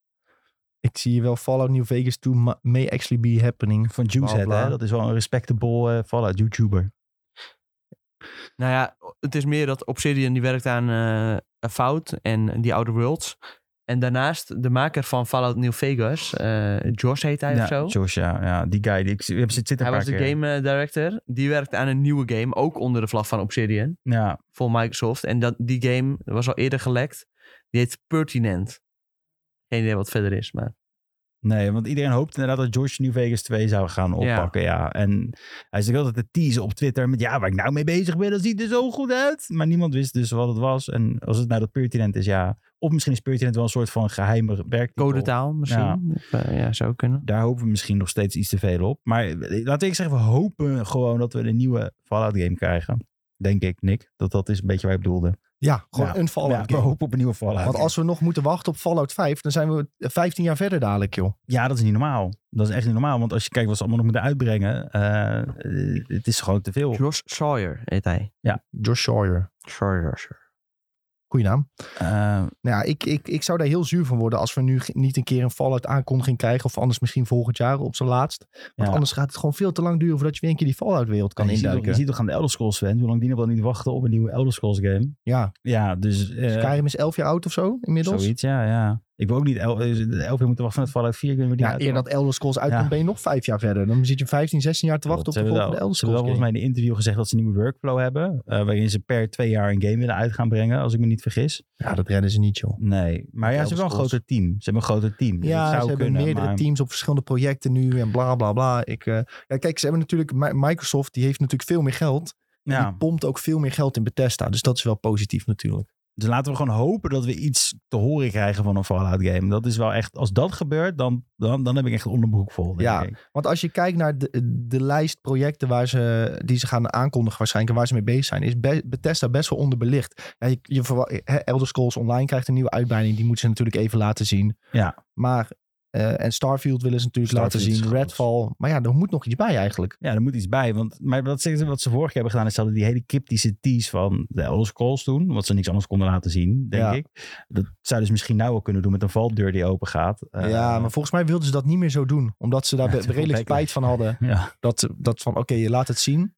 [SPEAKER 1] ik zie hier wel Fallout New Vegas 2 ma- may actually be happening.
[SPEAKER 3] Van Juicehead,
[SPEAKER 1] bla, bla.
[SPEAKER 3] hè? Dat is wel een respectable eh Fallout YouTuber.
[SPEAKER 2] Nou ja, het is meer dat Obsidian die werkt aan eh, eh, Fout en die Outer Worlds. En daarnaast de maker van Fallout New Vegas, eh Josh heet hij
[SPEAKER 3] ja,
[SPEAKER 2] of zo.
[SPEAKER 3] Josh, ja, ja, die guy. Die, ik, ik heb- zit, zit een
[SPEAKER 2] Hij
[SPEAKER 3] paar
[SPEAKER 2] was de
[SPEAKER 3] keer.
[SPEAKER 2] game eh, director. Die werkte aan een nieuwe game, ook onder de vlag van Obsidian,
[SPEAKER 3] Ja,
[SPEAKER 2] voor Microsoft. En dat, die game was al eerder gelekt. Die heet Pertinent. Geen idee wat verder is, maar...
[SPEAKER 3] nee, want iedereen hoopt inderdaad dat Josh New Vegas 2 zou gaan oppakken. Ja. En hij zit ook altijd te teasen op Twitter met ja, waar ik nou mee bezig ben, dat ziet er zo goed uit. Maar niemand wist dus wat het was. En als het nou dat pertinent is, ja. Of misschien is pertinent wel een soort van geheime werktitel.
[SPEAKER 2] Codetaal misschien.
[SPEAKER 3] Ja.
[SPEAKER 2] Of, eh, ja, zou kunnen.
[SPEAKER 3] daar hopen we misschien nog steeds iets te veel op. Maar eh, laten we zeggen, we hopen gewoon dat we een nieuwe Fallout game krijgen. Denk ik, Nick. Dat dat is een beetje waar ik bedoelde.
[SPEAKER 1] Ja, gewoon
[SPEAKER 3] Ja.
[SPEAKER 1] een Fallout
[SPEAKER 3] ja, we
[SPEAKER 1] game.
[SPEAKER 3] hopen op een nieuwe Fallout.
[SPEAKER 1] Want als we nog moeten wachten op Fallout 5, dan zijn we 15 jaar verder dadelijk, joh.
[SPEAKER 3] Ja, dat is niet normaal. Dat is echt niet normaal. Want als je kijkt wat ze allemaal nog moeten uitbrengen. eh, eh, het is gewoon te veel.
[SPEAKER 2] Josh Sawyer heet hij.
[SPEAKER 1] Josh Sawyer.
[SPEAKER 2] Sawyer. Sawyer.
[SPEAKER 1] Goeie naam.
[SPEAKER 3] Eh,
[SPEAKER 1] Nou ja, ik, ik, ik zou daar heel zuur van worden als we nu ge- niet een keer een Fallout aankondiging krijgen. Of anders misschien volgend jaar op zijn laatst. Want
[SPEAKER 3] Ja.
[SPEAKER 1] anders gaat het gewoon veel te lang duren voordat je weer een keer die Fallout wereld kan
[SPEAKER 3] je, ziet toch, je
[SPEAKER 1] induiken.
[SPEAKER 3] ziet toch aan de Elder Scrolls fans. Hoe lang die nog wel niet wachten op een nieuwe Elder Scrolls game.
[SPEAKER 1] Ja,
[SPEAKER 3] Ja, dus... eh,
[SPEAKER 1] Skyrim is 11 jaar oud of zo inmiddels.
[SPEAKER 3] zoiets, ja, ja. Ik wil ook niet el- eh, elf jaar moeten wachten met Fallout 4. Ik weet niet wanneer die
[SPEAKER 1] Ja, eer
[SPEAKER 3] uitkomt.
[SPEAKER 1] dat Elder Scrolls uitkomt
[SPEAKER 3] Ja.
[SPEAKER 1] ben je nog vijf jaar verder. Dan zit je 15, 16 jaar te wachten
[SPEAKER 3] Klopt,
[SPEAKER 1] op de
[SPEAKER 3] ze hebben
[SPEAKER 1] volgende Elder
[SPEAKER 3] wel- Ze hebben
[SPEAKER 1] Scrolls
[SPEAKER 3] wel volgens
[SPEAKER 1] game.
[SPEAKER 3] mij in de interview gezegd dat ze een nieuwe workflow hebben. eh, waarin ze per twee jaar een game willen uit gaan brengen, als ik me niet vergis.
[SPEAKER 1] Ja, dat redden ze niet, joh.
[SPEAKER 3] Nee, maar ja, ze
[SPEAKER 1] Elder
[SPEAKER 3] hebben wel een
[SPEAKER 1] Scrolls.
[SPEAKER 3] groter team. Ze hebben een groter team. Dus
[SPEAKER 1] Ja,
[SPEAKER 3] het
[SPEAKER 1] ze
[SPEAKER 3] zou
[SPEAKER 1] hebben
[SPEAKER 3] kunnen,
[SPEAKER 1] meerdere
[SPEAKER 3] maar-
[SPEAKER 1] teams op verschillende projecten nu en bla bla bla. Ik, eh, ja, kijk, ze hebben natuurlijk, Mi- Microsoft die heeft natuurlijk veel meer geld. En
[SPEAKER 3] Ja,
[SPEAKER 1] Die pompt ook veel meer geld in Bethesda. Dus dat is wel positief natuurlijk.
[SPEAKER 3] dus laten we gewoon hopen dat we iets te horen krijgen van een Fallout game. Dat is wel echt, als dat gebeurt, dan, dan, dan heb ik echt een onderbroek vol. denk
[SPEAKER 1] Ja.
[SPEAKER 3] ik.
[SPEAKER 1] Want als je kijkt naar de, de lijst projecten waar ze, die ze gaan aankondigen waarschijnlijk... en waar ze mee bezig zijn, is Be- Bethesda best wel onderbelicht. Ja, je, je verwa- hè, Elder Scrolls Online krijgt een nieuwe uitbreiding. Die moeten ze natuurlijk even laten zien.
[SPEAKER 3] Ja.
[SPEAKER 1] Maar, eh, en Starfield willen ze natuurlijk
[SPEAKER 3] Starfield is
[SPEAKER 1] laten zien.
[SPEAKER 3] groot.
[SPEAKER 1] Redfall. Maar ja, er moet nog iets bij eigenlijk.
[SPEAKER 3] ja, er moet iets bij. Want, maar wat ze, wat ze vorig jaar hebben gedaan, is ze hadden die hele cryptische tease van de Elder Scrolls toen. Wat ze niks anders konden laten zien, denk
[SPEAKER 1] Ja.
[SPEAKER 3] ik. Dat zouden ze misschien nou wel kunnen doen met een valdeur die open gaat. Eh,
[SPEAKER 1] ja, maar volgens mij wilden ze dat niet meer zo doen. Omdat ze daar
[SPEAKER 3] Ja,
[SPEAKER 1] be-
[SPEAKER 3] te veel
[SPEAKER 1] redelijk
[SPEAKER 3] backlash.
[SPEAKER 1] spijt van hadden.
[SPEAKER 3] ja.
[SPEAKER 1] Dat, dat van, oké, je laat het zien.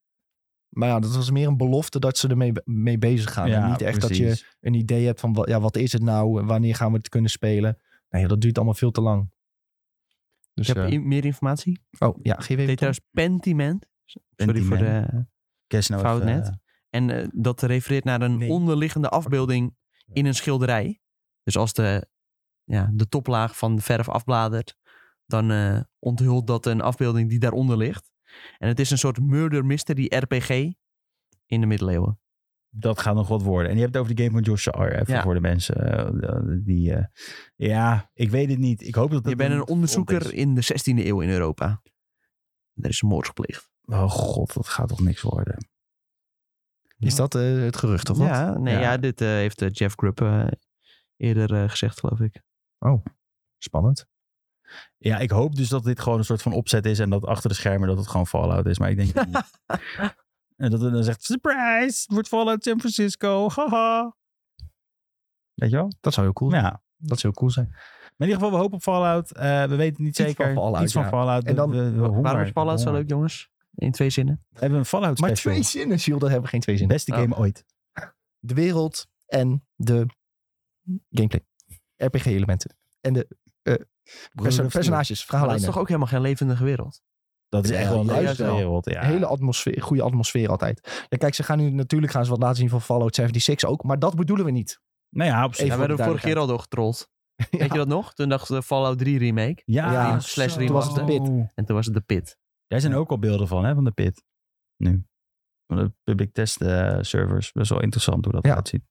[SPEAKER 1] Maar ja, dat was meer een belofte dat ze ermee mee bezig gaan. En Nou, niet echt dat je
[SPEAKER 3] precies.
[SPEAKER 1] een idee hebt van, wa- ja, wat is het nou? En Wanneer gaan we het kunnen spelen? Nee, dat duurt allemaal veel te lang. Dus,
[SPEAKER 2] Ik heb
[SPEAKER 1] eh,
[SPEAKER 2] i- meer informatie.
[SPEAKER 1] oh, ja, geef
[SPEAKER 2] Het
[SPEAKER 1] even terug.
[SPEAKER 2] heet trouwens Pentiment. Sorry voor
[SPEAKER 3] Pentiment.
[SPEAKER 2] de...
[SPEAKER 3] Kerst nou
[SPEAKER 2] fout
[SPEAKER 3] even,
[SPEAKER 2] net.
[SPEAKER 3] eh,
[SPEAKER 2] En eh, dat refereert naar een
[SPEAKER 1] Nee.
[SPEAKER 2] onderliggende afbeelding in een schilderij. Dus als de, ja, de toplaag van de verf afbladert, dan eh, onthult dat een afbeelding die daaronder ligt. En het is een soort murder mystery RPG in de middeleeuwen.
[SPEAKER 3] dat gaat nog wat worden. En je hebt het over de game van Josh R. Even
[SPEAKER 2] Ja.
[SPEAKER 3] voor de mensen eh, die... eh, ja, ik weet het niet. Ik hoop dat
[SPEAKER 2] Je
[SPEAKER 3] dat
[SPEAKER 2] bent een
[SPEAKER 3] niet
[SPEAKER 2] onderzoeker
[SPEAKER 3] rond is.
[SPEAKER 2] in de 16e eeuw in Europa. Er is een moord gepleegd.
[SPEAKER 3] Oh god, dat gaat toch niks worden.
[SPEAKER 1] Is dat eh, het gerucht of wat?
[SPEAKER 2] Ja, nee,
[SPEAKER 3] Ja.
[SPEAKER 2] ja. dit eh, heeft eh, Jeff Grubb eh, eerder eh, gezegd, geloof ik.
[SPEAKER 1] Spannend.
[SPEAKER 3] Ja, ik hoop dus dat dit gewoon een soort van opzet is en dat achter de schermen dat het gewoon Fallout is. Maar ik denk het niet. En dat het dan zegt, surprise, het wordt Fallout San Francisco, haha. Weet je wel?
[SPEAKER 1] Dat zou heel cool zijn.
[SPEAKER 3] Ja.
[SPEAKER 1] Dat zou heel cool zijn.
[SPEAKER 3] Maar in ieder geval, we hopen op Fallout. Eh, we weten het niet
[SPEAKER 1] Iets
[SPEAKER 3] zeker.
[SPEAKER 1] van Fallout,
[SPEAKER 3] Iets van
[SPEAKER 1] ja.
[SPEAKER 3] Fallout.
[SPEAKER 1] En dan-
[SPEAKER 3] We- we- we- honger.
[SPEAKER 2] Waarom is Fallout zo leuk, jongens? In twee zinnen.
[SPEAKER 3] We hebben een Fallout
[SPEAKER 1] Maar
[SPEAKER 3] special.
[SPEAKER 1] twee zinnen, Jules, daar hebben we geen twee zinnen.
[SPEAKER 3] Beste
[SPEAKER 2] Oh.
[SPEAKER 3] game ooit.
[SPEAKER 1] De wereld en de gameplay. RPG-elementen. En de eh, perso- personages,
[SPEAKER 2] Maar dat is
[SPEAKER 1] verhaallijnen.
[SPEAKER 2] toch ook helemaal geen levendige wereld?
[SPEAKER 3] Dat is
[SPEAKER 1] Ja,
[SPEAKER 3] echt wel een
[SPEAKER 1] juist
[SPEAKER 3] leuke
[SPEAKER 1] wel.
[SPEAKER 3] wereld. Ja.
[SPEAKER 1] Hele atmosfeer, goede atmosfeer altijd. Ja, kijk, ze gaan nu natuurlijk gaan ze wat laten zien van Fallout 76 ook, maar dat bedoelen we niet.
[SPEAKER 3] Nou ja, absoluut.
[SPEAKER 1] Even
[SPEAKER 2] ja, we
[SPEAKER 1] voor
[SPEAKER 2] werden
[SPEAKER 1] de
[SPEAKER 2] vorige keer al doorgetrold.
[SPEAKER 1] <laughs>
[SPEAKER 2] Weet je dat nog? Toen dacht de Fallout 3 remake.
[SPEAKER 3] Ja,
[SPEAKER 1] Ja,
[SPEAKER 2] slash
[SPEAKER 3] zo.
[SPEAKER 1] Toen
[SPEAKER 2] remaster.
[SPEAKER 1] was het de
[SPEAKER 2] En toen was het de pit.
[SPEAKER 3] Daar zijn ook al beelden van, hè, van de pit. Nu. Van de public test eh, servers. Best wel interessant hoe dat
[SPEAKER 1] Ja.
[SPEAKER 3] eruit ziet.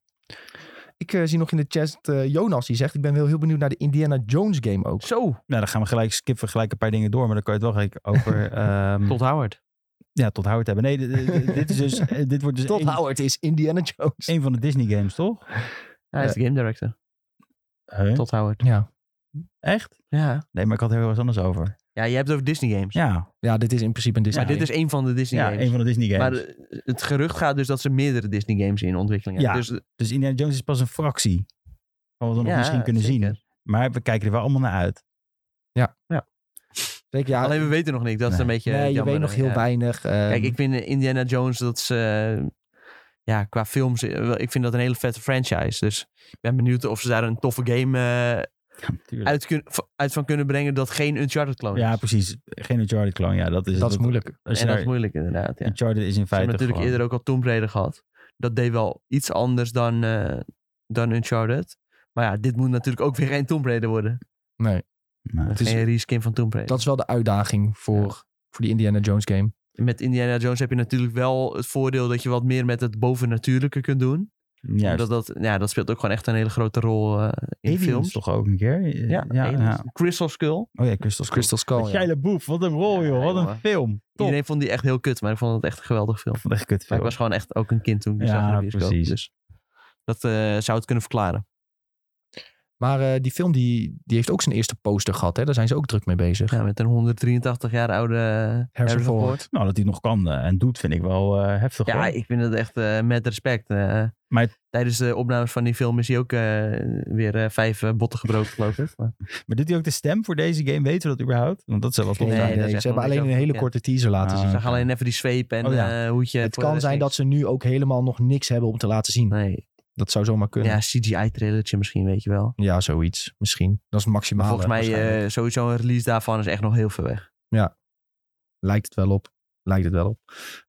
[SPEAKER 1] Ik eh, zie nog in de chat eh, Jonas die zegt, ik ben wel heel benieuwd naar de Indiana Jones game ook.
[SPEAKER 2] Zo,
[SPEAKER 3] Nou, dan gaan we gelijk skippen gelijk een paar dingen door. Maar dan kan je het wel gelijk <laughs> over... ehm,
[SPEAKER 2] tot Howard.
[SPEAKER 3] ja, tot hout hebben. Nee, d- d- dit, is dus, eh, dit wordt dus
[SPEAKER 1] Tot
[SPEAKER 3] een,
[SPEAKER 1] Howard is Indiana Jones.
[SPEAKER 3] een van de Disney games, toch?
[SPEAKER 2] Hij is de game director.
[SPEAKER 3] Huh?
[SPEAKER 2] Tot Howard.
[SPEAKER 1] Ja.
[SPEAKER 3] Echt?
[SPEAKER 2] Ja.
[SPEAKER 3] Nee, maar ik had er heel wat anders over.
[SPEAKER 2] ja, je hebt het over Disney games.
[SPEAKER 3] Ja,
[SPEAKER 1] ja, dit is in principe een Disney
[SPEAKER 2] maar dit is één van de Disney
[SPEAKER 3] ja
[SPEAKER 2] games.
[SPEAKER 3] een van de Disney games.
[SPEAKER 2] Maar eh, het gerucht gaat dus dat ze meerdere Disney games in ontwikkeling hebben.
[SPEAKER 3] Ja,
[SPEAKER 2] dus, eh,
[SPEAKER 3] Dus Indiana Jones is pas een fractie. Van wat we nog
[SPEAKER 2] ja,
[SPEAKER 3] misschien kunnen
[SPEAKER 2] zeker.
[SPEAKER 3] zien. Maar we kijken er wel allemaal naar uit.
[SPEAKER 1] Zeker, ja,
[SPEAKER 2] Alleen we weten nog niks. Dat is
[SPEAKER 3] Ah, Nee.
[SPEAKER 2] een beetje
[SPEAKER 1] nee, je
[SPEAKER 2] jammer.
[SPEAKER 1] weet nog heel
[SPEAKER 2] Ja.
[SPEAKER 1] weinig. eh,
[SPEAKER 2] Kijk, ik vind eh, Indiana Jones dat ze... eh, ja, qua films, eh, wel, ik vind dat een hele vette franchise. Dus ik ben benieuwd of ze daar een toffe game eh,
[SPEAKER 3] Tuurlijk.
[SPEAKER 2] uit, kun- v- uit van kunnen brengen dat geen Uncharted clone
[SPEAKER 3] Ja,
[SPEAKER 2] is.
[SPEAKER 3] precies. Geen Uncharted clone. Ja, dat is
[SPEAKER 1] dus dat is
[SPEAKER 3] het.
[SPEAKER 1] moeilijk.
[SPEAKER 3] Als je
[SPEAKER 2] En dat
[SPEAKER 3] daar-
[SPEAKER 2] is moeilijk inderdaad, ja.
[SPEAKER 3] Uncharted is in
[SPEAKER 2] Ze
[SPEAKER 3] feite
[SPEAKER 2] hebben natuurlijk
[SPEAKER 3] gewoon-
[SPEAKER 2] eerder ook al Tomb Raider gehad. Dat deed wel iets anders dan, eh, dan Uncharted. Maar ja, dit moet natuurlijk ook weer geen Tomb Raider worden.
[SPEAKER 1] Nee,
[SPEAKER 3] Nou,
[SPEAKER 1] Het is-
[SPEAKER 2] geen reskin van Tomb Raider.
[SPEAKER 1] dat is wel de uitdaging voor, voor die Indiana Jones game.
[SPEAKER 2] Met Indiana Jones heb je natuurlijk wel het voordeel dat je wat meer met het bovennatuurlijke kunt doen.
[SPEAKER 3] juist.
[SPEAKER 2] Omdat dat, ja, dat speelt ook gewoon echt een hele grote rol eh, in
[SPEAKER 3] Aliens
[SPEAKER 2] films.
[SPEAKER 3] toch ook een keer?
[SPEAKER 2] Ja,
[SPEAKER 3] ja,
[SPEAKER 2] Aliens. Crystal Skull.
[SPEAKER 3] Oh ja, Crystal Skull.
[SPEAKER 1] Crystal Skull, ja.
[SPEAKER 3] Shia boef, wat een rol
[SPEAKER 2] Ja,
[SPEAKER 3] joh, wat een
[SPEAKER 2] jongen.
[SPEAKER 3] film. Top.
[SPEAKER 2] Iedereen vond die echt heel kut, maar ik vond het echt een geweldig film.
[SPEAKER 3] Ik vond het echt kut
[SPEAKER 2] Maar
[SPEAKER 3] film.
[SPEAKER 2] ik was gewoon echt ook een kind toen ik die
[SPEAKER 3] Ja,
[SPEAKER 2] zag in de bioscoop.
[SPEAKER 3] precies.
[SPEAKER 2] Dus dat eh, zou het kunnen verklaren.
[SPEAKER 1] Maar eh, die film die, die heeft ook zijn eerste poster gehad. Hè? Daar zijn ze ook druk mee bezig.
[SPEAKER 2] Ja, met een 183 jaar oude eh, Harrison
[SPEAKER 1] Ford.
[SPEAKER 2] Ford.
[SPEAKER 3] Nou, dat hij het nog kan eh, en doet, vind ik wel eh, heftig.
[SPEAKER 2] Ja,
[SPEAKER 3] hoor.
[SPEAKER 2] ik vind het echt eh, met respect. eh.
[SPEAKER 3] Maar-
[SPEAKER 2] Tijdens de opnames van die film is hij ook eh, weer eh, vijf eh, botten gebroken, geloof ik. Maar-
[SPEAKER 3] Maar doet hij ook de stem voor deze game? Weten we dat überhaupt? Want dat zou wel tof
[SPEAKER 1] Geen
[SPEAKER 2] Nee,
[SPEAKER 3] zijn.
[SPEAKER 1] idee.
[SPEAKER 2] dat is echt
[SPEAKER 1] Ze
[SPEAKER 2] wel
[SPEAKER 1] hebben
[SPEAKER 2] een beetje
[SPEAKER 1] alleen een hele
[SPEAKER 2] overbekend.
[SPEAKER 1] korte teaser laten
[SPEAKER 3] Ah,
[SPEAKER 1] zien.
[SPEAKER 2] Ze
[SPEAKER 3] oké.
[SPEAKER 2] gaan alleen even die zweep en
[SPEAKER 3] Oh ja.
[SPEAKER 2] eh, hoedje.
[SPEAKER 1] het
[SPEAKER 2] voor de
[SPEAKER 1] kan
[SPEAKER 2] rest
[SPEAKER 1] zijn dat
[SPEAKER 2] niks.
[SPEAKER 1] ze nu ook helemaal nog niks hebben om te laten zien.
[SPEAKER 2] Nee,
[SPEAKER 1] Dat zou zomaar kunnen.
[SPEAKER 2] ja,
[SPEAKER 1] Ja,
[SPEAKER 2] CGI-trailertje misschien, weet je wel.
[SPEAKER 1] zoiets. Misschien. Dat is het
[SPEAKER 2] Maar
[SPEAKER 1] maximale.
[SPEAKER 2] volgens mij
[SPEAKER 1] waarschijnlijk.
[SPEAKER 2] eh, sowieso een release daarvan is echt nog heel ver weg.
[SPEAKER 1] Lijkt het wel op. Lijkt het wel op.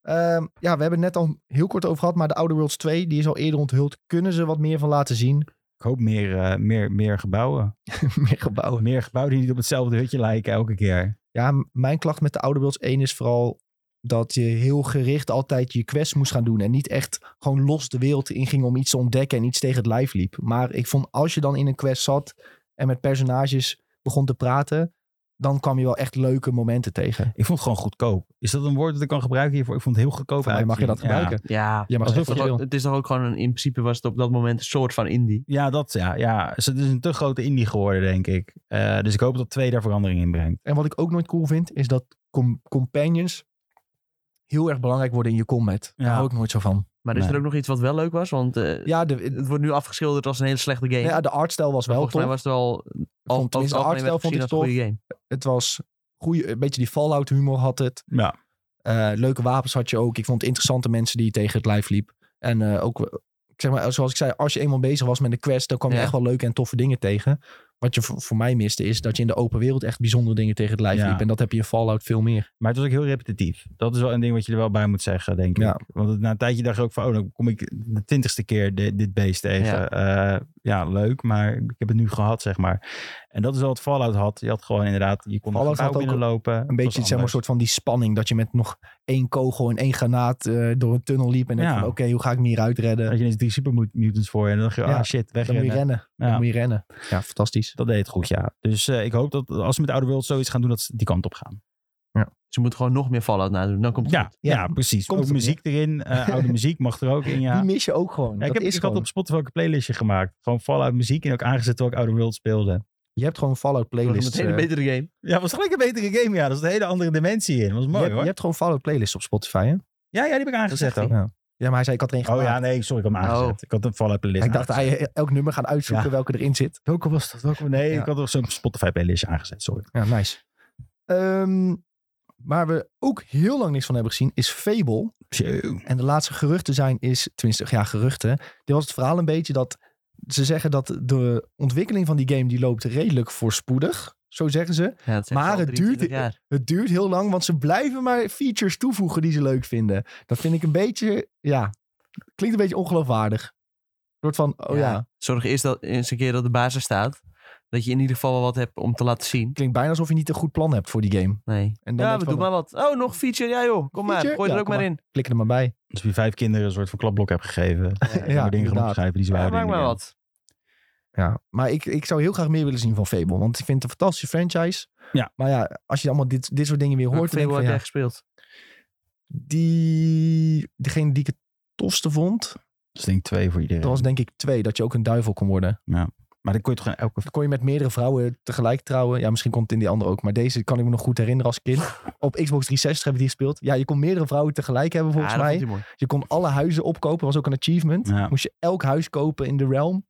[SPEAKER 1] Ehm, ja, we hebben het net al heel kort over gehad. Maar de Outer Worlds 2, die is al eerder onthuld. Kunnen ze wat meer van laten zien?
[SPEAKER 3] Ik hoop meer, eh, meer, meer gebouwen.
[SPEAKER 1] meer
[SPEAKER 2] Oh.
[SPEAKER 1] gebouwen.
[SPEAKER 3] Meer gebouwen die niet op hetzelfde hutje lijken elke keer.
[SPEAKER 1] Ja, m- mijn klacht met de Outer Worlds 1 is vooral dat je heel gericht altijd je quest moest gaan doen. En niet echt gewoon los de wereld inging om iets te ontdekken en iets tegen het lijf liep. Maar ik vond als je dan in een quest zat en met personages begon te praten, dan kwam je wel echt leuke momenten tegen.
[SPEAKER 3] Ik vond het gewoon goedkoop. Is dat een woord dat ik kan gebruiken hiervoor? Ik vond het heel goedkoop
[SPEAKER 1] Voor mij mag je dat
[SPEAKER 3] uitzien. Ja.
[SPEAKER 1] gebruiken.
[SPEAKER 2] Ja,
[SPEAKER 1] Ja, maar dat is
[SPEAKER 2] het, is toch
[SPEAKER 1] wel
[SPEAKER 2] ook,
[SPEAKER 1] verschil.
[SPEAKER 2] het is toch ook gewoon een, in principe was het op dat moment een soort van indie.
[SPEAKER 3] Ja, dat ja. ja. Dus het is een te grote indie geworden, denk ik. Eh, dus ik hoop dat twee daar verandering in brengt.
[SPEAKER 1] En wat ik ook nooit cool vind, is dat com- companions heel erg belangrijk worden in je combat.
[SPEAKER 3] Ja.
[SPEAKER 1] Daar hou ik nooit zo van.
[SPEAKER 2] Maar is
[SPEAKER 3] Nee.
[SPEAKER 2] er ook nog iets wat wel leuk was? Want eh,
[SPEAKER 1] Ja, de,
[SPEAKER 2] het wordt nu afgeschilderd als een hele slechte game.
[SPEAKER 1] nou ja, de artstijl was
[SPEAKER 2] Maar
[SPEAKER 1] wel
[SPEAKER 2] volgens
[SPEAKER 1] tof.
[SPEAKER 2] mij was het wel...
[SPEAKER 1] vond
[SPEAKER 2] Al,
[SPEAKER 1] tenminste de artstijl vond ik
[SPEAKER 2] het goede game.
[SPEAKER 1] Het was goeie, een beetje die Fallout humor had het.
[SPEAKER 3] Ja.
[SPEAKER 1] Eh, leuke wapens had je ook. Ik vond het interessante mensen die je tegen het lijf liep. En eh, ook, eh, ik zeg maar, zoals ik zei, als je eenmaal bezig was met een quest, dan kwam je
[SPEAKER 2] Ja.
[SPEAKER 1] echt wel leuke en toffe dingen tegen. Wat je voor, voor mij miste, is dat je in de open wereld echt bijzondere dingen tegen het lijf
[SPEAKER 3] Ja.
[SPEAKER 1] liep. En dat heb je in Fallout veel meer.
[SPEAKER 3] Maar het was ook heel repetitief. Dat is wel een ding wat je er wel bij moet zeggen, denk
[SPEAKER 1] Ja.
[SPEAKER 3] ik. Want het- na een tijdje dacht ik ook van, oh, dan kom ik de twintigste keer di- dit beest tegen.
[SPEAKER 2] Ja.
[SPEAKER 3] Ja. ja, leuk, maar ik heb het nu gehad, zeg maar. En dat is wel wat Fallout had. Je had gewoon inderdaad, je kon een
[SPEAKER 1] Fallout
[SPEAKER 3] gebouw
[SPEAKER 1] had ook
[SPEAKER 3] binnenlopen.
[SPEAKER 1] Een beetje zeg maar, een soort van die spanning dat je met nog één kogel en één granaat eh, door een tunnel liep. En dan
[SPEAKER 3] Ja.
[SPEAKER 1] van, oké, hoe ga ik me hieruit redden?
[SPEAKER 3] Had je ineens drie supermutants voor je en dan dacht je,
[SPEAKER 1] Ja.
[SPEAKER 3] ah shit,
[SPEAKER 1] Dan moet je
[SPEAKER 3] wegrennen.
[SPEAKER 1] rennen.
[SPEAKER 3] Ja.
[SPEAKER 1] Dan moet je rennen. Ja, fantastisch.
[SPEAKER 3] Dat deed het goed, ja. Dus eh, ik hoop dat als ze met Outer Worlds zoiets gaan doen, dat ze die kant op gaan.
[SPEAKER 2] Ze moeten gewoon nog meer Fallout nadoen. Dan komt het
[SPEAKER 3] Ja,
[SPEAKER 2] goed.
[SPEAKER 3] ja,
[SPEAKER 1] Ja,
[SPEAKER 3] precies.
[SPEAKER 1] komt
[SPEAKER 3] Ook
[SPEAKER 1] het,
[SPEAKER 3] muziek erin. eh,
[SPEAKER 1] <laughs>
[SPEAKER 3] oude muziek mag er ook in, ja.
[SPEAKER 1] Die mis je ook gewoon.
[SPEAKER 3] Ja, ik
[SPEAKER 1] Dat
[SPEAKER 3] heb
[SPEAKER 1] is
[SPEAKER 3] ik had
[SPEAKER 1] gewoon.
[SPEAKER 3] op Spotify ook een playlistje gemaakt. Gewoon Fallout muziek en ook aangezet terwijl ik Outer Worlds speelde.
[SPEAKER 1] Je hebt gewoon Fallout
[SPEAKER 2] Dat was
[SPEAKER 1] playlists.
[SPEAKER 2] meteen een
[SPEAKER 1] eh,
[SPEAKER 2] betere game.
[SPEAKER 3] Ja, was gelijk een betere game, ja. Er zat een hele andere dimensie in. was
[SPEAKER 1] je,
[SPEAKER 3] mooi,
[SPEAKER 1] hebt, je
[SPEAKER 3] hoor.
[SPEAKER 1] hebt gewoon Fallout playlists op Spotify, hè?
[SPEAKER 3] Ja, ja, die heb ik aangezet
[SPEAKER 2] zegt
[SPEAKER 3] ook.
[SPEAKER 1] hij. Ja, maar hij zei, ik had er één
[SPEAKER 3] Oh
[SPEAKER 1] gemaakt.
[SPEAKER 3] ja, nee, sorry, ik had hem aangezet.
[SPEAKER 2] Oh.
[SPEAKER 3] Ik had een Fallout playlist
[SPEAKER 1] ik dacht dat
[SPEAKER 3] aangezet.
[SPEAKER 1] hij eh, elk nummer gaat uitzoeken
[SPEAKER 3] Ja.
[SPEAKER 1] welke erin zit.
[SPEAKER 3] Welke was dat? Welke? Nee,
[SPEAKER 1] Ja.
[SPEAKER 3] ik had nog zo'n Spotify playlistje aangezet, sorry.
[SPEAKER 1] Ja, nice. Ehm, waar we ook heel lang niks van hebben gezien is Fable. En de laatste geruchten zijn is, tenminste ja geruchten. Dit was het verhaal een beetje dat ze zeggen dat de ontwikkeling van die game die loopt redelijk voorspoedig. Zo zeggen ze.
[SPEAKER 2] Ja, dat zijn
[SPEAKER 1] Maar
[SPEAKER 2] al
[SPEAKER 1] het duurt-
[SPEAKER 2] 23 jaar.
[SPEAKER 1] Het duurt heel lang, want ze blijven maar features toevoegen die ze leuk vinden. Dat vind ik een beetje, ja, klinkt een beetje ongeloofwaardig. Een soort van, oh ja,
[SPEAKER 2] Ja. Zorg eerst dat eens een keer dat de basis staat. Dat je in ieder geval wel wat hebt om te laten zien.
[SPEAKER 1] klinkt bijna alsof je niet een goed plan hebt voor die game.
[SPEAKER 2] Nee.
[SPEAKER 1] En dan
[SPEAKER 2] Ja,
[SPEAKER 1] denk je
[SPEAKER 2] we doen
[SPEAKER 1] van,
[SPEAKER 2] maar wat. Oh, nog feature. Ja joh, kom maar.
[SPEAKER 1] Feature?
[SPEAKER 2] Gooi
[SPEAKER 1] Ja,
[SPEAKER 2] er ook
[SPEAKER 1] kom
[SPEAKER 2] maar in.
[SPEAKER 1] klik er maar bij.
[SPEAKER 3] Dus wie vijf kinderen een soort van klapblok heb gegeven.
[SPEAKER 1] <laughs>
[SPEAKER 3] Ja,
[SPEAKER 1] Ja,
[SPEAKER 3] dingen gaan
[SPEAKER 1] inderdaad.
[SPEAKER 3] opschrijven die ze
[SPEAKER 2] Ja,
[SPEAKER 3] wouden
[SPEAKER 2] maak
[SPEAKER 3] in de
[SPEAKER 2] maar
[SPEAKER 3] game.
[SPEAKER 2] wat.
[SPEAKER 1] Ja, maar ik, ik zou heel graag meer willen zien van Fable. Want ik vind het een fantastische franchise.
[SPEAKER 3] Ja.
[SPEAKER 1] Maar ja, als je allemaal dit, dit soort dingen weer hoort.
[SPEAKER 2] Hoort
[SPEAKER 1] dan denk
[SPEAKER 2] veel
[SPEAKER 1] ik
[SPEAKER 2] heb
[SPEAKER 1] van,
[SPEAKER 2] jij
[SPEAKER 1] ja,
[SPEAKER 2] gespeeld.
[SPEAKER 1] die, degene die ik het tofste vond,
[SPEAKER 3] Dus ik denk twee voor iedereen.
[SPEAKER 1] dat was denk ik twee. Dat je ook een duivel kon worden.
[SPEAKER 3] Maar dan kon je toch gewoon elke...
[SPEAKER 1] Dan kon je met meerdere vrouwen tegelijk trouwen. Ja, misschien komt het in die andere ook. Maar deze kan ik me nog goed herinneren als kind.
[SPEAKER 3] <laughs>
[SPEAKER 1] Op Xbox 360 heb ik die gespeeld. Ja, je kon meerdere vrouwen tegelijk hebben volgens
[SPEAKER 2] ja, dat
[SPEAKER 1] mij.
[SPEAKER 2] vond hij mooi.
[SPEAKER 1] Je kon alle huizen opkopen. was ook een achievement.
[SPEAKER 3] Ja.
[SPEAKER 1] Moest je elk huis kopen in de realm.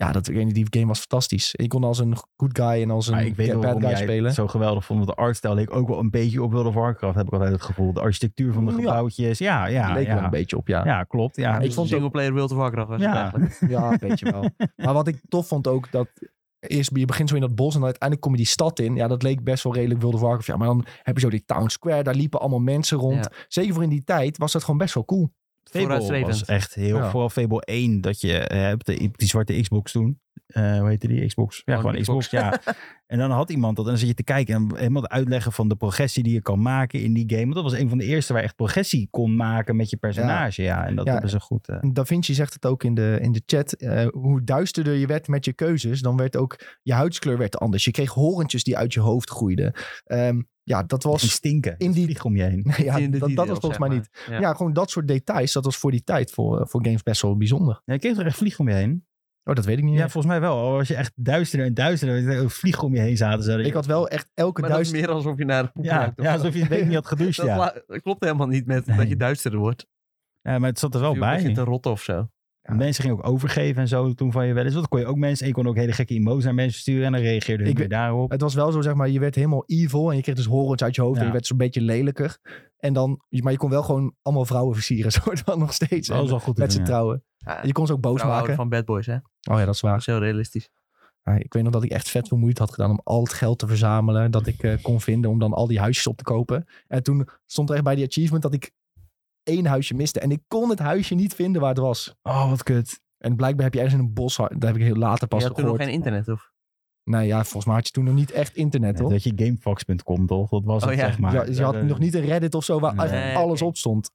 [SPEAKER 1] Ja, dat, ik weet niet, die game was fantastisch. Je kon als een good guy en als
[SPEAKER 3] Maar
[SPEAKER 1] een
[SPEAKER 3] ik weet wel
[SPEAKER 1] bad
[SPEAKER 3] waarom
[SPEAKER 1] guy
[SPEAKER 3] jij
[SPEAKER 1] spelen.
[SPEAKER 3] het zo geweldig vond. Want de artstijl leek ook wel een beetje op World of Warcraft, heb ik altijd het gevoel. De architectuur van de
[SPEAKER 1] Ja.
[SPEAKER 3] gebouwtjes. Ja, ja,
[SPEAKER 1] leek
[SPEAKER 3] ja.
[SPEAKER 1] wel een beetje op, ja.
[SPEAKER 3] Ja, klopt. Ja. dus
[SPEAKER 1] ik vond ook-
[SPEAKER 2] Singleplayer World of Warcraft was het
[SPEAKER 3] Ja.
[SPEAKER 2] eigenlijk.
[SPEAKER 1] Ja, een beetje wel. Maar wat ik tof vond ook, dat eerst je begint zo in dat bos en dan uiteindelijk kom je die stad in. Ja, dat leek best wel redelijk World of Warcraft. Ja, maar dan heb je zo die town square, daar liepen allemaal mensen rond. Zeker voor in die tijd was dat gewoon best wel cool.
[SPEAKER 3] Fable
[SPEAKER 2] Vooruitstrevend.
[SPEAKER 3] was echt heel...
[SPEAKER 1] Ja.
[SPEAKER 3] Vooral Fable 1, dat je eh, op de, op die zwarte Xbox toen... eh hoe heette die? Xbox. Ja,
[SPEAKER 2] Gewoon
[SPEAKER 3] gewoon Xbox.
[SPEAKER 2] Xbox.
[SPEAKER 3] ja.
[SPEAKER 1] <laughs>
[SPEAKER 3] En dan had iemand dat en dan zit je te kijken en helemaal de uitleggen van de progressie die je kan maken in die game. Want dat was een van de eerste waar je echt progressie kon maken met je personage. Ja, en dat
[SPEAKER 1] Ja.
[SPEAKER 3] hebben ze goed. eh,
[SPEAKER 1] En Da Vinci zegt het ook in de, in de chat. eh, hoe duisterder je werd met je keuzes, dan werd ook je huidskleur werd anders. Je kreeg horentjes die uit je hoofd groeiden. Ehm, ja, dat
[SPEAKER 3] die
[SPEAKER 1] was...
[SPEAKER 3] stinken.
[SPEAKER 1] in
[SPEAKER 3] In
[SPEAKER 1] die- <laughs>
[SPEAKER 3] die vliegen om je heen.
[SPEAKER 1] Ja,
[SPEAKER 2] In de
[SPEAKER 1] dat, dat
[SPEAKER 2] details,
[SPEAKER 1] was volgens
[SPEAKER 2] zeg
[SPEAKER 1] mij niet.
[SPEAKER 2] maar. Ja.
[SPEAKER 1] Ja. gewoon dat soort details. Dat was voor die tijd voor, eh, voor games best wel bijzonder.
[SPEAKER 3] Ja, je kreeg er echt vliegen om je heen.
[SPEAKER 1] Oh, dat weet ik niet
[SPEAKER 3] Ja,
[SPEAKER 1] meer.
[SPEAKER 3] volgens mij wel. Als je echt duisterder en duisterder eh, vliegen om je heen zaten. Zodat
[SPEAKER 1] Ik
[SPEAKER 3] je-
[SPEAKER 1] had wel echt elke
[SPEAKER 2] Maar dat is
[SPEAKER 1] duizend...
[SPEAKER 2] meer alsof je naar de poep
[SPEAKER 3] ja,
[SPEAKER 2] ruikt of
[SPEAKER 3] ja,
[SPEAKER 2] zo.
[SPEAKER 3] alsof je een week niet had
[SPEAKER 2] dat
[SPEAKER 1] <laughs>
[SPEAKER 3] gedoucht. ja.
[SPEAKER 2] la- dat klopt helemaal niet met
[SPEAKER 3] Nee.
[SPEAKER 2] dat je duisterder wordt.
[SPEAKER 3] ja, maar het zat er wel
[SPEAKER 2] je
[SPEAKER 3] bij.
[SPEAKER 2] begint te rotten of zo.
[SPEAKER 1] Ja.
[SPEAKER 3] Mensen gingen ook overgeven en zo toen van je wel eens. Want dan kon je ook mensen, en je kon ook hele gekke emo's naar mensen sturen en dan reageerde hun
[SPEAKER 1] Ik Oh,
[SPEAKER 3] weer daarop.
[SPEAKER 1] Het was wel zo, zeg maar, je werd helemaal evil en je kreeg dus horens uit je hoofd en
[SPEAKER 3] Ja.
[SPEAKER 1] je werd zo'n beetje lelijker. En dan, maar je kon wel gewoon allemaal vrouwen versieren, <laughs> soort van nog steeds.
[SPEAKER 3] Dat was
[SPEAKER 1] En
[SPEAKER 3] wel goed. te
[SPEAKER 1] met z'n
[SPEAKER 3] doen, ja.
[SPEAKER 1] trouwen.
[SPEAKER 2] Ja,
[SPEAKER 1] Je kon ze ook boos
[SPEAKER 2] vrouwen houden
[SPEAKER 1] maken.
[SPEAKER 2] van bad boys, hè?
[SPEAKER 1] Oh ja, dat is
[SPEAKER 2] Dat
[SPEAKER 1] waar.
[SPEAKER 2] is heel realistisch.
[SPEAKER 1] Ja, Ik weet nog dat ik echt vet vermoeid had gedaan om al het geld te verzamelen dat ik eh, kon vinden om dan al die huisjes op te kopen. En toen stond er echt bij die achievement dat ik één huisje miste en ik kon het huisje niet vinden waar het was.
[SPEAKER 3] Oh, wat kut.
[SPEAKER 1] En blijkbaar heb je ergens in een bos, dat heb ik heel later pas
[SPEAKER 2] je had toen nog
[SPEAKER 1] gehoord.
[SPEAKER 2] geen internet, of?
[SPEAKER 1] Nou ja, volgens mij had je toen nog niet echt internet,
[SPEAKER 3] Net
[SPEAKER 1] toch?
[SPEAKER 3] dat je gamefox.com toch? Dat was
[SPEAKER 2] Oh,
[SPEAKER 3] het,
[SPEAKER 2] ja.
[SPEAKER 3] zeg maar.
[SPEAKER 1] Ja, je had
[SPEAKER 3] Eh,
[SPEAKER 1] nog niet een Reddit of zo waar
[SPEAKER 3] Nee,
[SPEAKER 1] echt alles
[SPEAKER 2] oké.
[SPEAKER 1] op stond.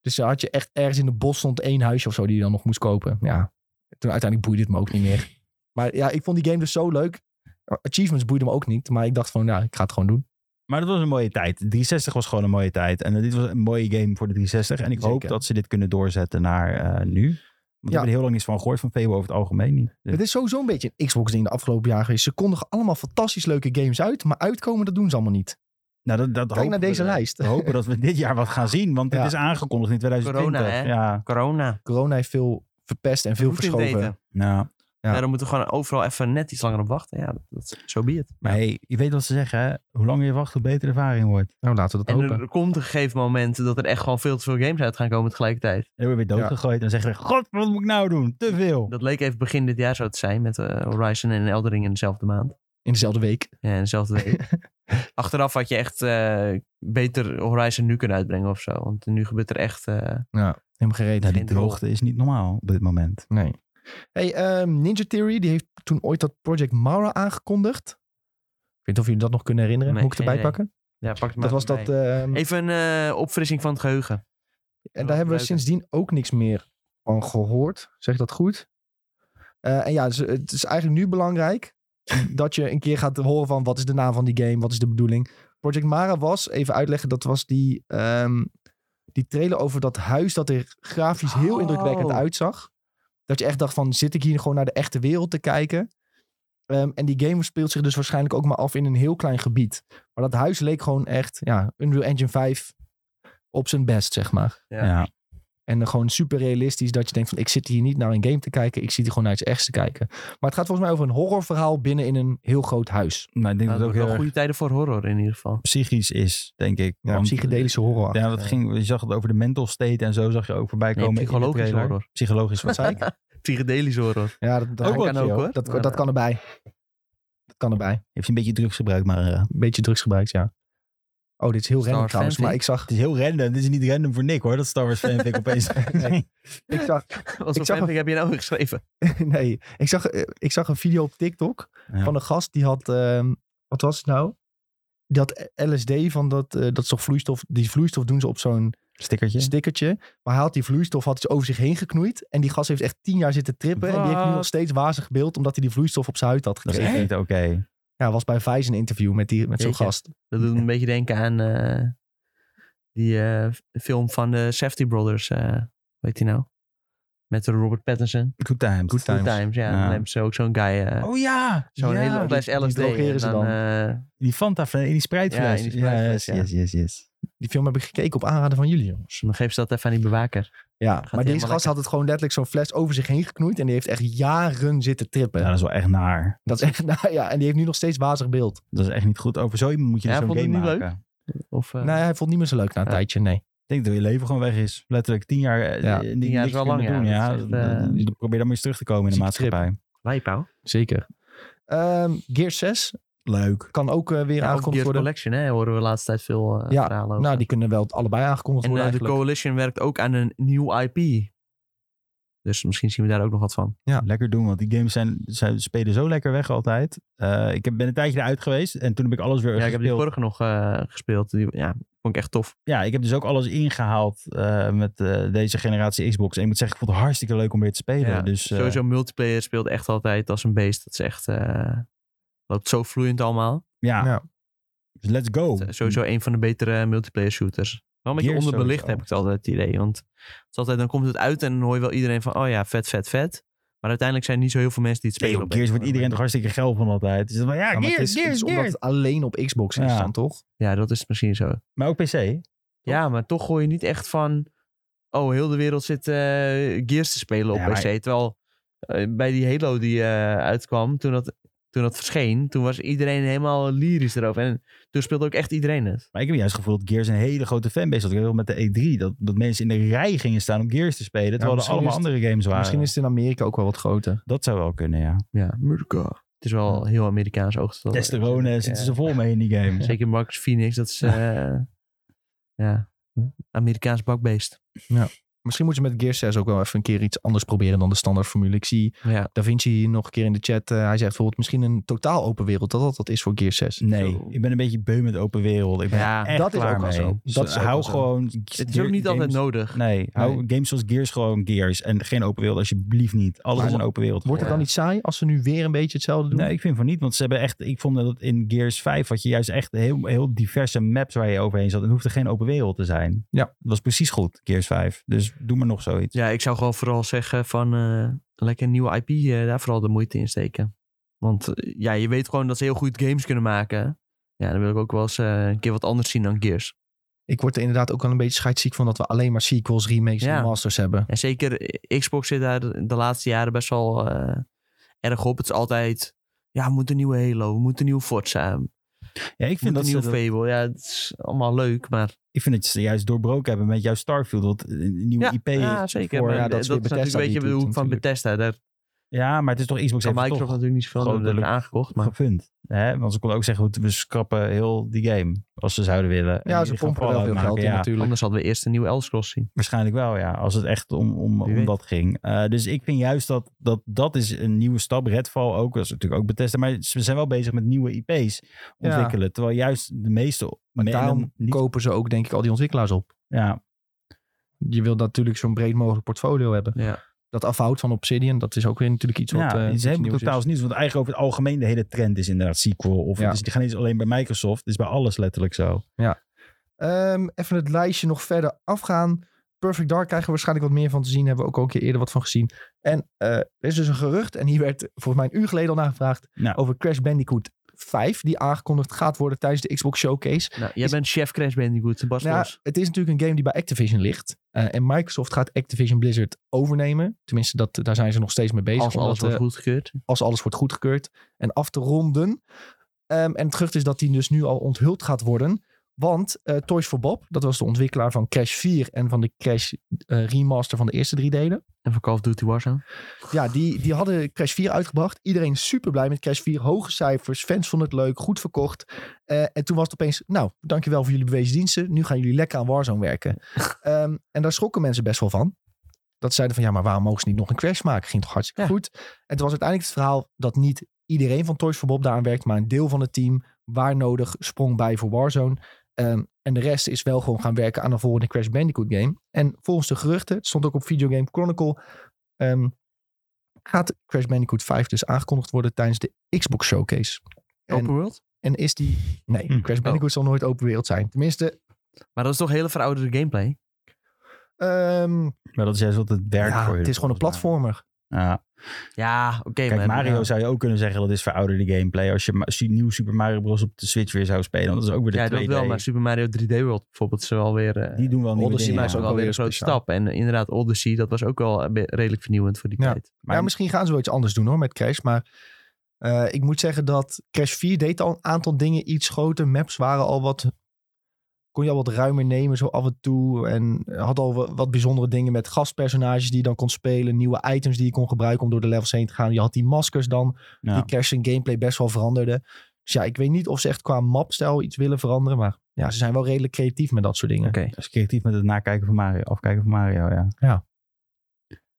[SPEAKER 1] Dus dan had je echt ergens in de bos stond één huisje of zo die je dan nog moest kopen. Ja, toen uiteindelijk boeide het me ook niet meer. Maar ja, ik vond die game dus zo leuk. Achievements boeiden me ook niet, maar ik dacht van, nou, ik ga het gewoon doen.
[SPEAKER 3] Maar dat was een mooie tijd. 360 was gewoon een mooie tijd. En eh, dit was een mooie game voor de 360. En ik hoop
[SPEAKER 1] Zeker.
[SPEAKER 3] dat ze dit kunnen doorzetten naar eh, nu. Want we hebben er heel lang niets van gehoord van Fable over het algemeen niet. Dus-
[SPEAKER 1] Het is sowieso een beetje een Xbox-ding de afgelopen jaren geweest. Ze kondigen allemaal fantastisch leuke games uit, maar uitkomen, dat doen ze allemaal niet.
[SPEAKER 3] nou, dat, dat
[SPEAKER 1] Kijk
[SPEAKER 3] hopen
[SPEAKER 1] naar
[SPEAKER 3] we-
[SPEAKER 1] deze lijst.
[SPEAKER 3] We hopen dat we dit jaar wat gaan zien. Want
[SPEAKER 1] Ja.
[SPEAKER 3] het is aangekondigd in 2020.
[SPEAKER 2] Corona, hè?
[SPEAKER 3] Ja,
[SPEAKER 2] Corona.
[SPEAKER 1] Corona heeft veel verpest en veel
[SPEAKER 2] Moet je het
[SPEAKER 1] verschoven.
[SPEAKER 2] weten.
[SPEAKER 3] nou.
[SPEAKER 1] Ja.
[SPEAKER 2] Daarom moeten we gewoon overal even net iets langer op wachten. Ja, dat, dat, zo be het.
[SPEAKER 3] Maar hey, je weet wat ze zeggen, hè? Hoe langer je wacht, hoe beter de ervaring wordt.
[SPEAKER 1] Nou, laten we dat
[SPEAKER 2] En
[SPEAKER 1] hopen.
[SPEAKER 2] er komt een gegeven moment dat er echt gewoon veel te veel games uit gaan komen tegelijkertijd.
[SPEAKER 3] En dan word je weer doodgegooid. En dan zeggen ze, god, wat moet ik nou doen? Te veel.
[SPEAKER 2] Dat leek even begin dit jaar zo te zijn met eh, Horizon en Eldering in dezelfde maand.
[SPEAKER 1] In dezelfde week.
[SPEAKER 2] Ja, in dezelfde
[SPEAKER 1] <laughs>
[SPEAKER 2] week. Achteraf had je echt eh, beter Horizon nu kunnen uitbrengen of zo. Want nu gebeurt er echt... eh,
[SPEAKER 1] Helemaal gereden.
[SPEAKER 3] Nou, die
[SPEAKER 2] geen droog.
[SPEAKER 3] droogte is niet normaal op dit moment.
[SPEAKER 1] Nee. Hey, ehm, Ninja Theory die heeft toen ooit dat Project Mara aangekondigd. Ik weet niet of jullie dat nog kunnen herinneren.
[SPEAKER 2] Nee,
[SPEAKER 1] Moet ik
[SPEAKER 2] geen
[SPEAKER 1] erbij
[SPEAKER 2] idee.
[SPEAKER 1] pakken?
[SPEAKER 2] ja, pak het maar
[SPEAKER 1] dat was
[SPEAKER 2] erbij.
[SPEAKER 1] dat. ehm,
[SPEAKER 2] Even een eh, opfrissing van het geheugen.
[SPEAKER 1] en daar hebben we
[SPEAKER 2] gebruiken.
[SPEAKER 1] sindsdien ook niks meer van gehoord. Zeg ik dat goed? Eh, en ja, dus het is eigenlijk nu belangrijk dat je een keer gaat horen van wat is de naam van die game, wat is de bedoeling. Project Mara was, even uitleggen, dat was die, ehm, die trailer over dat huis dat er grafisch heel
[SPEAKER 2] Oh.
[SPEAKER 1] indrukwekkend uitzag. Dat je echt dacht van, zit ik hier gewoon naar de echte wereld te kijken? Ehm, en die game speelt zich dus waarschijnlijk ook maar af in een heel klein gebied. Maar dat huis leek gewoon echt, ja, Unreal Engine 5 op zijn best, zeg maar.
[SPEAKER 2] Ja.
[SPEAKER 3] ja.
[SPEAKER 1] En dan gewoon super realistisch dat je denkt van ik zit hier niet naar een game te kijken. Ik zit hier gewoon naar iets echts te kijken. Maar het gaat volgens mij over een horrorverhaal binnen in een heel groot huis.
[SPEAKER 3] Maar ik
[SPEAKER 2] Nou,
[SPEAKER 3] denk
[SPEAKER 2] dat
[SPEAKER 3] dat het ook
[SPEAKER 2] wordt
[SPEAKER 3] heel
[SPEAKER 2] wel
[SPEAKER 3] erg
[SPEAKER 2] goede tijden voor horror in ieder geval.
[SPEAKER 3] psychisch is, denk ik.
[SPEAKER 1] Ja,
[SPEAKER 3] Want- eh,
[SPEAKER 1] psychedelische horror.
[SPEAKER 3] Ja, dat ging, je zag het over de mental state en zo zag je ook voorbij
[SPEAKER 2] Nee,
[SPEAKER 3] komen. in de
[SPEAKER 2] psychologisch
[SPEAKER 3] trailer.
[SPEAKER 2] horror.
[SPEAKER 3] Psychologisch, wat <laughs> zei ik?
[SPEAKER 2] Psychedelisch horror.
[SPEAKER 1] Ja, dat, dat,
[SPEAKER 3] Ook wel
[SPEAKER 1] kan,
[SPEAKER 3] chill,
[SPEAKER 1] ook, dat,
[SPEAKER 2] hoor.
[SPEAKER 1] dat kan erbij. Dat kan erbij.
[SPEAKER 3] Heeft een beetje drugs gebruikt, maar eh,
[SPEAKER 1] Een beetje drugsgebruik, ja. Oh, dit is heel
[SPEAKER 2] Star
[SPEAKER 1] random trouwens. Maar ik
[SPEAKER 2] Fanfic.
[SPEAKER 1] zag,
[SPEAKER 3] het is heel random. Dit is niet random voor Nick hoor, dat Star Wars <laughs> fanfic opeens.
[SPEAKER 1] Nee. ik zag, <laughs>
[SPEAKER 2] Wat voor
[SPEAKER 1] zag
[SPEAKER 2] fanfic heb je nou weer geschreven?
[SPEAKER 1] nee, ik zag, eh, ik zag een video op TikTok
[SPEAKER 3] Ja.
[SPEAKER 1] van een gast die had, ehm, wat was het nou? Die had LSD van dat, eh, dat is toch vloeistof, die vloeistof doen ze op zo'n
[SPEAKER 3] Stickertje.
[SPEAKER 1] stickertje. Maar hij had die vloeistof had hij over zich heen geknoeid. En die gast heeft echt tien jaar zitten trippen. En die heeft nu nog
[SPEAKER 2] Wat?
[SPEAKER 1] steeds wazig beeld. Omdat hij die vloeistof op zijn huid had
[SPEAKER 3] Dat is
[SPEAKER 1] gekregen.
[SPEAKER 3] echt niet oké.
[SPEAKER 1] Ja, was bij Vice een interview met, die- met zo'n
[SPEAKER 2] Jeetje.
[SPEAKER 1] gast.
[SPEAKER 2] Dat doet me
[SPEAKER 1] <laughs>
[SPEAKER 2] een beetje denken aan eh, die eh, film van de Safety Brothers. weet je nou? Met Robert Pattinson.
[SPEAKER 3] Good times.
[SPEAKER 1] Good
[SPEAKER 2] Good Times, ja.
[SPEAKER 3] Ja.
[SPEAKER 2] Dan hebben ze ook zo'n guy. eh,
[SPEAKER 3] Oh ja!
[SPEAKER 2] Zo'n
[SPEAKER 3] ja.
[SPEAKER 2] hele fles
[SPEAKER 1] die
[SPEAKER 2] LSD.
[SPEAKER 1] drogeren ze
[SPEAKER 2] en dan,
[SPEAKER 1] dan.
[SPEAKER 2] eh,
[SPEAKER 3] Die Fanta fles, die Sprite
[SPEAKER 2] Ja,
[SPEAKER 3] fles.
[SPEAKER 2] in die Sprite fles,
[SPEAKER 3] yes,
[SPEAKER 2] ja.
[SPEAKER 3] yes, yes, yes.
[SPEAKER 1] Die film heb ik gekeken op aanraden van jullie jongens.
[SPEAKER 2] dan geven ze dat even aan die bewaker.
[SPEAKER 1] Ja, maar
[SPEAKER 2] helemaal
[SPEAKER 1] deze gast
[SPEAKER 2] lekker.
[SPEAKER 1] had het gewoon letterlijk zo'n fles over zich heen geknoeid. En die heeft echt jaren zitten trippen.
[SPEAKER 3] Ja, Nou, dat is wel echt naar.
[SPEAKER 1] Dat is echt, <laughs> nou ja, en die heeft nu nog steeds wazig beeld.
[SPEAKER 3] Dat is echt niet goed. Over zo iemand moet je dus
[SPEAKER 2] Ja,
[SPEAKER 3] zo'n
[SPEAKER 2] vond je
[SPEAKER 3] game
[SPEAKER 2] het niet
[SPEAKER 3] maken.
[SPEAKER 2] Of, eh,
[SPEAKER 1] Nee, hij vond het niet meer zo leuk na een
[SPEAKER 2] Ja.
[SPEAKER 1] tijdje, nee.
[SPEAKER 3] Ik denk dat je leven gewoon weg is. Letterlijk tien jaar. eh,
[SPEAKER 1] Ja,
[SPEAKER 3] eh,
[SPEAKER 1] tien
[SPEAKER 3] niks
[SPEAKER 2] jaar is wel
[SPEAKER 3] kunnen
[SPEAKER 2] lang,
[SPEAKER 3] Doen,
[SPEAKER 2] ja.
[SPEAKER 3] ja.
[SPEAKER 2] Dat is echt, eh,
[SPEAKER 3] Dan Probeer dan maar eens terug te komen in de
[SPEAKER 1] zieke trip.
[SPEAKER 3] maatschappij.
[SPEAKER 2] lijp, ouwe.
[SPEAKER 1] Zeker. Ehm Gear 6
[SPEAKER 3] Leuk.
[SPEAKER 1] kan ook eh, weer
[SPEAKER 2] Ja, ook
[SPEAKER 1] aangekondigd
[SPEAKER 2] Gears
[SPEAKER 1] worden.
[SPEAKER 2] Collection, hè, horen we de laatste tijd veel eh,
[SPEAKER 1] Ja,
[SPEAKER 2] verhalen over.
[SPEAKER 1] Nou, die kunnen wel allebei aangekondigd
[SPEAKER 2] en eh,
[SPEAKER 1] worden
[SPEAKER 2] de
[SPEAKER 1] eigenlijk.
[SPEAKER 2] Coalition werkt ook aan een nieuw IP. Dus misschien zien we daar ook nog wat van.
[SPEAKER 1] Ja.
[SPEAKER 3] Lekker doen, want die games zijn, zijn, spelen zo lekker weg altijd. Eh, ik heb, ben een tijdje eruit geweest en toen heb ik alles
[SPEAKER 2] Ja,
[SPEAKER 3] weer
[SPEAKER 2] ik heb die
[SPEAKER 3] gespeeld.
[SPEAKER 2] vorige nog eh, gespeeld. Die, ja, vond ik echt tof.
[SPEAKER 3] ja, ik heb dus ook alles ingehaald eh, met eh, deze generatie Xbox. En ik moet zeggen, ik vond het hartstikke leuk om weer te spelen.
[SPEAKER 2] Ja,
[SPEAKER 3] dus, eh,
[SPEAKER 2] Sowieso multiplayer speelt echt altijd als een beest. Dat is echt... eh, loopt zo vloeiend allemaal.
[SPEAKER 3] ja.
[SPEAKER 1] Ja.
[SPEAKER 3] Dus let's go.
[SPEAKER 2] Het is Sowieso een van de betere multiplayer shooters. Wel een beetje
[SPEAKER 3] Gears
[SPEAKER 2] onderbelicht
[SPEAKER 3] sowieso.
[SPEAKER 2] heb ik het altijd het idee. Want het is altijd, dan komt het uit en dan hoor je wel iedereen van... Oh ja, vet, vet, vet. Maar uiteindelijk zijn er niet zo heel veel mensen die het
[SPEAKER 3] Nee,
[SPEAKER 2] spelen.
[SPEAKER 3] joh,
[SPEAKER 2] op
[SPEAKER 3] Gears
[SPEAKER 2] deze
[SPEAKER 3] wordt iedereen toch
[SPEAKER 2] manier.
[SPEAKER 3] hartstikke geil van altijd. Dus, maar ja,
[SPEAKER 1] Ja, maar het
[SPEAKER 3] Gears,
[SPEAKER 1] is, het
[SPEAKER 3] Gears,
[SPEAKER 1] is omdat
[SPEAKER 3] Gears.
[SPEAKER 1] het alleen op Xbox is
[SPEAKER 3] Ja.
[SPEAKER 1] dan, toch?
[SPEAKER 2] Ja, dat is misschien zo.
[SPEAKER 3] Maar ook PC.
[SPEAKER 2] Ja, maar toch gooi je niet echt van... Oh, heel de wereld zit eh, Gears te spelen op
[SPEAKER 3] Ja, maar-
[SPEAKER 2] PC. Terwijl eh, bij die Halo die eh, uitkwam, toen dat, toen dat verscheen... Toen was iedereen helemaal lyrisch erover. En toen speelde ook echt iedereen het.
[SPEAKER 3] Maar ik heb juist het gevoel dat Gears een hele grote fanbase had. Ik weet wel met de E3, dat, dat mensen in de rij gingen staan om Gears te spelen. terwijl er
[SPEAKER 1] misschien
[SPEAKER 3] allemaal
[SPEAKER 1] is het-
[SPEAKER 3] andere games waren.
[SPEAKER 1] Misschien is het in Amerika ook wel wat groter.
[SPEAKER 3] Dat zou wel kunnen, ja.
[SPEAKER 2] Ja, Amerika. Het is wel heel Amerikaans oog. tot-
[SPEAKER 3] Testosterone
[SPEAKER 2] Ja.
[SPEAKER 3] zitten ze vol mee in die game.
[SPEAKER 2] Zeker Marcus Phoenix, dat is... eh, ja, Amerikaans bakbeest.
[SPEAKER 1] Misschien moeten ze met Gear 6 ook wel even een keer iets anders proberen dan de standaardformule. Ik zie
[SPEAKER 2] Ja.
[SPEAKER 1] Da Vinci hier nog een keer in de chat. eh, hij zegt bijvoorbeeld misschien een totaal open wereld. Dat dat, dat is voor Gear 6.
[SPEAKER 3] Nee,
[SPEAKER 2] Zo.
[SPEAKER 3] ik ben een beetje beu met open wereld. Ik ben
[SPEAKER 2] Ja,
[SPEAKER 3] echt
[SPEAKER 1] dat is
[SPEAKER 3] klaar
[SPEAKER 1] ook wel
[SPEAKER 3] mee.
[SPEAKER 1] zo.
[SPEAKER 3] Dus
[SPEAKER 1] Dat is ook
[SPEAKER 3] hou
[SPEAKER 1] wel zo.
[SPEAKER 3] gewoon...
[SPEAKER 2] Het is ook niet altijd
[SPEAKER 3] games-
[SPEAKER 2] nodig.
[SPEAKER 3] Nee, hou games zoals Gears gewoon Gears. En geen open wereld, alsjeblieft niet. Alles
[SPEAKER 1] Maar
[SPEAKER 3] is een open wereld.
[SPEAKER 1] Wordt het
[SPEAKER 2] Ja.
[SPEAKER 1] dan niet saai als ze nu weer een beetje hetzelfde doen?
[SPEAKER 3] Nee, ik vind van niet. Want ze hebben echt... Ik vond dat in Gears 5 had je juist echt heel, heel diverse maps waar je overheen zat. En het hoefde geen open wereld te zijn.
[SPEAKER 1] Ja.
[SPEAKER 3] Dat was precies goed, Gears 5. Dus doe maar nog zoiets.
[SPEAKER 2] Ja, ik zou gewoon vooral zeggen van eh, lekker een nieuwe IP, eh, daar vooral de moeite in steken. Want eh, ja, je weet gewoon dat ze heel goed games kunnen maken. Ja, dan wil ik ook wel eens eh, een keer wat anders zien dan Gears.
[SPEAKER 1] Ik word er inderdaad ook wel een beetje scheidsziek van dat we alleen maar sequels, remakes
[SPEAKER 2] Ja.
[SPEAKER 1] en masters hebben.
[SPEAKER 2] En zeker eh, Xbox zit daar de laatste jaren best wel eh, erg op. Het is altijd, ja, we moeten een nieuwe Halo, we moeten een nieuwe Forza, we
[SPEAKER 3] Ja, ik vind
[SPEAKER 2] moeten
[SPEAKER 3] dat
[SPEAKER 2] een
[SPEAKER 3] ze
[SPEAKER 2] nieuwe
[SPEAKER 3] dat-
[SPEAKER 2] Fable. Ja, het is allemaal leuk, maar
[SPEAKER 3] Ik vind dat ze juist doorbroken hebben met jouw Starfield. Wat een nieuwe
[SPEAKER 2] ja,
[SPEAKER 3] IP
[SPEAKER 2] ja, zeker.
[SPEAKER 3] voor-
[SPEAKER 2] maar,
[SPEAKER 1] ja,
[SPEAKER 2] dat
[SPEAKER 1] dat is
[SPEAKER 2] is,
[SPEAKER 1] weer
[SPEAKER 2] natuurlijk
[SPEAKER 1] Bethesda
[SPEAKER 2] een beetje
[SPEAKER 1] die
[SPEAKER 2] de
[SPEAKER 1] het
[SPEAKER 2] hoek van
[SPEAKER 1] doet
[SPEAKER 2] Bethesda. Daar
[SPEAKER 3] Ja, maar het is toch Xbox
[SPEAKER 2] kan
[SPEAKER 3] heeft het
[SPEAKER 2] Microsoft
[SPEAKER 3] toch
[SPEAKER 2] natuurlijk niet zoveel aan doen, dat hebben
[SPEAKER 3] grootelijk
[SPEAKER 2] aangekocht. Maar
[SPEAKER 3] gefund. Hè? Want ze konden ook zeggen, goed, we schrappen heel die game. Als ze zouden willen. En
[SPEAKER 1] Ja,
[SPEAKER 3] die
[SPEAKER 1] ze
[SPEAKER 3] gaan
[SPEAKER 1] pompen er wel
[SPEAKER 3] Fallout
[SPEAKER 1] veel
[SPEAKER 3] maken,
[SPEAKER 1] geld in
[SPEAKER 3] ja.
[SPEAKER 1] natuurlijk.
[SPEAKER 2] anders hadden we eerst een nieuwe Elder Scrolls zien.
[SPEAKER 3] Waarschijnlijk wel, ja. Als het echt om, om,
[SPEAKER 2] Wie
[SPEAKER 3] om
[SPEAKER 2] weet.
[SPEAKER 3] dat ging. Eh, dus ik vind juist dat, dat dat is een nieuwe stap. Redfall ook, dat is natuurlijk ook betesten. Maar ze zijn wel bezig met nieuwe IP's ontwikkelen. Terwijl juist de meeste... en
[SPEAKER 1] Daarom
[SPEAKER 3] dan niet-
[SPEAKER 1] kopen ze ook denk ik al die ontwikkelaars op.
[SPEAKER 3] ja,
[SPEAKER 1] Je wilt natuurlijk zo'n breed mogelijk portfolio hebben.
[SPEAKER 2] Ja.
[SPEAKER 1] Dat afhoudt van Obsidian, dat is ook weer natuurlijk iets wat
[SPEAKER 3] ja,
[SPEAKER 1] eh,
[SPEAKER 3] het is
[SPEAKER 1] iets
[SPEAKER 3] helemaal
[SPEAKER 1] nieuws
[SPEAKER 3] totaal
[SPEAKER 1] is.
[SPEAKER 3] nieuws. Want eigenlijk over het algemeen de hele trend is inderdaad sequel. Of
[SPEAKER 1] Ja.
[SPEAKER 3] het is geen eens alleen bij Microsoft. Het is bij alles letterlijk zo.
[SPEAKER 1] Ehm, even het lijstje nog verder afgaan. Perfect Dark krijgen we waarschijnlijk wat meer van te zien. Hebben we ook al een keer eerder wat van gezien. En eh, er is dus een gerucht, en hier werd volgens mij een uur geleden al nagevraagd,
[SPEAKER 3] Nou.
[SPEAKER 1] over Crash Bandicoot 5, die aangekondigd gaat worden tijdens de Xbox Showcase.
[SPEAKER 2] Nou, jij
[SPEAKER 1] Is-
[SPEAKER 2] bent chef Crash Bandicoot, Bas
[SPEAKER 1] Nou, ja,
[SPEAKER 2] Los.
[SPEAKER 1] het is natuurlijk een game die bij Activision ligt. Eh, en Microsoft gaat Activision Blizzard overnemen. Tenminste, dat, daar zijn ze nog steeds mee bezig.
[SPEAKER 2] Als
[SPEAKER 1] omdat,
[SPEAKER 2] alles wordt
[SPEAKER 1] eh,
[SPEAKER 2] goedgekeurd.
[SPEAKER 1] als alles wordt goedgekeurd. En af te ronden. Ehm, en het gerucht is dat die dus nu al onthuld gaat worden. Want eh, Toys for Bob, dat was de ontwikkelaar van Crash 4 en van de Crash eh, remaster van de eerste drie delen.
[SPEAKER 2] En van Call of Duty Warzone.
[SPEAKER 1] Ja, die, die hadden Crash 4 uitgebracht. Iedereen super blij met Crash 4. Hoge cijfers, fans vonden het leuk, goed verkocht. Eh, en toen was het opeens, nou, dankjewel voor jullie bewezen diensten. Nu gaan jullie lekker aan Warzone
[SPEAKER 2] <laughs>
[SPEAKER 1] werken. Ehm, en daar schrokken mensen best wel van. Dat zeiden van, ja, maar waarom mogen ze niet nog een Crash maken? Ging toch hartstikke
[SPEAKER 2] Ja.
[SPEAKER 1] goed? En toen was uiteindelijk het verhaal dat niet iedereen van Toys for Bob daaraan werkt, maar een deel van het team, waar nodig, sprong bij voor Warzone. Ehm, en de rest is wel gewoon gaan werken aan een volgende Crash Bandicoot game. En volgens de geruchten, het stond ook op Video Game Chronicle, ehm, gaat Crash Bandicoot 5 dus aangekondigd worden tijdens de Xbox Showcase. En-
[SPEAKER 2] Open World.
[SPEAKER 1] En is die... Nee,
[SPEAKER 3] Hm.
[SPEAKER 1] Crash Bandicoot zal nooit open wereld zijn. Tenminste,
[SPEAKER 2] Maar dat is toch hele verouderde gameplay?
[SPEAKER 1] ehm,
[SPEAKER 3] Maar dat is juist wat het werk
[SPEAKER 1] ja,
[SPEAKER 3] voor
[SPEAKER 1] het is gewoon een platformer.
[SPEAKER 3] Ja.
[SPEAKER 2] Ja, oké.
[SPEAKER 3] Kijk,
[SPEAKER 2] maar- eh,
[SPEAKER 3] Mario
[SPEAKER 2] ja.
[SPEAKER 3] zou je ook kunnen zeggen dat is verouderde gameplay. Als je ma- su- nieuw Super Mario Bros. op de Switch weer zou spelen. want Dat is ook weer de
[SPEAKER 2] Ja, dat
[SPEAKER 3] 2D.
[SPEAKER 2] wel, maar Super Mario 3D World bijvoorbeeld is wel weer... eh,
[SPEAKER 3] Die doen wel nieuwe
[SPEAKER 1] Odyssey
[SPEAKER 3] dingen.
[SPEAKER 1] maakt
[SPEAKER 2] is
[SPEAKER 1] ook
[SPEAKER 2] ook
[SPEAKER 1] wel
[SPEAKER 2] wel weer
[SPEAKER 1] weer
[SPEAKER 2] een grote
[SPEAKER 1] speciaal.
[SPEAKER 2] stap. En eh, inderdaad, Odyssey, dat was ook wel eh, be- redelijk vernieuwend voor die
[SPEAKER 1] Ja.
[SPEAKER 2] tijd.
[SPEAKER 1] Maar
[SPEAKER 3] Maar-
[SPEAKER 1] misschien gaan ze wel iets anders doen hoor met Crash. Maar eh, ik moet zeggen dat Crash 4 deed al een aantal dingen iets groter. Maps waren al wat. Kon je al wat ruimer nemen, zo af en toe. En had al wa- wat bijzondere dingen met gastpersonages die je dan kon spelen. Nieuwe items die je kon gebruiken om door de levels heen te gaan. Je had die maskers dan,
[SPEAKER 3] Ja.
[SPEAKER 1] die Crash in gameplay best wel veranderden. Dus ja, ik weet niet of ze echt qua mapstijl iets willen veranderen. Maar ja, ze zijn wel redelijk creatief met dat soort dingen.
[SPEAKER 2] Oké.
[SPEAKER 3] Dat is creatief met het nakijken van Mario, afkijken van Mario, ja.
[SPEAKER 1] Ja.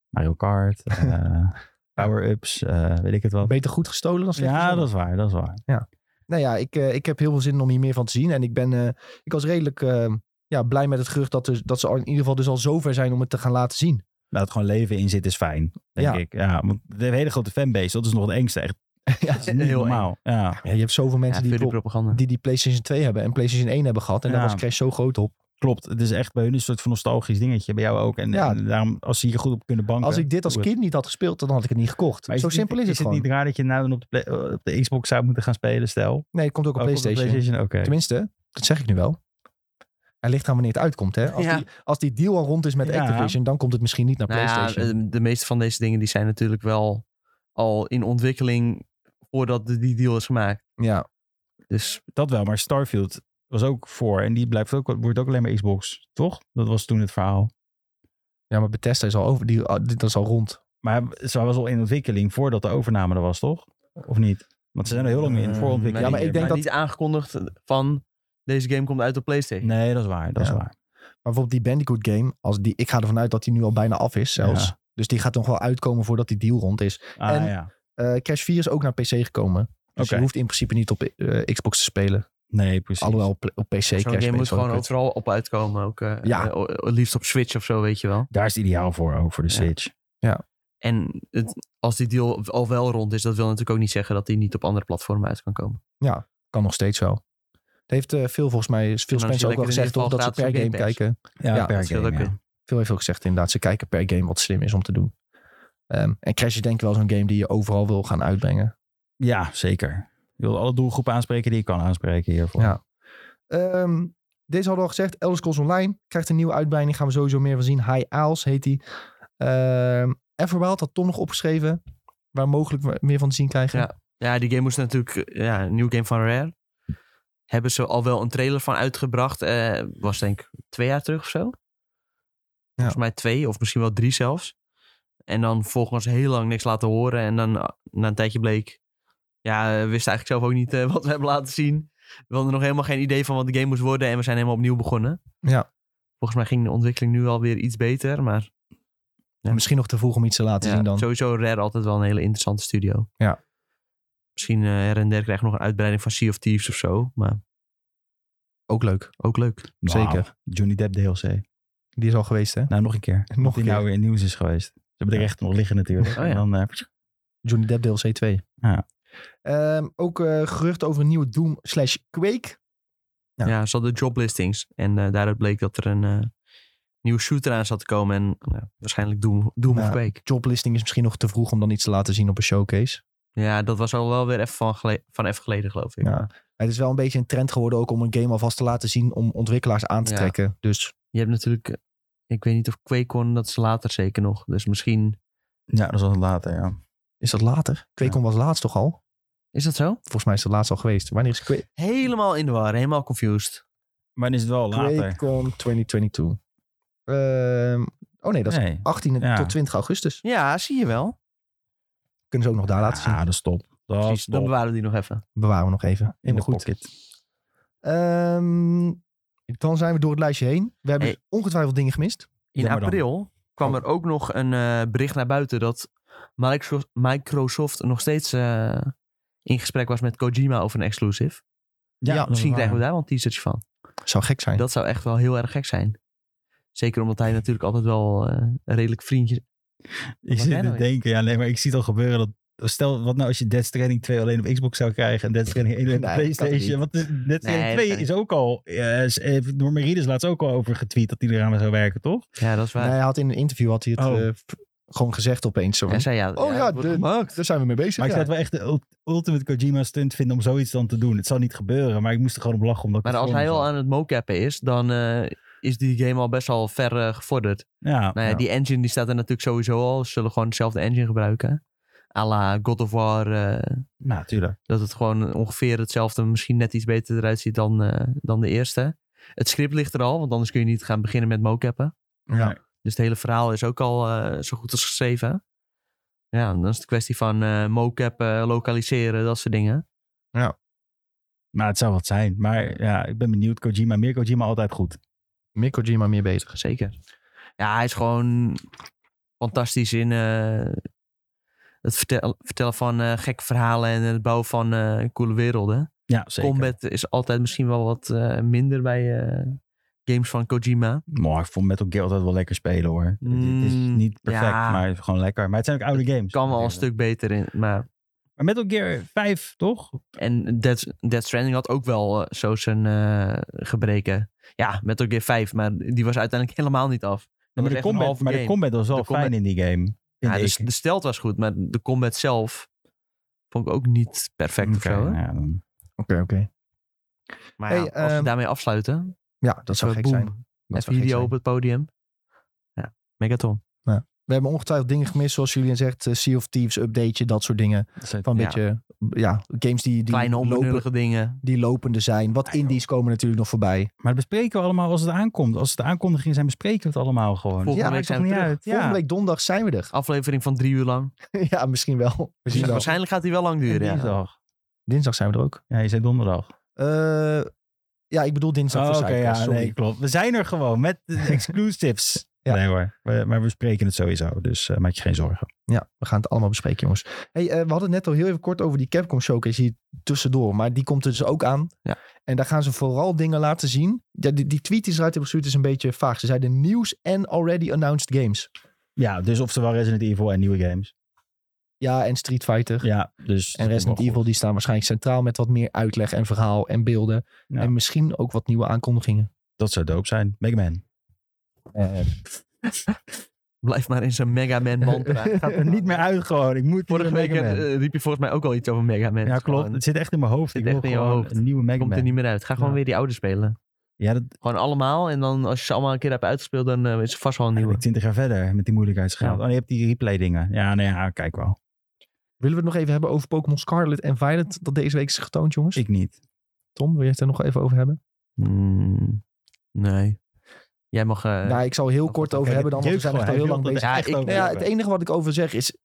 [SPEAKER 3] Mario
[SPEAKER 1] <laughs>
[SPEAKER 3] Kart, eh, power-ups, eh, weet ik het wel.
[SPEAKER 1] Beter goed gestolen dan slecht
[SPEAKER 3] Ja,
[SPEAKER 1] verzonnen.
[SPEAKER 3] dat is waar, dat is waar.
[SPEAKER 1] Nou ja, ik, eh, ik heb heel veel zin om hier meer van te zien. En ik, ben, eh, ik was redelijk eh, ja, blij met het gerucht dat, dus, dat ze al in ieder geval dus al zover zijn om het te gaan laten zien. <laughs>
[SPEAKER 3] Nou, het gewoon leven in zit is fijn, denk
[SPEAKER 1] Ja.
[SPEAKER 3] ik. Ja, want de hele grote fanbase, dat is nog het engste echt.
[SPEAKER 1] ja,
[SPEAKER 3] Dat is niet
[SPEAKER 2] Heel eng.
[SPEAKER 3] normaal. Ja,
[SPEAKER 1] ja, je hebt zoveel
[SPEAKER 2] Ja,
[SPEAKER 1] mensen die,
[SPEAKER 2] veel die
[SPEAKER 1] pro-
[SPEAKER 2] propaganda.
[SPEAKER 1] die die PlayStation 2 hebben en PlayStation 1 hebben gehad. En daar
[SPEAKER 3] Ja.
[SPEAKER 1] was Crash zo groot op.
[SPEAKER 3] klopt. Het is echt bij hun een soort van nostalgisch dingetje, bij jou ook. En,
[SPEAKER 1] Ja.
[SPEAKER 3] en daarom, als ze hier goed op kunnen banken.
[SPEAKER 1] Als ik dit als
[SPEAKER 3] doe het.
[SPEAKER 1] kind niet had gespeeld, dan had ik het niet gekocht.
[SPEAKER 3] Maar
[SPEAKER 1] zo simpel
[SPEAKER 3] niet,
[SPEAKER 1] is het gewoon.
[SPEAKER 3] Is het niet raar dat je nou dan op de, play- op de Xbox zou moeten gaan spelen, stel? Ook
[SPEAKER 1] Nee, het komt ook op
[SPEAKER 3] Oh, op de
[SPEAKER 1] PlayStation.
[SPEAKER 3] PlayStation? Oké.
[SPEAKER 1] Tenminste, dat zeg ik nu wel. Hij ligt aan wanneer het uitkomt. Hè? Als,
[SPEAKER 2] Ja.
[SPEAKER 1] die, als die deal al rond is met
[SPEAKER 3] Ja.
[SPEAKER 1] Activision, dan komt het misschien niet naar
[SPEAKER 2] Nou ja,
[SPEAKER 1] PlayStation.
[SPEAKER 2] eh, de meeste van deze dingen die zijn natuurlijk wel al in ontwikkeling voordat de- die deal is gemaakt.
[SPEAKER 1] ja.
[SPEAKER 2] Dus
[SPEAKER 3] Dat wel, maar Starfield was ook voor. En die blijft ook, wordt ook alleen maar Xbox, toch? Dat was toen het verhaal.
[SPEAKER 1] ja, maar Bethesda is al over. Die, ah, dat is al rond.
[SPEAKER 3] Maar ze was al in ontwikkeling voordat de overname er was, toch? Of niet? Want ze zijn er heel lang in
[SPEAKER 2] Eh,
[SPEAKER 3] voorontwikkeling.
[SPEAKER 1] Ja, maar ik
[SPEAKER 3] hier,
[SPEAKER 1] denk
[SPEAKER 2] maar niet aangekondigd van deze game komt uit op PlayStation.
[SPEAKER 3] Nee, dat is waar. Dat
[SPEAKER 1] Ja.
[SPEAKER 3] is waar.
[SPEAKER 1] Maar bijvoorbeeld die Bandicoot game, als die, ik ga ervan uit dat die nu al bijna af is zelfs.
[SPEAKER 3] Ja.
[SPEAKER 1] Dus die gaat nog wel uitkomen voordat die deal rond is.
[SPEAKER 3] Ah,
[SPEAKER 1] En-
[SPEAKER 3] ja.
[SPEAKER 1] Eh Crash 4 is ook naar PC gekomen. Dus
[SPEAKER 3] Oké.
[SPEAKER 1] je hoeft in principe niet op eh, Xbox te spelen.
[SPEAKER 3] Nee, precies.
[SPEAKER 1] Alhoewel pl- op PC Crash
[SPEAKER 2] Zo'n game
[SPEAKER 1] Bandicoot
[SPEAKER 2] moet gewoon
[SPEAKER 1] wel kut.
[SPEAKER 2] overal op uitkomen. Ook, eh,
[SPEAKER 1] Ja.
[SPEAKER 2] eh, o- o- liefst op Switch of zo, weet je wel.
[SPEAKER 3] Daar is het ideaal voor, ook voor de
[SPEAKER 2] Ja.
[SPEAKER 3] Switch.
[SPEAKER 2] En het, als die deal al wel rond is, dat wil natuurlijk ook niet zeggen dat die niet op andere platformen uit kan komen.
[SPEAKER 1] Kan nog steeds wel. Het heeft eh, veel volgens mij, is Phil
[SPEAKER 2] dan is
[SPEAKER 1] Spencer
[SPEAKER 2] je
[SPEAKER 1] ook wel
[SPEAKER 2] lekker in
[SPEAKER 1] gezegd
[SPEAKER 2] ieder
[SPEAKER 1] toch, dat ze
[SPEAKER 2] geval
[SPEAKER 1] per game
[SPEAKER 2] gratis op Game Pass.
[SPEAKER 1] kijken.
[SPEAKER 3] Ja,
[SPEAKER 1] Ja,
[SPEAKER 3] per
[SPEAKER 2] dat scheelt
[SPEAKER 3] game,
[SPEAKER 2] ook
[SPEAKER 3] ja.
[SPEAKER 2] weer.
[SPEAKER 1] Veel heeft ook gezegd inderdaad, ze kijken per game wat slim is om te doen. Ehm, en Crash is denk ik wel zo'n game die je overal wil gaan uitbrengen.
[SPEAKER 3] Ja, zeker. Je wil alle doelgroepen aanspreken die je kan aanspreken hiervoor.
[SPEAKER 1] Ja. Ehm, deze hadden we al gezegd. Elder Scrolls Online krijgt een nieuwe uitbreiding. Gaan we sowieso meer van zien. High Isles heet die. Ehm Everwild had Tom nog opgeschreven. Waar mogelijk we meer van te zien krijgen.
[SPEAKER 2] Ja, die game moest natuurlijk, eh, ja, een nieuw game van Rare. Hebben ze al wel een trailer van uitgebracht. eh, was denk ik twee jaar terug of zo. Volgens mij twee, of misschien wel drie zelfs. En dan volgens heel lang niks laten horen. En dan ah, na een tijdje bleek, ja, we wisten eigenlijk zelf ook niet eh, <laughs> wat we hebben laten zien. We hadden nog helemaal geen idee van wat de game moest worden. En we zijn helemaal opnieuw begonnen.
[SPEAKER 1] Ja.
[SPEAKER 2] Volgens mij ging de ontwikkeling nu alweer iets beter. Maar Ja.
[SPEAKER 1] Misschien nog te vroeg om iets te laten
[SPEAKER 2] ja,
[SPEAKER 1] zien dan.
[SPEAKER 2] sowieso Rare altijd wel een hele interessante studio.
[SPEAKER 1] Ja.
[SPEAKER 2] Misschien eh, her en der krijg je nog een uitbreiding van Sea of Thieves of zo. Maar
[SPEAKER 1] Ook leuk.
[SPEAKER 2] ook leuk.
[SPEAKER 3] Wauw.
[SPEAKER 1] Zeker.
[SPEAKER 3] Nou, Johnny Depp DLC.
[SPEAKER 1] Die is al geweest hè.
[SPEAKER 3] Nou, nog een keer.
[SPEAKER 1] Nog
[SPEAKER 3] Nog
[SPEAKER 1] een
[SPEAKER 3] die
[SPEAKER 1] keer.
[SPEAKER 3] nou weer in het nieuws is geweest. Ze hebben de rechten nog liggen natuurlijk.
[SPEAKER 2] Oh ja.
[SPEAKER 3] En dan, eh,
[SPEAKER 1] Johnny Depp DLC 2.
[SPEAKER 3] Ja.
[SPEAKER 1] Ehm, ook eh, gerucht over een nieuwe Doom slash Quake. Ja.
[SPEAKER 2] Ja, ze hadden joblistings. En eh, daaruit bleek dat er een eh, nieuwe shooter aan zat te komen. En ja, waarschijnlijk Doom, Doom
[SPEAKER 1] Ja.
[SPEAKER 2] of Quake.
[SPEAKER 1] Joblisting is misschien nog te vroeg om dan iets te laten zien op een showcase.
[SPEAKER 2] Ja, dat was al wel weer even van, gele- van even geleden, geloof ik.
[SPEAKER 1] Ja. Het is wel een beetje een trend geworden ook om een game alvast te laten zien om ontwikkelaars aan te
[SPEAKER 2] Ja.
[SPEAKER 1] trekken. Dus
[SPEAKER 2] Je hebt natuurlijk... eh, Ik weet niet of QuakeCon, dat is later zeker nog. Dus misschien...
[SPEAKER 3] ja, dat is al later, ja.
[SPEAKER 1] is dat later? Quake was laatst toch al?
[SPEAKER 2] Is dat zo?
[SPEAKER 1] Volgens mij is het laatst al geweest. Wanneer is Quake?
[SPEAKER 2] Helemaal in de war, helemaal confused.
[SPEAKER 3] Maar dan is het wel later.
[SPEAKER 1] QuakeCon 2022. Ehm, oh nee, dat is
[SPEAKER 3] Nee.
[SPEAKER 1] 18
[SPEAKER 3] Ja.
[SPEAKER 1] tot 20 augustus.
[SPEAKER 2] Ja, zie je wel.
[SPEAKER 1] Kunnen ze ook nog daar laten zien.
[SPEAKER 3] Ah, dat is top. Dat
[SPEAKER 2] Precies,
[SPEAKER 3] is
[SPEAKER 2] dan
[SPEAKER 3] top.
[SPEAKER 2] bewaren we die nog even.
[SPEAKER 1] Bewaren we nog even.
[SPEAKER 3] In de
[SPEAKER 1] Helemaal goed.
[SPEAKER 3] pocket.
[SPEAKER 1] Ehm, dan zijn we door het lijstje heen. We hebben
[SPEAKER 2] Hey.
[SPEAKER 1] ongetwijfeld dingen gemist.
[SPEAKER 2] In
[SPEAKER 3] Jammer dan.
[SPEAKER 2] april kwam er ook nog een eh, bericht naar buiten dat Micro- Microsoft nog steeds eh, in gesprek was met Kojima over een exclusive.
[SPEAKER 1] Ja,
[SPEAKER 3] dat is
[SPEAKER 2] Misschien
[SPEAKER 3] waar.
[SPEAKER 2] krijgen we daar wel een teasertje van.
[SPEAKER 1] Zou gek zijn.
[SPEAKER 2] Dat zou echt wel heel erg gek zijn. Zeker omdat hij natuurlijk altijd wel eh, een redelijk vriendje...
[SPEAKER 3] Ik
[SPEAKER 2] Wat
[SPEAKER 3] zit
[SPEAKER 2] jij
[SPEAKER 3] te
[SPEAKER 2] nou
[SPEAKER 3] denken, ja, nee, maar ik zie het al gebeuren dat... Stel, wat nou als je Dead Stranding 2 alleen op Xbox zou krijgen en Dead Stranding 1 alleen op de
[SPEAKER 1] Nee, dat kan
[SPEAKER 3] Playstation? Want de- Dead Stranding
[SPEAKER 2] dat
[SPEAKER 3] 2
[SPEAKER 2] kan
[SPEAKER 3] is ook al... eh, is- eh, Norman Reedus laatst ook al over getweet dat hij eraan zou werken, toch?
[SPEAKER 2] Ja, dat is waar.
[SPEAKER 1] Nee, hij had in een interview had hij het
[SPEAKER 3] Oh.
[SPEAKER 1] eh, v- gewoon gezegd opeens. Zo van,
[SPEAKER 2] Hij zei ja.
[SPEAKER 1] oh ja,
[SPEAKER 2] het wordt
[SPEAKER 1] de-
[SPEAKER 2] gemaakt.
[SPEAKER 1] daar zijn we mee bezig.
[SPEAKER 3] Maar ik
[SPEAKER 1] ja.
[SPEAKER 3] zou het wel echt de ult- ultimate Kojima stunt vinden om zoiets dan te doen. Het zal niet gebeuren, maar ik moest er gewoon op lachen. Omdat ik
[SPEAKER 2] Maar
[SPEAKER 3] het
[SPEAKER 2] als
[SPEAKER 1] Oh,
[SPEAKER 3] voor
[SPEAKER 2] hij
[SPEAKER 3] me
[SPEAKER 2] al
[SPEAKER 3] zag.
[SPEAKER 2] aan het mocappen is, dan eh, is die game al best wel ver eh, gevorderd.
[SPEAKER 3] Ja,
[SPEAKER 2] Nou ja,
[SPEAKER 3] ja.
[SPEAKER 2] die engine die staat er natuurlijk sowieso al. Ze zullen gewoon dezelfde engine gebruiken. A la God of War. eh,
[SPEAKER 3] Nou, tuurlijk.
[SPEAKER 2] dat het gewoon ongeveer hetzelfde, misschien net iets beter eruit ziet dan, eh, dan de eerste. Het script ligt er al, want anders kun je niet gaan beginnen met mocappen.
[SPEAKER 1] Ja.
[SPEAKER 3] Nee.
[SPEAKER 2] Dus het hele verhaal is ook al eh, zo goed als geschreven. Ja, dan is het kwestie van eh mocappen, lokaliseren, dat soort dingen.
[SPEAKER 3] Maar het zou wat zijn. Maar ja, ik ben benieuwd. Kojima, meer Kojima, altijd goed.
[SPEAKER 1] Meer Kojima, meer bezig.
[SPEAKER 2] Zeker. Ja, hij is gewoon fantastisch in eh, het vertel- vertellen van eh, gekke verhalen en het bouwen van eh, coole werelden.
[SPEAKER 3] Ja, zeker.
[SPEAKER 2] Combat is altijd misschien wel wat eh, minder bij eh, games van Kojima.
[SPEAKER 3] Maar ik vond Metal Gear altijd wel lekker spelen hoor. Het- het is
[SPEAKER 2] Mm,
[SPEAKER 3] niet perfect,
[SPEAKER 2] ja.
[SPEAKER 3] maar het is gewoon lekker. Maar het zijn ook oude games.
[SPEAKER 2] Dus Kan wel een stuk beter in. Maar,
[SPEAKER 3] Maar Metal Gear 5, toch?
[SPEAKER 2] en Dead, Dead Stranding had ook wel eh, zo zijn eh, gebreken. Ja, Metal Gear 5, maar die was uiteindelijk helemaal niet af.
[SPEAKER 3] Ja, maar
[SPEAKER 2] was
[SPEAKER 3] de
[SPEAKER 2] echt een
[SPEAKER 3] combat,
[SPEAKER 2] halve
[SPEAKER 3] maar de
[SPEAKER 2] game.
[SPEAKER 3] combat was wel
[SPEAKER 2] De
[SPEAKER 3] fijn
[SPEAKER 2] combat-
[SPEAKER 3] in die game. vind
[SPEAKER 2] Ja, dus
[SPEAKER 3] ik.
[SPEAKER 2] de stelt was goed, maar de combat zelf vond ik ook niet perfect of
[SPEAKER 3] Oké,
[SPEAKER 2] zo. hè.
[SPEAKER 3] ja, dan-
[SPEAKER 1] Oké, oké.
[SPEAKER 2] Maar
[SPEAKER 1] Hey,
[SPEAKER 2] ja, als we
[SPEAKER 1] ehm,
[SPEAKER 2] daarmee afsluiten,
[SPEAKER 1] Ja, dat zou
[SPEAKER 2] eh,
[SPEAKER 1] gek
[SPEAKER 2] boem.
[SPEAKER 1] zijn. Dat
[SPEAKER 2] Even
[SPEAKER 1] zou gek
[SPEAKER 2] video
[SPEAKER 1] zijn.
[SPEAKER 2] op het podium. Ja, Megaton.
[SPEAKER 1] We hebben ongetwijfeld dingen gemist, zoals jullie zegt. eh, sea of Thieves, updateje, dat soort dingen. Van een
[SPEAKER 2] Ja.
[SPEAKER 1] beetje, ja, games die, die,
[SPEAKER 2] Kleine
[SPEAKER 1] lopen,
[SPEAKER 2] onbenullige dingen.
[SPEAKER 1] die lopende zijn. Wat indies komen natuurlijk nog voorbij.
[SPEAKER 3] Maar dat bespreken we allemaal als het aankomt. Als het de aankondigingen zijn, bespreken we het allemaal gewoon.
[SPEAKER 2] Volgende
[SPEAKER 1] Ja,
[SPEAKER 2] week
[SPEAKER 3] Maakt toch
[SPEAKER 2] zijn we
[SPEAKER 3] niet
[SPEAKER 2] terug.
[SPEAKER 3] uit.
[SPEAKER 1] Volgende
[SPEAKER 3] Ja.
[SPEAKER 1] week donderdag zijn we er. <laughs>
[SPEAKER 2] Aflevering van drie uur lang.
[SPEAKER 1] ja, misschien wel. We zien
[SPEAKER 2] Dus
[SPEAKER 1] wel.
[SPEAKER 2] waarschijnlijk gaat die wel lang
[SPEAKER 3] En
[SPEAKER 2] duren. ja.
[SPEAKER 3] Dinsdag.
[SPEAKER 1] Dinsdag zijn we er ook.
[SPEAKER 3] Ja, je zei donderdag.
[SPEAKER 1] Eh, ja, ik bedoel dinsdag
[SPEAKER 3] Oh,
[SPEAKER 1] voor
[SPEAKER 3] Oké,
[SPEAKER 1] Cyclone,
[SPEAKER 3] ja,
[SPEAKER 1] sorry.
[SPEAKER 3] nee, klopt. We zijn er gewoon met
[SPEAKER 2] <laughs>
[SPEAKER 3] de exclusives.
[SPEAKER 1] Ja.
[SPEAKER 3] Nee hoor, we- maar we spreken het sowieso, dus eh, maak je geen zorgen.
[SPEAKER 1] Ja, we gaan het allemaal bespreken, jongens. Hey, eh, we hadden het net al heel even kort over die Capcom Showcase hier tussendoor. Maar die komt er dus ook aan.
[SPEAKER 2] Ja.
[SPEAKER 1] En daar gaan ze vooral dingen laten zien. Ja, die, die tweet die ze eruit hebben gestuurd is een beetje vaag. Ze zeiden nieuws en already announced games.
[SPEAKER 3] Ja, dus oftewel Resident Evil en nieuwe games.
[SPEAKER 1] Ja, en Street Fighter.
[SPEAKER 3] Ja, dus...
[SPEAKER 1] En Resident Evil, die staan waarschijnlijk centraal met wat meer uitleg en verhaal en beelden.
[SPEAKER 3] Ja.
[SPEAKER 1] En misschien ook wat nieuwe aankondigingen.
[SPEAKER 3] Dat zou dope zijn. Mega Man.
[SPEAKER 2] Blijf maar in zijn Mega Man mantra.
[SPEAKER 1] <laughs>
[SPEAKER 2] Gaat er
[SPEAKER 3] Niet meer uit gewoon, ik moet
[SPEAKER 2] Vorige
[SPEAKER 3] weer
[SPEAKER 2] week
[SPEAKER 3] Mega Man.
[SPEAKER 2] eh, riep je volgens mij ook al iets over Mega Man.
[SPEAKER 3] ja, klopt.
[SPEAKER 2] Gewoon,
[SPEAKER 3] Het zit echt in mijn hoofd.
[SPEAKER 2] zit
[SPEAKER 3] ik wil
[SPEAKER 2] echt in je
[SPEAKER 3] gewoon
[SPEAKER 2] hoofd.
[SPEAKER 3] een nieuwe Mega
[SPEAKER 2] komt er
[SPEAKER 3] Man.
[SPEAKER 2] niet meer uit. Ga gewoon
[SPEAKER 3] Ja.
[SPEAKER 2] weer die oude spelen.
[SPEAKER 3] Ja, dat
[SPEAKER 2] Gewoon allemaal. En dan als je ze allemaal een keer hebt uitgespeeld, dan eh, is er vast wel een
[SPEAKER 3] ben
[SPEAKER 2] nieuwe.
[SPEAKER 3] ik twintig jaar verder met die moeilijkheidsgraad.
[SPEAKER 2] Ja.
[SPEAKER 3] Oh, je hebt die replay dingen. Ja, nou ja, kijk wel.
[SPEAKER 1] Willen we het nog even hebben over Pokémon Scarlet en Violet? Dat deze week is getoond, jongens.
[SPEAKER 3] Ik niet.
[SPEAKER 1] Tom, wil je het er nog even over hebben?
[SPEAKER 2] Hmm, nee. Jij mag... eh,
[SPEAKER 1] nou, ik zal heel
[SPEAKER 2] dat-
[SPEAKER 1] kort
[SPEAKER 2] dat-
[SPEAKER 1] over
[SPEAKER 3] Kijk,
[SPEAKER 1] hebben dan, want we
[SPEAKER 3] jeukt
[SPEAKER 1] zijn echt al
[SPEAKER 3] gewoon.
[SPEAKER 1] heel lang
[SPEAKER 3] Hij wil
[SPEAKER 1] bezig.
[SPEAKER 3] dat
[SPEAKER 2] bezig.
[SPEAKER 3] echt
[SPEAKER 2] Ja, ik-
[SPEAKER 3] over
[SPEAKER 1] Nou ja,
[SPEAKER 3] hebben.
[SPEAKER 1] het enige wat ik over zeg is,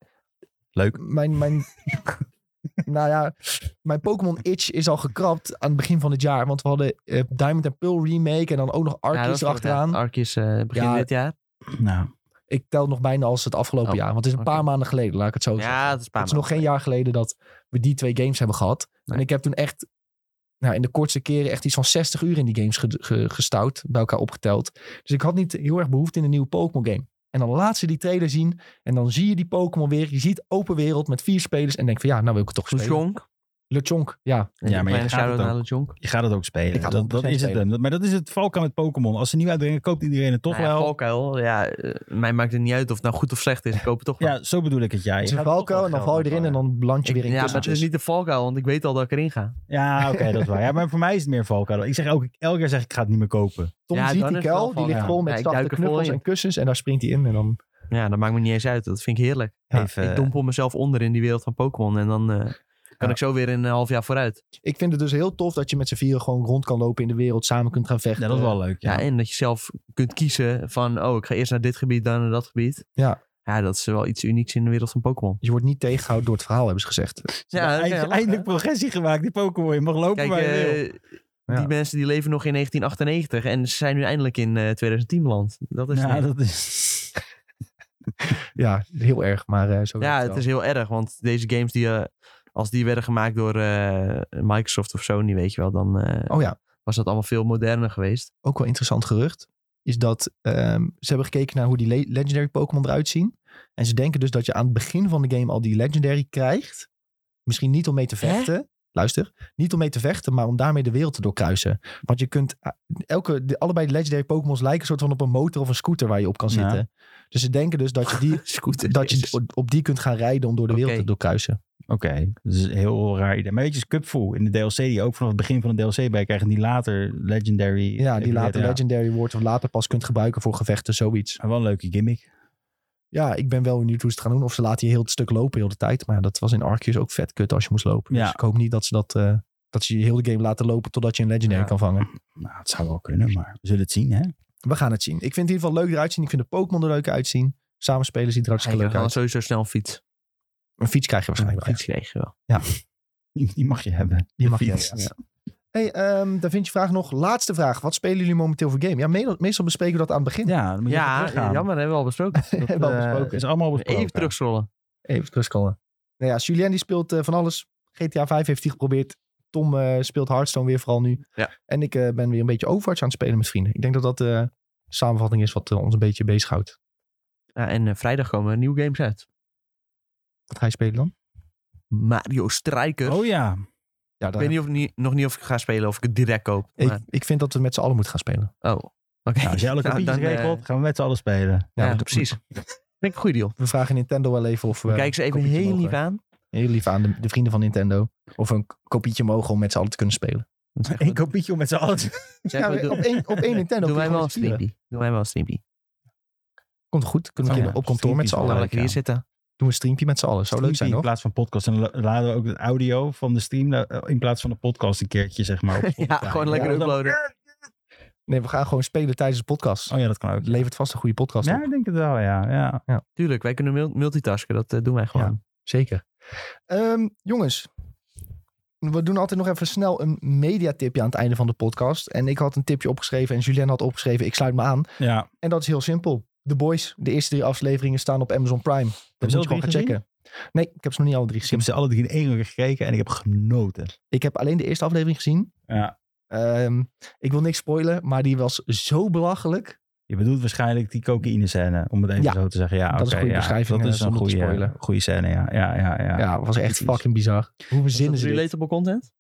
[SPEAKER 3] Leuk.
[SPEAKER 1] mijn,
[SPEAKER 2] <laughs>
[SPEAKER 1] mijn, nou ja, mijn Pokémon Itch is al gekrapt aan het begin van het jaar. Want we hadden eh, Diamond and Pearl remake en dan ook nog
[SPEAKER 2] ja, dat
[SPEAKER 1] Arceus
[SPEAKER 2] is vorig
[SPEAKER 1] erachteraan.
[SPEAKER 2] jaar. Arceus eh, begin
[SPEAKER 1] Ja,
[SPEAKER 2] dit jaar.
[SPEAKER 3] Nou,
[SPEAKER 1] Ik tel het nog bijna als het afgelopen
[SPEAKER 2] Oh,
[SPEAKER 1] jaar. Want het is een
[SPEAKER 2] oké.
[SPEAKER 1] paar maanden geleden, laat ik het zo zeggen.
[SPEAKER 2] Ja, dat is een paar
[SPEAKER 1] Het is nog geen jaar geleden dat we die twee games hebben gehad.
[SPEAKER 2] Nee.
[SPEAKER 1] En ik heb toen echt nou, in de kortste keren echt iets van 60 uur in die games ge- ge- gestouwd. Bij elkaar opgeteld. Dus ik had niet heel erg behoefte in een nieuwe Pokémon game. En dan laat ze die trailer zien. En dan zie je die Pokémon weer. Je ziet open wereld met vier spelers. En denk van ja, nou wil ik het toch spelen.
[SPEAKER 2] Jonk.
[SPEAKER 1] LeChonk, ja.
[SPEAKER 3] maar je gaat
[SPEAKER 2] shout-out
[SPEAKER 3] het ook.
[SPEAKER 2] naar Jonk.
[SPEAKER 3] je gaat het ook spelen.
[SPEAKER 1] Ik ga het
[SPEAKER 3] dat, dat
[SPEAKER 1] 100%
[SPEAKER 3] is het
[SPEAKER 1] spelen.
[SPEAKER 3] hem. Dat- Maar dat is het valkuil met Pokémon. Als ze nieuw uitbrengen, koopt iedereen het toch
[SPEAKER 2] Nou ja,
[SPEAKER 3] wel.
[SPEAKER 2] Valkuil, ja, eh, mij maakt het niet uit of het nou goed of slecht is. Ik koop het toch wel.
[SPEAKER 3] Ja, zo bedoel ik het. Ja, Je
[SPEAKER 1] Het is een
[SPEAKER 3] gaat toch
[SPEAKER 1] valkuil
[SPEAKER 3] wel
[SPEAKER 1] en dan
[SPEAKER 3] geld
[SPEAKER 1] val je erin en
[SPEAKER 3] betalen.
[SPEAKER 1] dan land je
[SPEAKER 2] Ik-
[SPEAKER 1] weer in
[SPEAKER 2] ja, maar het is
[SPEAKER 1] kussentjes.
[SPEAKER 2] niet de valkuil, want ik weet al dat ik erin ga.
[SPEAKER 3] Ja, oké, dat is waar. Ja, maar voor mij is het meer valkuil. Ik zeg elke, elke keer zeg ik, ik ga het niet meer kopen.
[SPEAKER 1] Tom
[SPEAKER 2] Ja,
[SPEAKER 1] ziet
[SPEAKER 2] dan
[SPEAKER 1] die
[SPEAKER 2] is het wel
[SPEAKER 1] kuil, die
[SPEAKER 2] van,
[SPEAKER 1] ligt
[SPEAKER 3] ja.
[SPEAKER 1] vol met
[SPEAKER 2] Ja, ik
[SPEAKER 1] zachte
[SPEAKER 2] duik er vol
[SPEAKER 1] knuffels
[SPEAKER 2] in.
[SPEAKER 1] en kussens. En daar springt hij in en dan...
[SPEAKER 2] Ja, dat maakt me niet eens uit. Dat vind ik heerlijk. eh,
[SPEAKER 1] Ja,
[SPEAKER 3] Even,
[SPEAKER 2] ik dompel mezelf onder in die wereld van Pokémon. En dan eh, kan
[SPEAKER 1] Ja.
[SPEAKER 2] ik zo weer een half jaar vooruit.
[SPEAKER 1] Ik vind het dus heel tof dat je met z'n vieren gewoon rond kan lopen in de wereld. Samen kunt gaan vechten.
[SPEAKER 3] ja, dat is wel leuk.
[SPEAKER 2] Ja.
[SPEAKER 3] Ja.
[SPEAKER 2] en dat je zelf kunt kiezen van... Oh, ik ga eerst naar dit gebied, dan naar dat gebied.
[SPEAKER 1] Ja.
[SPEAKER 2] Ja, dat is wel iets unieks in de wereld van Pokémon.
[SPEAKER 1] Je wordt niet tegengehouden door het verhaal, hebben ze gezegd.
[SPEAKER 2] Ja, dat
[SPEAKER 3] Eind-
[SPEAKER 2] kan je lachen.
[SPEAKER 3] eindelijk progressie gemaakt. Die Pokémon, je mag lopen
[SPEAKER 2] Kijk,
[SPEAKER 3] waar je wil.
[SPEAKER 2] eh, die
[SPEAKER 1] Ja.
[SPEAKER 2] mensen die leven nog in 1998 en ze zijn nu eindelijk in eh 2010 land. Dat is
[SPEAKER 3] ja,
[SPEAKER 2] het.
[SPEAKER 3] dat is... <laughs>
[SPEAKER 1] Ja, heel erg, maar eh, zo werkt
[SPEAKER 2] Ja, het
[SPEAKER 1] wel.
[SPEAKER 2] is heel erg, want deze games die... eh, als die werden gemaakt door eh, Microsoft of Sony, weet je wel, dan eh,
[SPEAKER 1] Oh ja,
[SPEAKER 2] was dat allemaal veel moderner geweest. <laughs>
[SPEAKER 1] ook wel interessant gerucht. Is dat ehm, ze hebben gekeken naar hoe die le- legendary Pokémon eruit zien. En ze denken dus dat je aan het begin van de game al die legendary krijgt. Misschien niet om mee te
[SPEAKER 2] Hè?
[SPEAKER 1] vechten. luister, niet om mee te vechten, maar om daarmee de wereld te doorkruisen. Want je kunt, eh, elke, de, allebei de legendary Pokémon's lijken soort van op een motor of een scooter waar je op kan
[SPEAKER 3] Ja.
[SPEAKER 1] zitten. Dus ze denken dus dat je, die,
[SPEAKER 2] <laughs> Scooter.
[SPEAKER 1] dat je
[SPEAKER 2] Jezus.
[SPEAKER 1] op- op die kunt gaan rijden om door de wereld
[SPEAKER 2] Oké.
[SPEAKER 1] te doorkruisen.
[SPEAKER 3] Oké, dat is een heel raar idee. Maar weet je, Scupful in de DLC, die je ook vanaf het begin van de DLC bij krijgt, en die later Legendary...
[SPEAKER 1] Ja, die later
[SPEAKER 3] ja.
[SPEAKER 1] legendary wordt of later pas kunt gebruiken voor gevechten, zoiets.
[SPEAKER 3] Maar wel een leuke gimmick.
[SPEAKER 1] Ja, ik ben wel benieuwd hoe ze het gaan doen. Of ze laten je heel het stuk lopen heel de tijd. Maar ja, dat was in Arceus ook vet kut als je moest lopen.
[SPEAKER 3] Ja.
[SPEAKER 1] Dus ik hoop niet dat ze dat... eh, dat ze je heel de game laten lopen totdat je een legendary
[SPEAKER 2] Ja.
[SPEAKER 1] kan vangen.
[SPEAKER 3] Nou, het zou wel kunnen, maar we zullen het zien, hè?
[SPEAKER 1] We gaan het zien. Ik vind het in ieder geval leuk eruit zien. Ik vind de Pokémon er leuk uitzien. Samenspelen ziet er
[SPEAKER 2] Hij
[SPEAKER 1] hartstikke leuk
[SPEAKER 2] kan
[SPEAKER 1] uit.
[SPEAKER 2] sowieso snel een fiets.
[SPEAKER 1] Een fiets krijg je
[SPEAKER 2] Een
[SPEAKER 1] waarschijnlijk.
[SPEAKER 2] fiets kreeg je wel.
[SPEAKER 3] Die, die mag je hebben.
[SPEAKER 1] Die mag je
[SPEAKER 3] Fiets.
[SPEAKER 1] hebben, Hey, ehm, daar vind je vraag nog. Laatste vraag. Wat spelen jullie momenteel voor game? Ja, me- meestal bespreken we dat aan het begin.
[SPEAKER 3] Ja, dan moet je even
[SPEAKER 2] Ja, eh,
[SPEAKER 3] teruggaan.
[SPEAKER 2] jammer, hebben we al besproken. Dat,
[SPEAKER 1] Hebben we al
[SPEAKER 2] eh,
[SPEAKER 1] besproken.
[SPEAKER 3] is allemaal besproken.
[SPEAKER 2] Even terugscrollen.
[SPEAKER 1] Even terugkomen. Nou ja, Julien die speelt eh, van alles. GTA 5 heeft hij geprobeerd. Tom eh, speelt Hearthstone weer vooral nu.
[SPEAKER 2] Ja.
[SPEAKER 1] En ik eh, ben weer een beetje Overwatch aan het spelen met vrienden. Ik denk dat dat eh, de samenvatting is wat eh, ons een beetje bezighoudt.
[SPEAKER 2] Ja, en eh, vrijdag komen nieuwe games uit.
[SPEAKER 1] Wat ga je spelen dan?
[SPEAKER 2] Mario Strijker.
[SPEAKER 3] Oh ja,
[SPEAKER 1] Ja,
[SPEAKER 2] ik
[SPEAKER 1] daar-
[SPEAKER 2] weet niet of, niet, nog niet of ik ga spelen of ik het direct koop. Maar,
[SPEAKER 1] ik, ik vind dat we met z'n allen moeten gaan spelen.
[SPEAKER 2] oh, oké.
[SPEAKER 3] nou, als
[SPEAKER 2] <laughs>
[SPEAKER 3] jij alle
[SPEAKER 2] Nou,
[SPEAKER 3] kopietjes
[SPEAKER 2] dan, eh,
[SPEAKER 3] regelt, gaan we met z'n allen spelen.
[SPEAKER 2] <laughs> ja,
[SPEAKER 1] we- <laughs>
[SPEAKER 2] precies. Ik denk een goede deal.
[SPEAKER 1] We vragen Nintendo wel even of we...
[SPEAKER 2] We kijken ze even
[SPEAKER 1] kopietje
[SPEAKER 2] heel
[SPEAKER 1] mogen.
[SPEAKER 2] lief aan.
[SPEAKER 1] Heel lief aan de, de vrienden van Nintendo. Of we een k- kopietje mogen om met z'n allen te kunnen spelen.
[SPEAKER 3] <laughs>
[SPEAKER 2] Dan zeggen
[SPEAKER 3] Eén
[SPEAKER 2] we-
[SPEAKER 3] kopietje om met z'n allen te-
[SPEAKER 1] Ja,
[SPEAKER 2] zeggen we,
[SPEAKER 1] op
[SPEAKER 2] doe-
[SPEAKER 1] één, op
[SPEAKER 2] <laughs>
[SPEAKER 1] één Nintendo.
[SPEAKER 2] Doe
[SPEAKER 1] kun je
[SPEAKER 2] mij
[SPEAKER 1] gewoon
[SPEAKER 2] wel
[SPEAKER 1] spelen.
[SPEAKER 2] een streampie. Doe mij wel een streampie.
[SPEAKER 1] Komt goed. Kunnen we een
[SPEAKER 3] Oh
[SPEAKER 1] keer
[SPEAKER 3] ja,
[SPEAKER 1] op kantoor met z'n
[SPEAKER 2] Gaan we
[SPEAKER 1] allen.
[SPEAKER 3] leuk,
[SPEAKER 2] lekker hier
[SPEAKER 3] ja.
[SPEAKER 2] zitten.
[SPEAKER 1] Doen
[SPEAKER 2] <laughs>
[SPEAKER 1] we een streampje met z'n allen. Zou leuk zijn,
[SPEAKER 3] in
[SPEAKER 1] hoor.
[SPEAKER 3] plaats van podcast. En la- laden we ook het audio van de stream eh, in plaats van de podcast een keertje, zeg maar.
[SPEAKER 1] <laughs>
[SPEAKER 3] op
[SPEAKER 2] Ja,
[SPEAKER 3] Spotify.
[SPEAKER 2] gewoon lekker
[SPEAKER 1] Ja, dan-
[SPEAKER 2] uploaden.
[SPEAKER 1] Nee, we gaan gewoon spelen tijdens de podcast.
[SPEAKER 3] Oh ja, dat kan ook.
[SPEAKER 1] Het levert vast een goede podcast
[SPEAKER 3] Ja,
[SPEAKER 1] op.
[SPEAKER 3] ik denk het wel, ja. ja.
[SPEAKER 2] Tuurlijk, wij kunnen mul- multitasken. Dat eh, doen wij gewoon.
[SPEAKER 1] Zeker. Ehm, jongens, we doen altijd nog even snel een mediatipje aan het einde van de podcast. En ik had een tipje opgeschreven en Julien had opgeschreven, ik sluit me aan.
[SPEAKER 3] ja.
[SPEAKER 1] En dat is heel simpel. The Boys, de eerste drie afleveringen staan op Amazon Prime. Dat
[SPEAKER 3] ze
[SPEAKER 1] moet je
[SPEAKER 3] alle
[SPEAKER 1] gewoon gaan
[SPEAKER 3] drie
[SPEAKER 1] checken. Nee, ik heb ze nog niet alle drie
[SPEAKER 3] Ik heb
[SPEAKER 1] gezien.
[SPEAKER 3] ze alle drie in één keer gekeken en ik heb genoten.
[SPEAKER 1] Ik heb alleen de eerste aflevering gezien.
[SPEAKER 3] Ja.
[SPEAKER 1] Ehm, ik wil niks spoilen, maar die was zo belachelijk.
[SPEAKER 3] Je bedoelt waarschijnlijk die cocaïne scène, om het even
[SPEAKER 1] Ja.
[SPEAKER 3] zo te zeggen. Ja,
[SPEAKER 1] Dat is een
[SPEAKER 3] oké,
[SPEAKER 1] goede
[SPEAKER 3] ja.
[SPEAKER 1] beschrijving,
[SPEAKER 3] Dat
[SPEAKER 1] eh,
[SPEAKER 3] is een
[SPEAKER 1] zonder te spoilen.
[SPEAKER 3] goede, goede scène, ja. Ja, ja, ja.
[SPEAKER 1] Ja, het was echt
[SPEAKER 3] precies.
[SPEAKER 1] fucking bizar. Hoe
[SPEAKER 2] Is
[SPEAKER 1] verzinnen
[SPEAKER 2] dat
[SPEAKER 1] ze dit?
[SPEAKER 2] relatable content?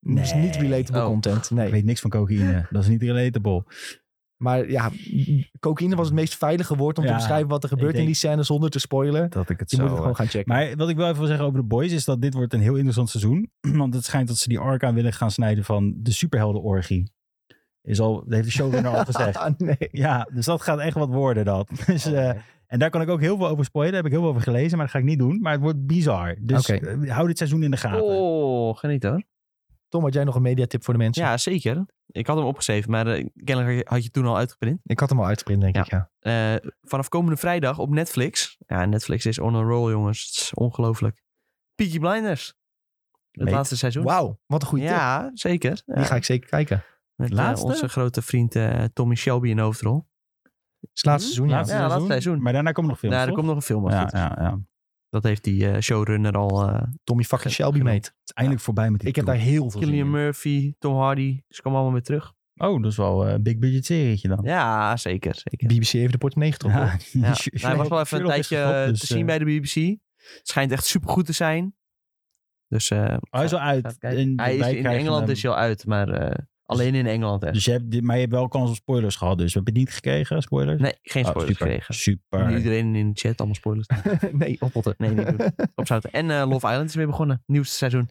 [SPEAKER 1] Het is niet relatable
[SPEAKER 2] Oh.
[SPEAKER 1] content. Nee.
[SPEAKER 3] Ik weet niks van cocaïne. Dat is niet relatable.
[SPEAKER 1] Maar ja, cocaïne was het meest veilige woord om te
[SPEAKER 3] Ja,
[SPEAKER 1] beschrijven wat er gebeurt
[SPEAKER 3] denk-
[SPEAKER 1] in die scène zonder te spoilen.
[SPEAKER 3] Dat ik het
[SPEAKER 1] Je
[SPEAKER 3] zo...
[SPEAKER 1] moet het
[SPEAKER 3] eh,
[SPEAKER 1] gewoon gaan checken.
[SPEAKER 3] Maar wat ik wel even wil zeggen over de boys is dat dit wordt een heel interessant seizoen. <clears throat> Want het schijnt dat ze die arc aan willen gaan snijden van de superheldenorgie. Is al, dat heeft de
[SPEAKER 2] <laughs>
[SPEAKER 3] showrunner al gezegd.
[SPEAKER 1] Ah, <laughs> nee.
[SPEAKER 3] Ja, dus dat gaat echt wat worden dat. <laughs> Dus, eh, en daar kan ik ook heel veel over spoilen. Daar heb ik heel veel over gelezen, maar dat ga ik niet doen. Maar het wordt bizar. Dus
[SPEAKER 1] Oké.
[SPEAKER 3] eh, hou dit seizoen in de gaten.
[SPEAKER 2] Oh, geniet hoor.
[SPEAKER 1] Tom, had jij nog een mediatip voor de mensen?
[SPEAKER 2] Ja, zeker. Ik had hem opgeschreven, maar eh, kennelijk had je- had je toen al uitgeprint.
[SPEAKER 1] Ik had hem al uitgeprint, denk
[SPEAKER 2] Ja.
[SPEAKER 1] ik. Ja.
[SPEAKER 2] Eh, vanaf komende vrijdag op Netflix. Ja, Netflix is on a roll, jongens. Het is ongelooflijk. Peaky Blinders. Het
[SPEAKER 3] Meet.
[SPEAKER 2] laatste seizoen.
[SPEAKER 1] Wauw, wat een goede tip.
[SPEAKER 2] ja, zeker. Ja,
[SPEAKER 1] Die ga ik zeker kijken.
[SPEAKER 2] Met eh,
[SPEAKER 3] Laatste?
[SPEAKER 2] onze grote vriend eh, Tommy Shelby in de hoofdrol.
[SPEAKER 1] Het is het laatste
[SPEAKER 2] Hm?
[SPEAKER 1] seizoen, ja.
[SPEAKER 2] Laatste- laatste seizoen.
[SPEAKER 3] Maar daarna komen nog
[SPEAKER 2] Ja,
[SPEAKER 3] films,
[SPEAKER 2] er
[SPEAKER 3] toch?
[SPEAKER 2] komt nog een film.
[SPEAKER 3] ja,
[SPEAKER 2] Ja,
[SPEAKER 3] ja, ja. Het
[SPEAKER 2] Dat heeft die eh, showrunner al. eh
[SPEAKER 1] Tommy fucking
[SPEAKER 2] Ge-
[SPEAKER 1] Shelby,
[SPEAKER 2] genoeg.
[SPEAKER 1] mate.
[SPEAKER 3] is eindelijk voorbij met die
[SPEAKER 1] Ik heb daar heel veel zin
[SPEAKER 2] Killian
[SPEAKER 1] in.
[SPEAKER 2] Murphy, Tom Hardy. Ze komen allemaal weer terug.
[SPEAKER 3] daar... Oh, dat is wel eh, een big budget serietje dan.
[SPEAKER 2] Ja, zeker. zeker.
[SPEAKER 1] BBC heeft de portemonnee getrokken.
[SPEAKER 3] <laughs> Ja.
[SPEAKER 2] Ja.
[SPEAKER 3] Sher-
[SPEAKER 2] Nou, hij was wel even een
[SPEAKER 3] Sherlock is
[SPEAKER 2] tijdje
[SPEAKER 3] gestopt,
[SPEAKER 2] eh,
[SPEAKER 3] dus,
[SPEAKER 2] te zien
[SPEAKER 3] eh,
[SPEAKER 2] bij de BBC. Het schijnt echt supergoed te zijn. Dus eh,
[SPEAKER 3] oh, hij is
[SPEAKER 2] Even
[SPEAKER 3] wel uit.
[SPEAKER 2] kijken.
[SPEAKER 3] En
[SPEAKER 2] hij is,
[SPEAKER 3] wij
[SPEAKER 2] in
[SPEAKER 3] krijgen
[SPEAKER 2] Engeland dus
[SPEAKER 3] hem.
[SPEAKER 2] is hij al uit, maar eh, alleen in Engeland. Hè.
[SPEAKER 3] Dus je hebt, dit- maar je hebt wel kans op spoilers gehad, dus we hebben het niet gekregen, spoilers?
[SPEAKER 2] nee, geen
[SPEAKER 3] Oh,
[SPEAKER 2] spoilers
[SPEAKER 3] super,
[SPEAKER 2] gekregen.
[SPEAKER 3] Super.
[SPEAKER 2] Iedereen in de chat, allemaal
[SPEAKER 3] <laughs>
[SPEAKER 2] spoilers.
[SPEAKER 1] nee, oppotten.
[SPEAKER 2] <laughs> Nee, niet
[SPEAKER 1] <laughs>
[SPEAKER 2] doen. Opzouten. En eh, Love Island is weer begonnen. Nieuwste seizoen.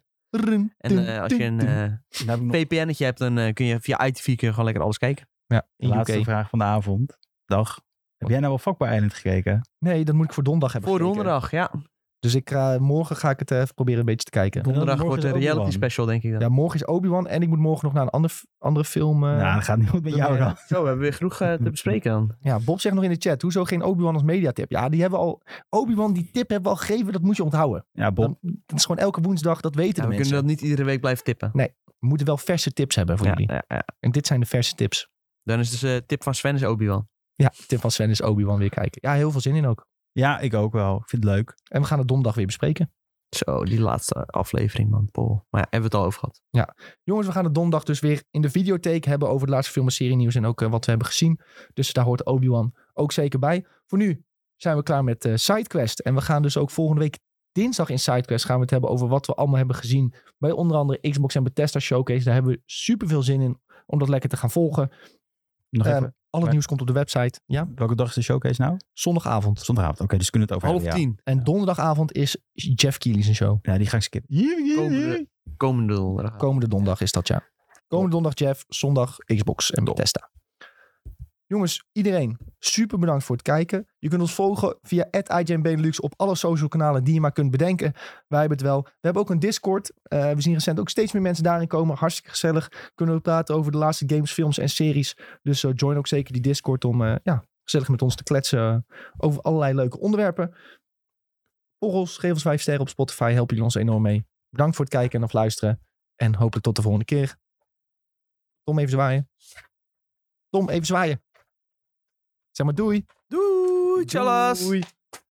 [SPEAKER 2] En eh, als je een eh
[SPEAKER 3] Dan heb ik nog
[SPEAKER 2] VPN'tje hebt, dan eh, kun je via ITV kun je gewoon lekker alles kijken.
[SPEAKER 1] ja,
[SPEAKER 3] de
[SPEAKER 1] in
[SPEAKER 3] laatste
[SPEAKER 1] UK.
[SPEAKER 3] vraag van de avond. Dag. Heb jij nou wel Fuckboy Island gekeken?
[SPEAKER 1] Nee, dat moet ik voor donderdag hebben
[SPEAKER 2] Voor
[SPEAKER 1] gekeken.
[SPEAKER 2] donderdag, ja.
[SPEAKER 1] Dus ik, ga morgen ga ik het even proberen een beetje te kijken.
[SPEAKER 2] Donderdag
[SPEAKER 3] morgen
[SPEAKER 2] wordt
[SPEAKER 3] is
[SPEAKER 2] een reality
[SPEAKER 3] Obi-Wan.
[SPEAKER 2] special, denk ik dan.
[SPEAKER 1] Ja, morgen is Obi-Wan en ik moet morgen nog naar een andere, andere film. eh,
[SPEAKER 3] nou, dat gaat niet goed met jou dan.
[SPEAKER 2] Zo, we hebben weer genoeg
[SPEAKER 3] <laughs>
[SPEAKER 2] eh, te bespreken dan.
[SPEAKER 1] Ja, Bob zegt nog in de chat, hoezo geen Obi-Wan als mediatip? Ja, die hebben we al, Obi-Wan die tip hebben we al gegeven, dat moet je onthouden.
[SPEAKER 3] Ja, Bob.
[SPEAKER 1] Dat is gewoon elke woensdag, dat weten de
[SPEAKER 2] Ja, we
[SPEAKER 1] mensen.
[SPEAKER 2] kunnen dat niet iedere week blijven tippen.
[SPEAKER 1] We moeten wel verse tips hebben voor
[SPEAKER 2] Ja,
[SPEAKER 1] jullie.
[SPEAKER 2] ja, ja.
[SPEAKER 1] En dit zijn de verse tips.
[SPEAKER 2] Dan is dus de tip van Sven is Obi-Wan.
[SPEAKER 1] Ja, tip van Sven is Obi-Wan weer kijken. Ja, heel veel zin in ook.
[SPEAKER 3] Ja, ik ook wel. Ik vind het leuk.
[SPEAKER 1] En we gaan het donderdag weer bespreken.
[SPEAKER 2] Zo, die laatste aflevering, man. Paul. Maar ja, hebben we het al over gehad.
[SPEAKER 1] Jongens, we gaan het donderdag dus weer in de videotheek hebben over de laatste film en serie nieuws en ook eh, wat we hebben gezien. Dus daar hoort Obi-Wan ook zeker bij. Voor nu zijn we klaar met eh, SideQuest. En we gaan dus ook volgende week Dinsdag in SideQuest gaan we het hebben over wat we allemaal hebben gezien. Bij onder andere Xbox en Bethesda Showcase. Daar hebben we super veel zin in om dat lekker te gaan volgen.
[SPEAKER 3] Nog
[SPEAKER 2] Eh,
[SPEAKER 1] Ehm,
[SPEAKER 3] even.
[SPEAKER 1] Al het
[SPEAKER 3] maar-
[SPEAKER 1] nieuws komt op de website. Ja,
[SPEAKER 3] Welke dag is de showcase nou?
[SPEAKER 1] zondagavond.
[SPEAKER 3] Zondagavond. Oké, dus we kunnen we het over
[SPEAKER 2] Half
[SPEAKER 3] hebben,
[SPEAKER 2] tien.
[SPEAKER 1] En donderdagavond is Jeff Keighley zijn show.
[SPEAKER 3] ja. Ja, die ga ik skippen.
[SPEAKER 2] Komende, komende donderdag.
[SPEAKER 1] Komende donderdag is dat, ja. Komende donderdag Jeff, zondag Xbox en
[SPEAKER 2] Top.
[SPEAKER 1] Bethesda. Jongens, iedereen, super bedankt voor het kijken. Je kunt ons volgen via @IGNBenelux op alle social kanalen die je maar kunt bedenken. Wij hebben het wel. We hebben ook een Discord. Eh, we zien recent ook steeds meer mensen daarin komen. Hartstikke gezellig. Kunnen we praten over de laatste games, films en series. Dus eh, join ook zeker die Discord om eh, ja, gezellig met ons te kletsen eh, over allerlei leuke onderwerpen. Volg ons, geef ons vijf sterren op Spotify. Helpen jullie ons enorm mee. Bedankt voor het kijken en of luisteren. En hopelijk tot de volgende keer. Tom, even zwaaien. Tom, even zwaaien. Zeg maar doei.
[SPEAKER 2] Doei, tjallas.
[SPEAKER 1] Doei.